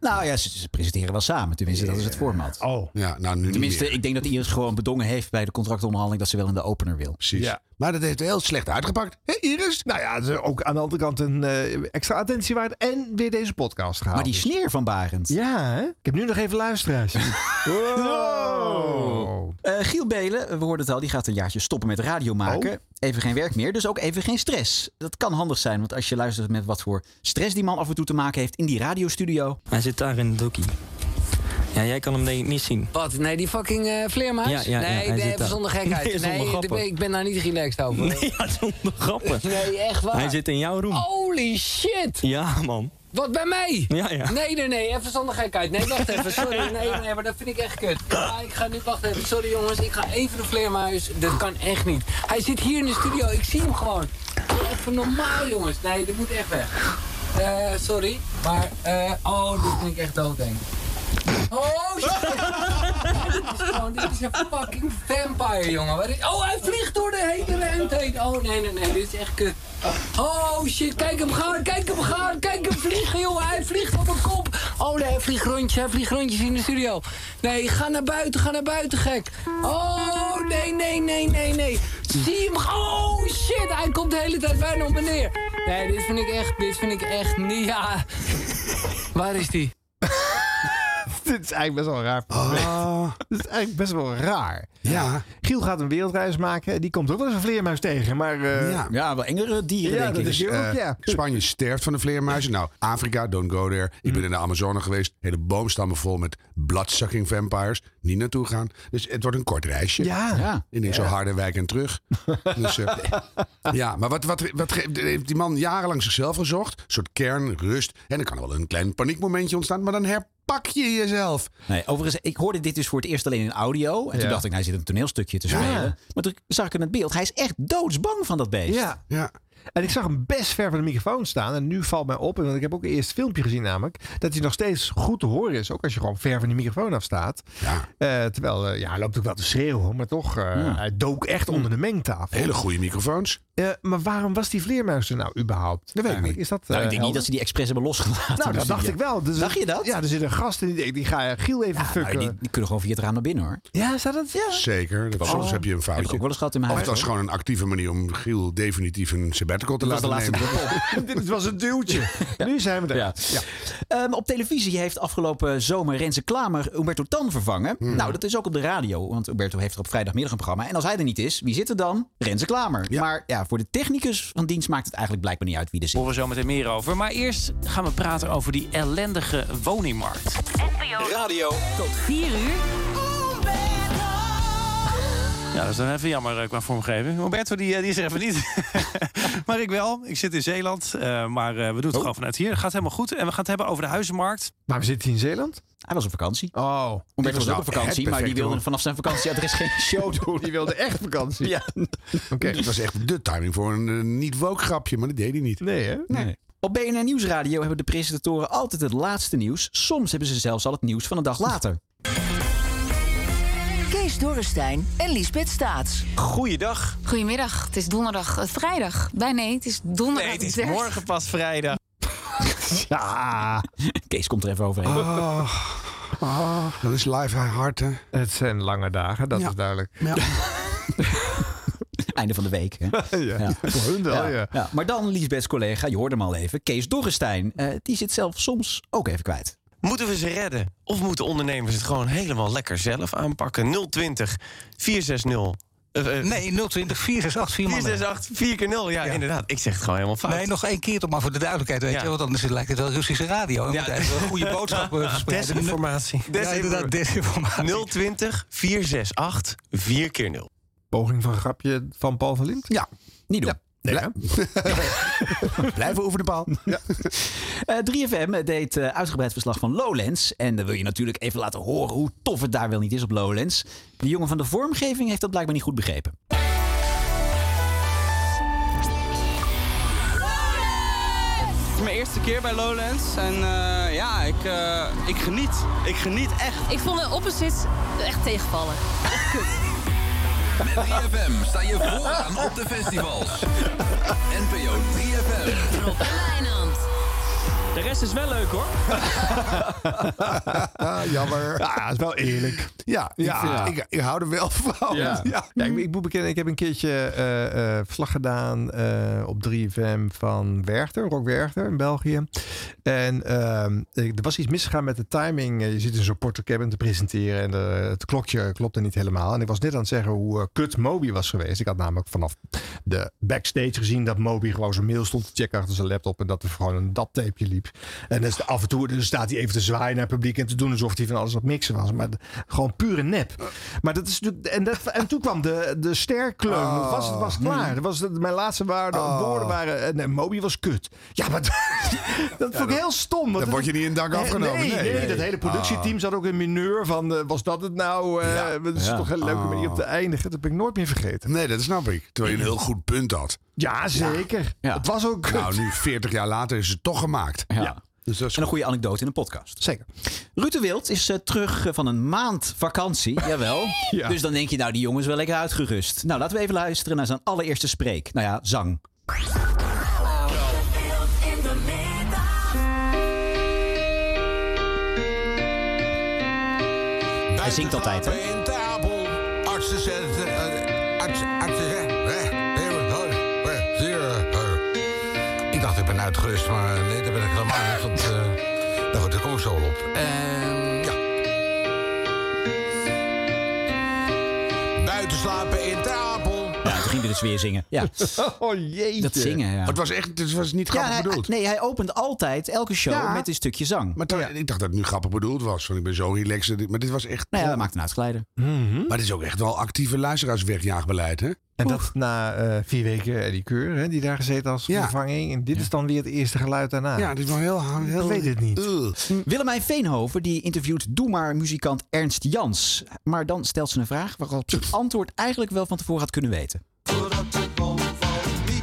Speaker 2: Nou ja, ze, ze presenteren wel samen. Tenminste, dat is het format.
Speaker 1: Oh.
Speaker 5: Ja, nou, nu
Speaker 2: Tenminste,
Speaker 5: niet
Speaker 2: ik denk dat Iris gewoon bedongen heeft bij de contractonderhandeling dat ze wel in de opener wil.
Speaker 5: Precies.
Speaker 1: Maar
Speaker 5: dat heeft heel slecht
Speaker 1: uitgepakt. Hé, Iris? Nou ja, het is ook aan de andere kant een eh, extra attentie waard. En weer deze podcast gehaald.
Speaker 2: Maar die sneer van Barend.
Speaker 1: Ja, hè? Ik heb nu nog even luisteraars.
Speaker 2: Wow. Eh, Giel Belen, we hoorden het al, die gaat een jaartje stoppen met radio maken. Even geen werk meer, dus ook even geen stress. Dat kan handig zijn, want als je luistert met wat voor stress die man af en toe te maken heeft in die radiostudio.
Speaker 22: Hij zit daar in de doekie. Ja, jij kan hem denk ik niet zien.
Speaker 6: Wat? Nee, die fucking eh, vleermuis?
Speaker 22: Ja, ja, ja, hij
Speaker 6: nee, nee,
Speaker 22: zit
Speaker 6: even
Speaker 22: daar.
Speaker 6: zonder gekheid.
Speaker 22: Nee,
Speaker 6: Nee,
Speaker 22: zonder
Speaker 6: daar
Speaker 22: grappen.
Speaker 6: ben- ik ben daar niet relaxed over.
Speaker 22: Nee, ja, zonder grappen.
Speaker 6: eh? Nee, echt waar. Oh.
Speaker 22: Hij zit in jouw room.
Speaker 6: Holy shit!
Speaker 22: Ja, man.
Speaker 6: Wat bij mij?
Speaker 22: Ja, ja.
Speaker 6: Nee, nee, nee, even zonder gekheid. Nee, wacht even, sorry. Nee, nee, maar dat vind ik echt kut. Ja, ik ga nu, wacht even, sorry jongens, ik ga even de vleermuis. Dat kan echt niet. Hij zit hier in de studio, ik zie hem gewoon. Doe Even normaal jongens, nee, dit moet echt weg. Eh, sorry, maar, eh, oh, dit vind ik echt doodeng. Oh shit! dit, is gewoon, dit is een fucking vampire, jongen. Wat is- oh, hij vliegt door de hele ruimte heen. Oh, nee, nee, nee, dit is echt kut. Oh shit, kijk hem gaan, kijk hem gaan, kijk hem vliegen, jongen. Hij vliegt op een kop. Oh nee, hij vliegt rondjes, hij vliegt rondjes in de studio. Nee, ga naar buiten, ga naar buiten, gek. Oh, nee, nee, nee, nee, nee. Zie hem, oh shit, hij komt de hele tijd bijna op en neer. Nee, dit vind ik echt, dit vind ik echt niet, ja. Waar is die? Ah.
Speaker 1: Dit is eigenlijk best wel raar. Dit is eigenlijk best wel raar. Ja. Giel gaat een wereldreis maken. Die komt ook wel eens een vleermuis tegen. Maar, eh,
Speaker 2: wel engere dieren
Speaker 5: Ja,
Speaker 2: denk
Speaker 5: dat
Speaker 2: ik.
Speaker 5: is ook, ja. dus, eh, Spanje sterft van de vleermuizen. Nou, Afrika, don't go there. Ik
Speaker 2: Mm.
Speaker 5: ben in de Amazone geweest. Hele boomstammen vol met bloodsucking vampires. Niet naartoe gaan. Dus het wordt een kort reisje.
Speaker 1: Ja. Ja.
Speaker 5: Ik denk zo
Speaker 1: Ja.
Speaker 5: Harderwijk en terug. dus, eh, ja, maar wat, wat, wat ge- heeft die man jarenlang zichzelf gezocht? Een soort kern, rust. En dan kan er wel een klein paniekmomentje ontstaan. Maar dan herpak je jezelf.
Speaker 2: Nee, overigens, ik hoorde dit dus voor het eerst alleen in audio. En toen
Speaker 5: Ja.
Speaker 2: dacht ik, nou, hij zit een toneelstukje te spelen. Maar toen zag ik hem in het beeld. Hij is echt doodsbang van dat beest.
Speaker 1: Ah. Ja. En ik zag hem best ver van de microfoon staan. En nu valt mij op, want ik heb ook eerst het filmpje gezien namelijk, dat hij nog steeds goed te horen is. Ook als je gewoon ver van die microfoon af staat. Eh, terwijl, eh, ja, hij loopt ook wel te schreeuwen, hoor, maar toch, eh,
Speaker 5: Ja.
Speaker 1: hij dook echt onder de mengtafel.
Speaker 5: Hm. Hele goede microfoons.
Speaker 1: Eh, maar waarom was die vleermuis er nou überhaupt? Dat weet ik niet. Is dat,
Speaker 2: Nou, ik
Speaker 1: eh,
Speaker 2: denk niet dat ze die expres hebben losgelaten.
Speaker 1: Nou,
Speaker 2: in de
Speaker 1: dat dacht ik
Speaker 2: studio.
Speaker 1: wel. Dus-
Speaker 2: dacht je dat?
Speaker 1: Ja, er zit een gast in die denkt, die ga Giel even
Speaker 2: Ja, nou,
Speaker 1: fucken.
Speaker 2: die, die kunnen gewoon via het raam naar binnen hoor.
Speaker 1: Ja, zou dat? Ja.
Speaker 5: Zeker. Dat,
Speaker 2: Oh.
Speaker 5: Soms heb je een foutje.
Speaker 2: Heb ik ook wel eens gehad in mijn
Speaker 5: of
Speaker 2: huis,
Speaker 5: dat is
Speaker 2: hoor.
Speaker 5: gewoon een actieve manier om Giel definitief een sabbatical te
Speaker 2: Dit was
Speaker 5: laten
Speaker 2: de laatste
Speaker 5: nemen.
Speaker 1: Dit was een duwtje. Nu zijn we er.
Speaker 2: Ehm, op televisie heeft afgelopen zomer Renze Klamer Umberto Tan vervangen.
Speaker 1: Hmm.
Speaker 2: Nou, dat is ook op de radio, want Umberto heeft er op vrijdagmiddag een programma. En als hij er niet is, wie zit er dan? Renze Klamer. Maar ja, voor de technicus van dienst maakt het eigenlijk blijkbaar niet uit wie er zit.
Speaker 22: Horen we zo meteen meer over. Maar eerst gaan we praten over die ellendige woningmarkt.
Speaker 37: Radio. Tot 4 uur.
Speaker 12: Ja, dat is dan even jammer eh, qua vormgeving. Roberto, die, eh, die is er even niet. maar ik wel. Ik zit in Zeeland. eh, maar eh, we doen het gewoon vanuit hier. Het gaat helemaal goed. En we gaan het hebben over de huizenmarkt.
Speaker 1: Oh. Maar we zitten in Zeeland?
Speaker 2: Hij was op vakantie.
Speaker 1: Oh.
Speaker 2: Omdat
Speaker 1: was
Speaker 2: was ook
Speaker 1: nou
Speaker 2: op
Speaker 1: echt
Speaker 2: vakantie, maar
Speaker 1: perfect,
Speaker 2: die wilde
Speaker 1: hoor.
Speaker 2: vanaf zijn vakantieadres geen show doen.
Speaker 1: Die wilde echt vakantie.
Speaker 2: Ja.
Speaker 1: Oké.
Speaker 5: Dit was echt de timing voor een eh, niet-woke grapje, maar dat deed hij niet.
Speaker 1: Nee, hè?
Speaker 2: Nee. Op BNR Nieuwsradio hebben de presentatoren altijd het laatste nieuws. Soms hebben ze zelfs al het nieuws van een dag later.
Speaker 4: Kees Dorrestein en Liesbeth Staats.
Speaker 12: Goeiedag.
Speaker 4: Goedemiddag, het is donderdag, eh, vrijdag. Bij nee, het is donderdag.
Speaker 12: Nee, het is
Speaker 4: 30.
Speaker 12: morgen pas vrijdag.
Speaker 2: Ja. Oh. Kees komt er even overheen.
Speaker 1: Ah.
Speaker 5: dat is live hard, hè?
Speaker 1: Het zijn lange dagen, dat is duidelijk.
Speaker 2: Einde van de week. Hè?
Speaker 1: ja. Voor hun wel, ja.
Speaker 2: Ja, Maar dan Liesbeths collega, je hoorde hem al even, Kees Dorrestein. eh, die zit zelf soms ook even kwijt.
Speaker 6: Moeten we ze redden? Of moeten ondernemers het gewoon helemaal lekker zelf aanpakken? 020 460.
Speaker 9: Nee, 020 468 4 mannen.
Speaker 6: 468 4 keer 0. Ja, inderdaad. Ik zeg het gewoon helemaal fout.
Speaker 9: Nee, nog één keer toch maar voor de duidelijkheid, weet
Speaker 6: Ja.
Speaker 9: je, want anders lijkt het wel Russische radio. We
Speaker 6: Ja.
Speaker 9: moeten eigenlijk wel een goede boodschap eh, verspreiden.
Speaker 6: Desinformatie.
Speaker 9: Ja, inderdaad, desinformatie.
Speaker 6: 020 468 4 keer 0.
Speaker 1: Poging van grapje van Paul van Lint?
Speaker 2: Ja, niet doen.
Speaker 1: Nee,
Speaker 2: Blijven over de paal. Eh, 3FM deed eh, uitgebreid verslag van Lowlands. En dan wil je natuurlijk even laten horen hoe tof het daar wel niet is op Lowlands. De jongen van de vormgeving heeft dat blijkbaar niet goed begrepen.
Speaker 10: Het is mijn eerste keer bij Lowlands en eh, ja, ik, eh, ik geniet. Ik geniet echt.
Speaker 4: Ik vond de opposites echt tegenvallen. Echt kut.
Speaker 16: Met 3FM sta je vooraan op de festivals. NPO 3FM.
Speaker 4: Rob en Wijnand.
Speaker 12: De rest is wel leuk hoor.
Speaker 5: jammer.
Speaker 1: Ja, dat is wel eerlijk.
Speaker 5: Ja, ik,
Speaker 1: Ja.
Speaker 5: vind- ik, ik hou er wel van.
Speaker 1: Ja.
Speaker 5: Ja.
Speaker 1: Ja, ik, ik moet bekennen, ik heb een keertje eh, eh, verslag gedaan eh, op 3FM van Werchter, Rock Werchter in België. En ehm, ik- er was iets misgegaan met de timing. Eh, Je zit in zo'n portocabin te presenteren en de- het klokje klopte niet helemaal. En ik was net aan het zeggen hoe eh, kut Moby was geweest. Ik had namelijk vanaf de backstage gezien dat Moby gewoon zijn mail stond te checken achter zijn laptop en dat er gewoon een daptapeje liep. En dus af en toe dus staat hij even te zwaaien naar het publiek en te doen alsof hij van alles aan het mixen was. Maar d- gewoon pure nep. Maar dat is natuurlijk. En, dat, en toen kwam de, de sterkleun.
Speaker 5: Oh.
Speaker 1: Was, was klaar. Dat was, mijn laatste waarde,
Speaker 5: Oh.
Speaker 1: woorden waren. eh, Nee, Moby was kut. Ja, maar dat, dat vond ik heel stom. want
Speaker 5: dat
Speaker 1: het-
Speaker 5: word je niet in dank
Speaker 1: Nee,
Speaker 5: afgenomen.
Speaker 1: Nee,
Speaker 5: Nee,
Speaker 1: nee,
Speaker 5: nee.
Speaker 1: dat hele productieteam zat ook in mineur van. eh, was dat het nou? Eh Dat is
Speaker 5: Ja.
Speaker 1: toch een leuke
Speaker 5: Oh.
Speaker 1: manier om te eindigen. Dat heb ik nooit meer vergeten.
Speaker 5: Nee, dat snap ik. Terwijl je een heel goed punt had.
Speaker 1: Ja, zeker. Het was ook kut.
Speaker 5: Nou, nu 40 jaar later is het toch gemaakt.
Speaker 2: Ja. Ah.
Speaker 1: Dus
Speaker 2: en een goede anekdote in een podcast.
Speaker 1: Zeker.
Speaker 2: Ruud de Wild is eh, terug eh, van een maand vakantie. Jawel.
Speaker 1: Ja.
Speaker 2: Dus dan denk je, nou, die jongen is wel lekker uitgerust. Nou, laten we even luisteren naar zijn allereerste spreek. Nou ja, zang. Hij zingt altijd, hè?
Speaker 20: In tafel, artsen zetten, eh, artsen, artsen zeggen, hè, hè, hoor, hè, zeer,
Speaker 5: eh,
Speaker 20: hè. Ik dacht, ik ben uitgerust, maar nee, daar ben ik helemaal niet. Want, eh, nou goed, daar kom ik zo wel op. En ja. Buiten slapen in tafel.
Speaker 2: Ja, toen ging hij dus weer zingen. Ja.
Speaker 1: Oh jeetje.
Speaker 2: Dat zingen, ja.
Speaker 5: Maar het was echt het was niet
Speaker 2: Ja,
Speaker 5: grappig
Speaker 2: hij-
Speaker 5: bedoeld.
Speaker 2: Nee, hij opent altijd elke show
Speaker 5: Ja.
Speaker 2: met een stukje zang.
Speaker 5: Maar toen- ik dacht dat het nu grappig bedoeld was. Want ik ben zo relaxed. dat ik- Maar dit was echt...
Speaker 2: Nou ja, dat maakt een uitgeleider.
Speaker 5: Maar dit is ook echt wel actieve luisteraarswegjaarbeleid, hè?
Speaker 1: En dat na eh, vier weken Eddie Keur, hè, die daar gezeten als vervanging. En dit is dan weer het eerste geluid daarna.
Speaker 5: Ja, dit is wel heel... heel
Speaker 1: Ik weet het niet.
Speaker 2: Willemijn Veenhoven die interviewt Doe maar muzikant Ernst Jans. Maar dan stelt ze een vraag waarop ze het antwoord eigenlijk wel van tevoren had kunnen weten.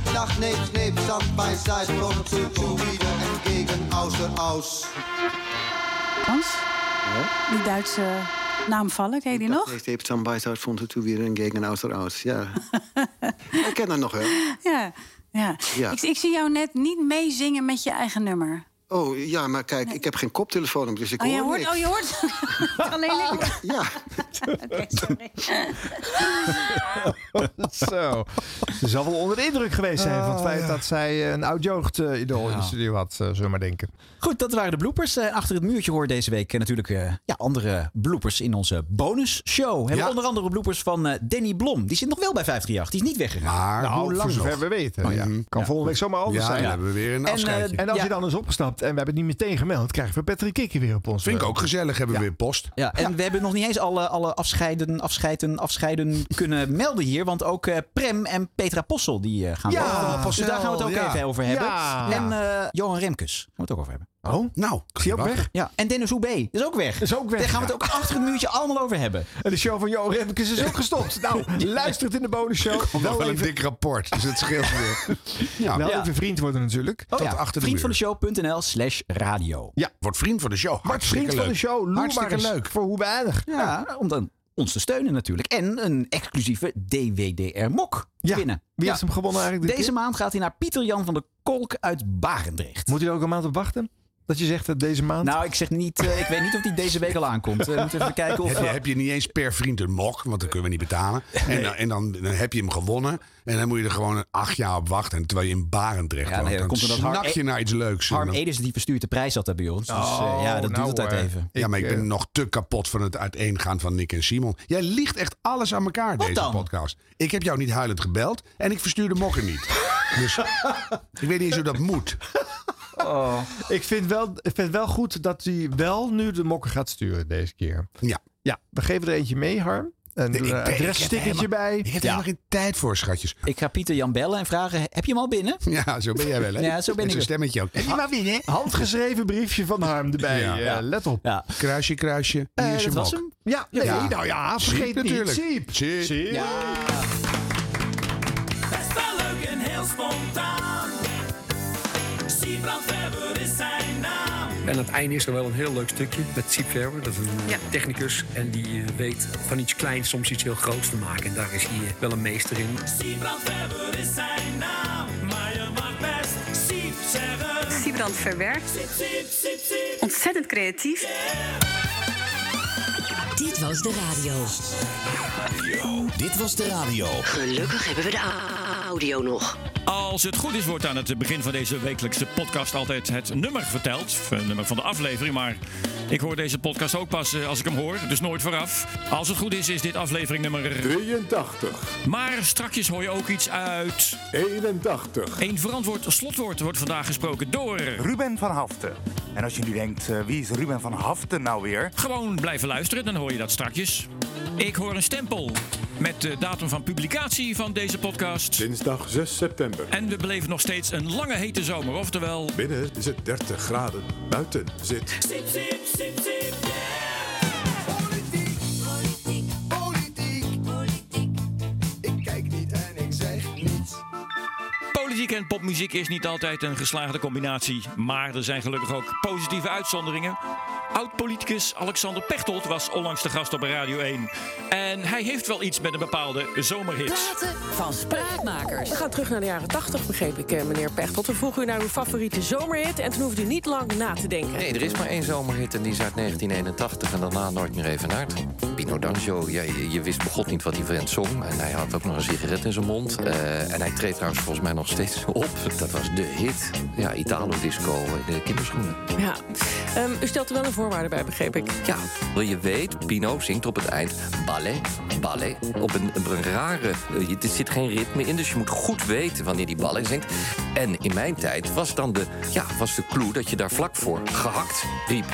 Speaker 30: Mittag nebst, nebst, stand beiseite und zu, zu wieder entgegen, außer aus.
Speaker 18: Hans? Die Duitse naam vallen, ken je die nog?
Speaker 30: Ich heb stand beiseite und zu wieder entgegen, außer aus. Ja. ik ken dat nog wel.
Speaker 18: Ja. ja.
Speaker 30: Ja.
Speaker 18: Ik, ik zie jou net niet meezingen met je eigen nummer.
Speaker 30: Oh ja, maar kijk, ik heb geen koptelefoon op, dus ik
Speaker 18: oh, je
Speaker 30: hoor
Speaker 18: hoort,
Speaker 30: niks.
Speaker 18: oh, je hoort. Alleen ik. hoor.
Speaker 30: Ja.
Speaker 18: Oké, sorry.
Speaker 1: Zo. Ze zal wel onder de indruk geweest zijn van het
Speaker 5: Oh,
Speaker 2: Ah,
Speaker 1: feit
Speaker 2: ja.
Speaker 1: dat zij eh, een oud-jeugd-idool in
Speaker 2: Ja.
Speaker 1: de studio had, eh, zullen we maar denken.
Speaker 2: Goed, dat waren de bloopers. Eh, achter het muurtje hoor deze week eh, natuurlijk eh, ja, andere bloopers in onze bonusshow. We hebben onder andere bloopers van eh, Danny Blom. Die zit nog wel bij 538. Die is niet weggegaan.
Speaker 1: nou, voor zover we weten.
Speaker 2: Oh, ja.
Speaker 1: ja.
Speaker 5: hmm,
Speaker 1: Kan
Speaker 2: Ja.
Speaker 1: volgende week zomaar anders
Speaker 2: Ja,
Speaker 1: zijn.
Speaker 2: dan hebben we weer een En, afscheidje. eh,
Speaker 1: En, als
Speaker 2: ja.
Speaker 1: je dan is opgestapt en we hebben het niet meteen gemeld, krijgen we Patrick Kikkie weer op ons.
Speaker 5: Vind ik ook gezellig. Hebben we weer post.
Speaker 2: Ja, en we hebben nog niet eens alle, alle alle afscheiden, afscheiden, afscheiden kunnen melden hier. Want ook eh, Prem en Petra Possel die eh, gaan
Speaker 5: Ja,
Speaker 2: over.
Speaker 5: Possel,
Speaker 2: Dus daar gaan we het ook
Speaker 5: ja.
Speaker 2: even over hebben.
Speaker 5: Ja.
Speaker 2: En eh, Johan Remkes gaan we het ook over hebben.
Speaker 5: Oh, nou, is die ook weg?
Speaker 2: Ja. En Dennis Oebe is ook weg. Is ook weg. Daar gaan we het ook achter het muurtje allemaal over hebben.
Speaker 1: En de show van Johan Remkes is ook gestopt. Nou, luister het in de bonusshow.
Speaker 5: Komt nog wel een dik rapport, dus het scheelt weer. Ja.
Speaker 1: Wel
Speaker 5: Ja.
Speaker 1: even vriend worden natuurlijk.
Speaker 2: Oh
Speaker 5: Tot achter de muur.
Speaker 2: vriendvandeshow.nl slash radio.
Speaker 1: Ja.
Speaker 5: Word vriend van de show.
Speaker 1: Word vriend van de show. Loer maar eens voor hoe weinig.
Speaker 2: Ja, nou, om dan ons te steunen natuurlijk. En een exclusieve DWDR-mok
Speaker 1: Ja,
Speaker 2: winnen.
Speaker 1: wie heeft hem gewonnen eigenlijk dit
Speaker 2: Deze
Speaker 1: keer?
Speaker 2: maand gaat hij naar Pieter-Jan van der Kolk uit Barendrecht.
Speaker 1: Moet je er ook een maand op wachten? Dat je zegt dat deze maand...
Speaker 2: Nou, ik zeg niet... eh, ik weet niet of die deze week al aankomt. Eh, We moeten even kijken of...
Speaker 5: heb, je, heb je niet eens per vriend een mok, want dan kunnen we niet betalen. En, dan, en dan, dan heb je hem gewonnen. En dan moet je er gewoon een acht jaar op wachten. En terwijl je in Barendrecht
Speaker 2: Ja, nee,
Speaker 5: woont,
Speaker 2: dan
Speaker 5: dan,
Speaker 2: komt er dat
Speaker 5: snak
Speaker 2: Harm-
Speaker 5: je naar iets leuks. En
Speaker 2: Harm
Speaker 5: dan- Oh, nou,
Speaker 2: Edens die verstuurt de prijs altijd bij ons. Dus eh, ja, dat doet het altijd even.
Speaker 5: Ja, maar ik ben
Speaker 2: eh,
Speaker 5: nog te kapot van het uiteengaan van Nick en Simon. Jij liegt echt alles aan elkaar, deze podcast. Ik heb jou niet huilend gebeld en ik verstuur de mokken niet. dus ik weet niet eens hoe dat moet.
Speaker 2: oh.
Speaker 1: Ik vind wel, ik vind wel goed dat hij wel nu de mokken gaat sturen deze keer.
Speaker 5: Ja.
Speaker 1: Ja, we geven er eentje mee, Harm. En doe
Speaker 5: Nee, ik
Speaker 1: er een
Speaker 5: ben- ik heb
Speaker 1: adresstickertje
Speaker 5: helemaal-
Speaker 1: bij.
Speaker 5: ik heb er helemaal geen tijd voor, schatjes.
Speaker 2: Ik ga Pieter Jan bellen en vragen, heb je hem al binnen?
Speaker 5: Ja, zo ben jij wel, hè?
Speaker 2: Ja, zo ben
Speaker 5: Met
Speaker 2: ik.
Speaker 5: zo'n stemmetje ook.
Speaker 1: Heb je maar binnen? Handgeschreven briefje van Harm erbij.
Speaker 5: Ja.
Speaker 1: eh,
Speaker 5: Ja.
Speaker 1: Let op. Eh,
Speaker 5: Kruisje, kruisje. Hier is je mok.
Speaker 1: Ja, nee,
Speaker 5: Ja.
Speaker 1: nou ja,
Speaker 5: Siep
Speaker 1: vergeet natuurlijk.
Speaker 5: natuurlijk.
Speaker 1: niet. Siep.
Speaker 5: Siep.
Speaker 3: Best wel leuk en heel spontaan. Siebrand Weber is zijn naam.
Speaker 8: En aan het einde is er wel een heel leuk stukje met Siep Verwer. Dat is een eh, technicus en die eh, weet van iets kleins soms iets heel groots te maken. En daar is hij eh, wel een meester in.
Speaker 3: Siebrand Weber is zijn naam. Maar je mag best Siep zeggen.
Speaker 11: Siebrand verwerkt.
Speaker 3: Siep, siep, siep, siep.
Speaker 11: Ontzettend creatief.
Speaker 19: Dit was de radio.
Speaker 31: Dit was de radio.
Speaker 19: Gelukkig hebben we de a- audio nog.
Speaker 31: Als het goed is, wordt aan het begin van deze wekelijkse podcast altijd het nummer verteld. Het nummer van de aflevering, maar ik hoor deze podcast ook pas eh, als ik hem hoor, dus nooit vooraf. Als het goed is, is dit aflevering nummer 83. Maar strakjes hoor je ook iets uit. 81. Een verantwoord slotwoord wordt vandaag gesproken door.
Speaker 15: Ruben van Haften. En als je nu denkt, eh, wie is Ruben van Haften nou weer?
Speaker 31: Gewoon blijven luisteren, dan hoor je dat strakjes. Ik hoor een stempel met de datum van publicatie van deze podcast.
Speaker 21: Dinsdag 6 september.
Speaker 31: En we beleven nog steeds een lange hete zomer, oftewel...
Speaker 21: Binnen is het 30 graden. Buiten zit.
Speaker 3: Siep, siep, siep, siep.
Speaker 30: Politiek, politiek. Ik kijk niet en ik zeg niets.
Speaker 31: Politiek en popmuziek is niet altijd een geslaagde combinatie, maar er zijn gelukkig ook positieve uitzonderingen. Oud-politicus Alexander Pechtold was onlangs de gast op Radio 1. En hij heeft wel iets met een bepaalde zomerhit.
Speaker 22: van spraakmakers. We gaan terug naar de jaren 80, begreep ik, eh, meneer Pechtold. We vroegen u naar uw favoriete zomerhit en toen hoefde u niet lang na te denken.
Speaker 38: Nee, er is maar één zomerhit en die is uit 1981 en daarna nooit meer evenaard. Pino D'Angio, ja, je, je wist begot niet wat hij vent zong. En hij had ook nog een sigaret in zijn mond. Eh, en hij treedt trouwens volgens mij nog steeds op. Dat was de hit. Ja, Italo-disco in de kinderschoenen.
Speaker 22: Ja. Ehm, u stelt er wel een voorwaarde bij, begreep ik.
Speaker 38: Ja. Wil je weet, Pino zingt op het eind ballet, ballet. Op een, op een rare... eh, je- Er zit geen ritme in, dus je moet goed weten wanneer die ballet zingt. En in mijn tijd was dan de, ja, was de clue dat je daar vlak voor gehakt riep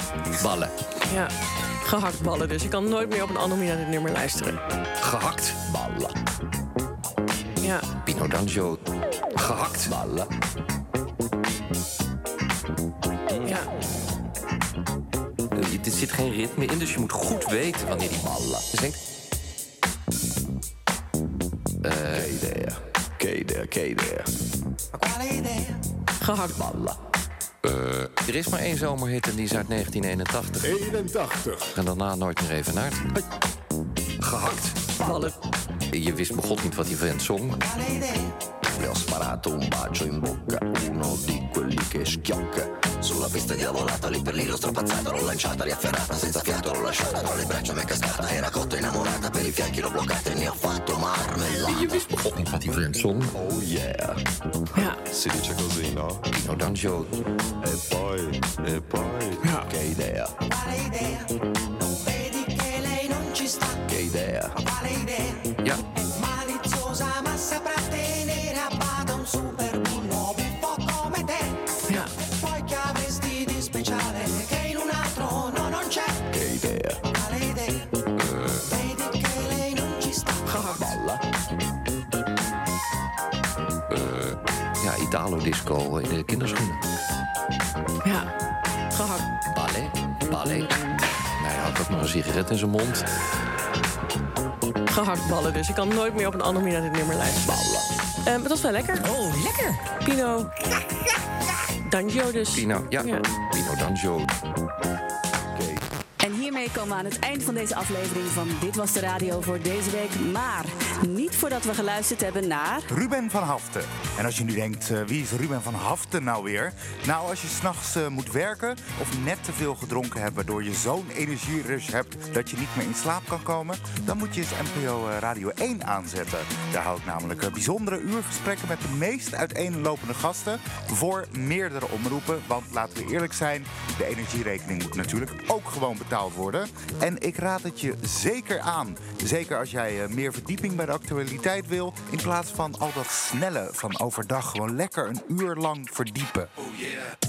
Speaker 38: ballen.
Speaker 22: Ja. Gehaktballen dus. Je kan nooit meer op een andere manier naar dit nummer luisteren.
Speaker 38: Gehakt ballen.
Speaker 22: Ja.
Speaker 38: Pino D'Angio. Gehakt ballen.
Speaker 22: Ja.
Speaker 38: Eh, Er zit geen ritme in, dus je moet goed weten wanneer die ballen Dus zingt. Eh,
Speaker 17: there, okay there, okay there.
Speaker 38: Gehaktballen. Eh, er is maar één zomerhit en die is uit 1981. 81. En daarna nooit meer even naar. Gehakt. Ballen. Je wist begot niet wat die vent zong.
Speaker 17: Le ho sparato un bacio in bocca, uno di quelli che schiocca. Sulla pista diavolata, lì per lì l'ho strapazzata, l'ho lanciata, riafferrata, senza fiato l'ho lasciata, tra le braccia mi è cascata, era cotta innamorata, per i fianchi l'ho bloccata e ne ho fatto marmellata.
Speaker 38: Je wist begot niet wat die vent zong.
Speaker 17: Oh yeah. Si dice così, no?
Speaker 38: Pino D'Angio.
Speaker 17: E poi, e poi,
Speaker 38: Ah.
Speaker 17: che idea, che idea.
Speaker 38: Ja.
Speaker 30: Speciale che in un altro no, non c'è. Che idea. Quale idea?
Speaker 38: eh, disco in de kinderschoenen.
Speaker 25: Ja, gehakt.
Speaker 38: Ballet, ballet. En Hij had ook nog een sigaret in zijn mond.
Speaker 25: Gehaktballen dus. Ik kan nooit meer op een andere manier naar dit nummer luisteren. Eh, maar het was wel lekker. Oh, lekker. Pino. Danjo dus.
Speaker 38: Pino, ja. Pino Danjo.
Speaker 10: En hiermee komen we aan het eind van deze aflevering van Dit Was De Radio voor deze week. Maar niet voordat we geluisterd hebben naar...
Speaker 39: Ruben van Haften. En als je nu denkt, eh, wie is Ruben van Haften nou weer? Nou, als je s'nachts eh moet werken of net te veel gedronken hebt... waardoor je zo'n energierush hebt dat je niet meer in slaap kan komen... dan moet je eens NPO eh, Radio 1 aanzetten. Daar hou ik namelijk eh, bijzondere uurgesprekken met de meest uiteenlopende gasten... voor meerdere omroepen, want laten we eerlijk zijn... de energierekening moet natuurlijk ook gewoon betaald worden. En ik raad het je zeker aan. Zeker als jij eh, meer verdieping bij de actualiteit wil... in plaats van al dat snelle van overdag gewoon lekker een uur lang verdiepen.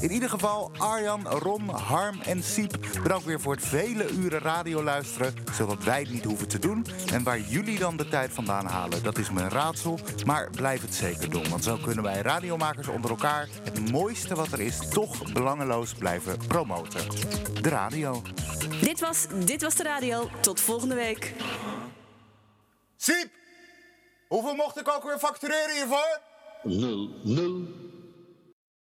Speaker 39: In ieder geval Arjan, Ron, Harm en Siep... bedankt weer voor het vele uren radio luisteren... zodat wij het niet hoeven te doen. En waar jullie dan de tijd vandaan halen, dat is mijn raadsel. Maar blijf het zeker doen, want zo kunnen wij radiomakers onder elkaar... het mooiste wat er is toch belangeloos blijven promoten. De radio.
Speaker 10: Dit was Dit Was De Radio. Tot volgende week.
Speaker 39: Siep! Hoeveel mocht ik ook weer factureren hiervoor?
Speaker 18: Nul, nul,